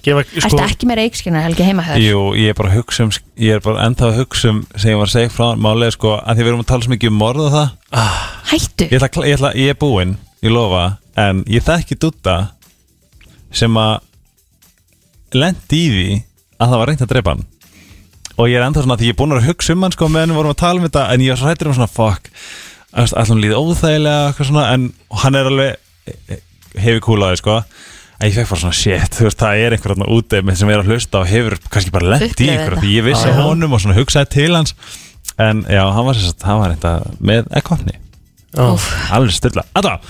Speaker 4: Gefa, sko,
Speaker 3: Ertu ekki með reikskinnir helgi heima hér?
Speaker 13: Sko- Jú, ég er bara að hugsa um Ég er bara ennþá að hugsa um sem ég var að segja frá Málega sko, að því við erum að tala svo mikið um morð og það
Speaker 3: Hættu
Speaker 13: Ég, ætla, að kla- ég, ætla, ég er búinn, ég lofa En ég þekki dutta Sem að Lendi í því að það var reynt að drepa hann Og ég er ennþá svona Því ég er búinn að vera að hugsa um hann sko Meðan við vorum að tala um þetta En ég var svo hættur um svona fuck Allum líði óþægilega eitthvað svona, En hann er alveg eh, Hefur kúlaði sko En ég fekk bara svona shit Þú veist það er einhver þarna úti með sem er að hlusta Og hefur kannski bara lendi í
Speaker 4: Upplifir
Speaker 13: einhver
Speaker 4: þetta.
Speaker 13: Því ég vissi
Speaker 4: Já, já.
Speaker 13: honum og svona hugsaði til hans En já, hann var, sem sagt- hann var reynda með ekkvapni
Speaker 4: Úff.
Speaker 13: Alveg stilla Alla, uh,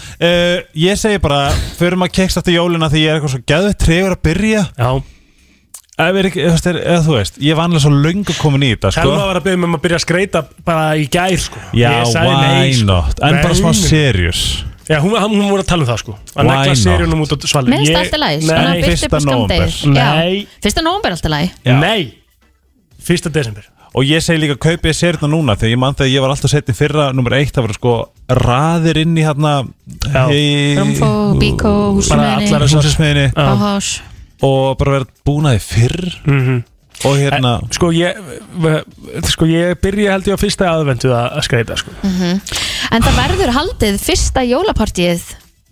Speaker 13: ég segi bara Förum að kekst eftir jólina því ég er eitthvað svo gæðið Trefur að byrja
Speaker 4: Já
Speaker 13: Ef er ekki, þú veist, er, eða þú veist Ég er vanlega svo löngu komin í þetta sko.
Speaker 4: Helma var að byrja með um að byrja að skreita bara í gær sko.
Speaker 13: Já,
Speaker 4: Ég sagði nei,
Speaker 13: why
Speaker 4: sko.
Speaker 13: not En bara
Speaker 4: Nei,
Speaker 13: smá
Speaker 4: nei.
Speaker 13: serious
Speaker 4: Já, hún, hún, hún voru að tala um það sko Að
Speaker 13: Why
Speaker 4: negla
Speaker 13: not?
Speaker 4: seríunum út á svalið
Speaker 3: Mér finnst allt í lagi, svona
Speaker 4: Nei,
Speaker 3: byrst upp á skamdegis
Speaker 4: Nei,
Speaker 3: Fyrsta nóvumber alltaf lagi
Speaker 4: nei Fyrsta desember
Speaker 13: Og ég segi líka kaupið sérna núna Þegar ég man þegar ég var alltaf setið fyrra Númer eitt, það voru sko raðir inn í hérna í-
Speaker 3: Romfó, Bíkó,
Speaker 13: Bara
Speaker 3: Húsumöðinni
Speaker 13: allar þessar smiðinni
Speaker 3: Báhás
Speaker 13: Og bara verið búnaði fyrr
Speaker 4: -hmm.
Speaker 13: Mm. Og hérna
Speaker 4: Sko ég, v- sko ég byrja held ég á
Speaker 3: Mhm.
Speaker 4: fyrsta aðventu að að skreita sko.
Speaker 3: En það verður haldið fyrsta jólapartíið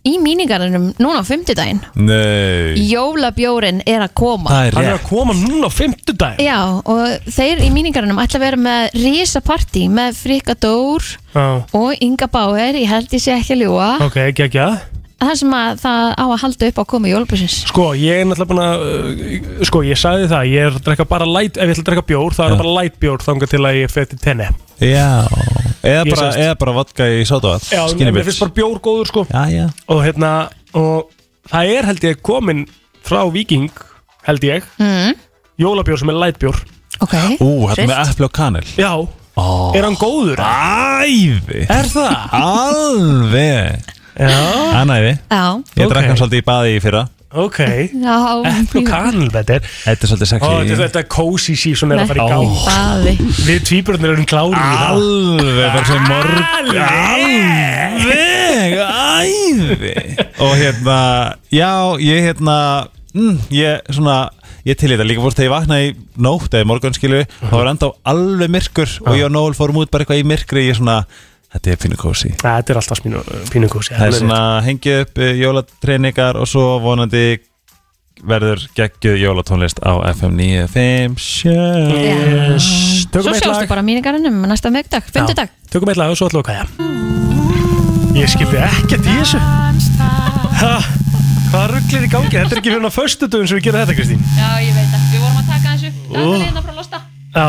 Speaker 3: í míningarnum núna á fimmtudaginn
Speaker 13: Nei
Speaker 3: Jólabjórin er að koma
Speaker 4: Hann er að koma núna á fimmtudaginn
Speaker 3: Já, og þeir í míningarnum ætla að vera með risapartí með Frikka Dór
Speaker 4: Já.
Speaker 3: og Inga Bauer, ég held ég sé ekki að ljúa
Speaker 4: Ok, ekki, ekki,
Speaker 3: Það sem að það á að halda upp á komu jólabjórsins
Speaker 4: Sko, ég er náttúrulega búin að uh, Sko, ég sagði það, ég er að drekka bara light Ef ég ætla að drekka bjór, þá er það bara light bjór Þangar til að ég fer til tenni
Speaker 13: Já Eða
Speaker 4: Ég
Speaker 13: bara,
Speaker 4: sagðist-
Speaker 13: eða bara vodka í sátavat
Speaker 4: Já, mér finnst bara bjór góður, sko
Speaker 13: Já, já
Speaker 4: Og hérna, og það er held ég komin Frá Viking, held ég
Speaker 3: mm.
Speaker 4: Jólabjór sem er light bjór
Speaker 3: Ok
Speaker 13: Ú, hérna með epli og Ah. kanil
Speaker 4: Já,
Speaker 13: oh.
Speaker 4: er hann góður?
Speaker 13: Æði
Speaker 4: Er það?
Speaker 13: Alveg
Speaker 4: Já
Speaker 13: Hann æði
Speaker 3: Já.
Speaker 13: Ég
Speaker 4: Ok.
Speaker 13: drakk hann svolítið í baði í fyrra
Speaker 4: Ok
Speaker 3: Já,
Speaker 4: Epl og kanil, þetta er
Speaker 13: Þetta er svolítið
Speaker 4: Ó,
Speaker 13: sexy
Speaker 4: þetta er þetta cozy season er að fara í gang
Speaker 3: Baði
Speaker 4: Við tvíburarnir erum klári
Speaker 13: Alveg, bara sem morgun Alveg, æði Og hérna, já, ég hérna mm, Ég svona Ég til í þetta líka fórst þegar ég vaknaði í nótt eða í morgun skilu, þá var enda alveg myrkur og ég og Nóel fórum út bara eitthvað í myrkri ég svona, þetta er pínu kósi
Speaker 4: Þetta er alltaf smínu, pínu kósi
Speaker 13: Það er svona hengið upp eh, jólatreiningar og svo vonandi verður geggjuð jólatónlist á FM 957
Speaker 4: Yes. Tökum
Speaker 3: Svo
Speaker 4: eitt
Speaker 3: sjástu
Speaker 4: lag.
Speaker 3: bara míningarnum næsta mögdag, fimmtudag
Speaker 4: Tökum eitt lag og svo ætlum við að kæja Ég skildi ekkert í þessu ha, Hvað rugglir í gangi? Þetta er ekki fyrir að föstu dögum sem við gerum þetta Kristín
Speaker 3: Já, ég veit að við vorum að taka þessu
Speaker 4: Dagatalið
Speaker 3: hérna frá losta
Speaker 4: Já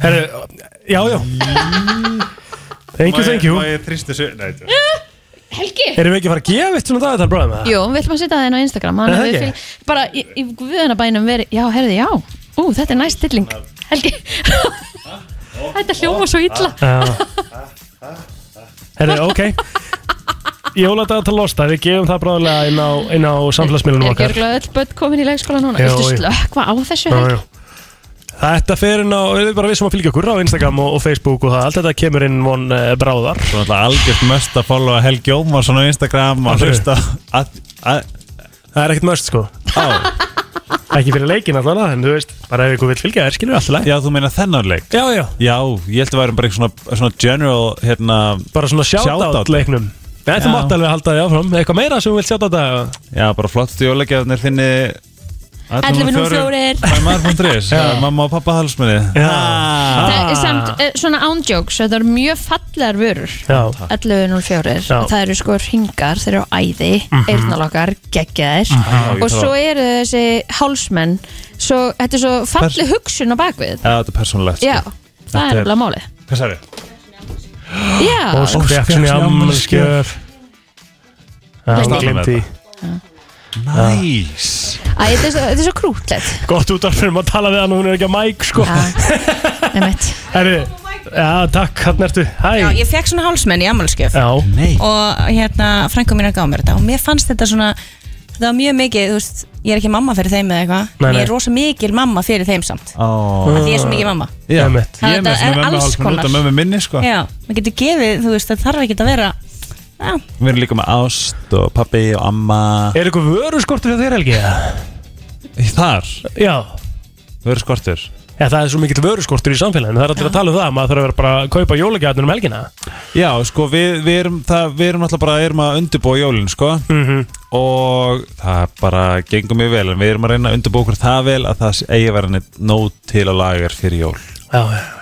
Speaker 4: Herru, já, já Thank you, thank you
Speaker 13: Má ég trýst þessu? Nei, þetta
Speaker 3: Helgi
Speaker 4: Erum við ekki að fara að gefa eitt svona dagatal bráðum eða?
Speaker 3: Jú, við ætlum að setja það inn á Instagram
Speaker 4: Er
Speaker 3: Þannig
Speaker 4: það
Speaker 3: að við
Speaker 4: ekki?
Speaker 3: fylg, bara í, í guðunabænum veri Já, herði, já, ú, þetta er næst stilling Helgi Þetta hljóma svo illa
Speaker 4: Herru, ok Jóladagatal losta, við gefum það bráðulega inn á, inn á samfélagsmiðlunum
Speaker 3: Er
Speaker 4: okkar
Speaker 3: gjörglega öll börn komin í leikskóla núna
Speaker 4: Já,
Speaker 3: Viltu
Speaker 4: já.
Speaker 3: slökva á þessu,
Speaker 4: Já,
Speaker 3: Helgi?
Speaker 4: já. Þetta fer inn á, við erum bara við sem að fylgja okkur á Instagram og, og Facebook og það, allt þetta kemur inn von uh, bráðar
Speaker 13: Svo náttúrulega algjört möst að followa Helgi Ómarsson á Instagram
Speaker 4: Af
Speaker 13: og
Speaker 4: hverju?
Speaker 13: hlusta að, að,
Speaker 4: Það er ekkert möst sko Ekki fyrir leikin allavega, en þú veist, bara ef ykkur vil fylgja þér, skilur við alltaf
Speaker 13: Já, þú meina þennan leik
Speaker 4: Já, já
Speaker 13: Já, ég held að værum bara eitthvað svona, svona general hérna,
Speaker 4: Bara svona shoutout leiknum Nei, þú
Speaker 13: Já.
Speaker 4: mátt alveg halda því áfram, eitthvað meira sem þú vilt shoutout að
Speaker 13: Já, bara flottu jólagjafarnir finni
Speaker 3: 11.04.
Speaker 13: Mæður.is Mamma og Ah. pappa halsmenni
Speaker 3: Það
Speaker 13: Það
Speaker 3: er samt, eh, svona ándjóks, þetta eru mjög fallegar vörur
Speaker 13: Já.
Speaker 3: 11.04
Speaker 13: Já.
Speaker 3: Það eru sko ringar, þeir eru æði
Speaker 13: Mhm.
Speaker 3: eyrnalokkar, geggjaðir
Speaker 13: Já, ég
Speaker 3: og
Speaker 13: þarf
Speaker 3: svo
Speaker 13: að-
Speaker 3: eru þessi hálsmenn svo, þetta er svo falli hugsun á bakvið
Speaker 13: Já, þetta er persónulegt
Speaker 3: Já, það er
Speaker 13: Þetta er-
Speaker 3: alveg máli
Speaker 13: Hvað sagði?
Speaker 3: Já,
Speaker 4: Ósk Bjarksson í afmælisgjöf. Já,
Speaker 13: Veist
Speaker 4: hún
Speaker 13: það?
Speaker 4: glemdi
Speaker 13: Næs
Speaker 3: Æ, þetta er svo, þetta er svo krútlegt
Speaker 4: Gott út af fyrir maður að tala við hann og hún er ekki að mæk sko
Speaker 3: Emmett
Speaker 4: Herri, já, takk, hann ertu Hæ
Speaker 15: Já, ég fekk svona hálsmenn í ammálskjöf
Speaker 4: Já Nei
Speaker 15: og hérna frænku mín að gá mér þetta og mér fannst þetta svona þetta var mjög mikið, þú veist, ég er ekki mamma fyrir þeim eða eitthvað,
Speaker 4: Nei,
Speaker 15: en ég
Speaker 4: nei.
Speaker 15: er rosa mikil mamma fyrir þeim samt
Speaker 13: Oh.
Speaker 15: Af því ég er svo mikið mamma.
Speaker 13: Já,
Speaker 4: Einmitt.
Speaker 13: ég er
Speaker 15: Þetta
Speaker 13: með
Speaker 15: er
Speaker 13: svona
Speaker 15: alls
Speaker 13: mömmu út af
Speaker 15: konar.
Speaker 13: mömmu minni sko
Speaker 15: Já, maður getur gefið, þú veist, það þarf ekki að vera Já,
Speaker 13: Við erum líka með ást og pappi og amma
Speaker 4: Er eitthvað vöruskortur hjá þér Helgi?
Speaker 13: Þar?
Speaker 4: Já
Speaker 13: Vöruskortur?
Speaker 4: Já, það er svo mikill vöruskortur í samfélaginu, það er allir að tala um það maður þarf að vera bara að kaupa jólagjarnir um helgina
Speaker 13: Já, sko, við, við erum það, við erum alltaf bara erum að undirbúa jólin, sko
Speaker 4: Mhm.
Speaker 13: og það bara gengur mjög vel, en við erum að reyna að undirbúa okkur það vel að það sé- eigi að vera neitt nót til að lagar fyrir jól
Speaker 4: Já, já, já.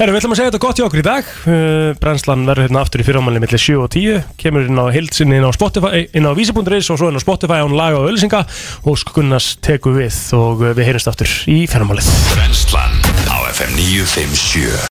Speaker 4: Herru, við ætlum að segja þetta gott í okkur í dag Uh, Brennslan verður hérna aftur í fyrirmálinni millir 7 og 10 Kemur inn á hildsinni inn á Spotify eh, inn á vísi.is og svo inn á Spotify án laga og ölsinga og skunnast tekur við og uh, við heyrjumst aftur í fyrirmálið
Speaker 1: Brennslan á FM 957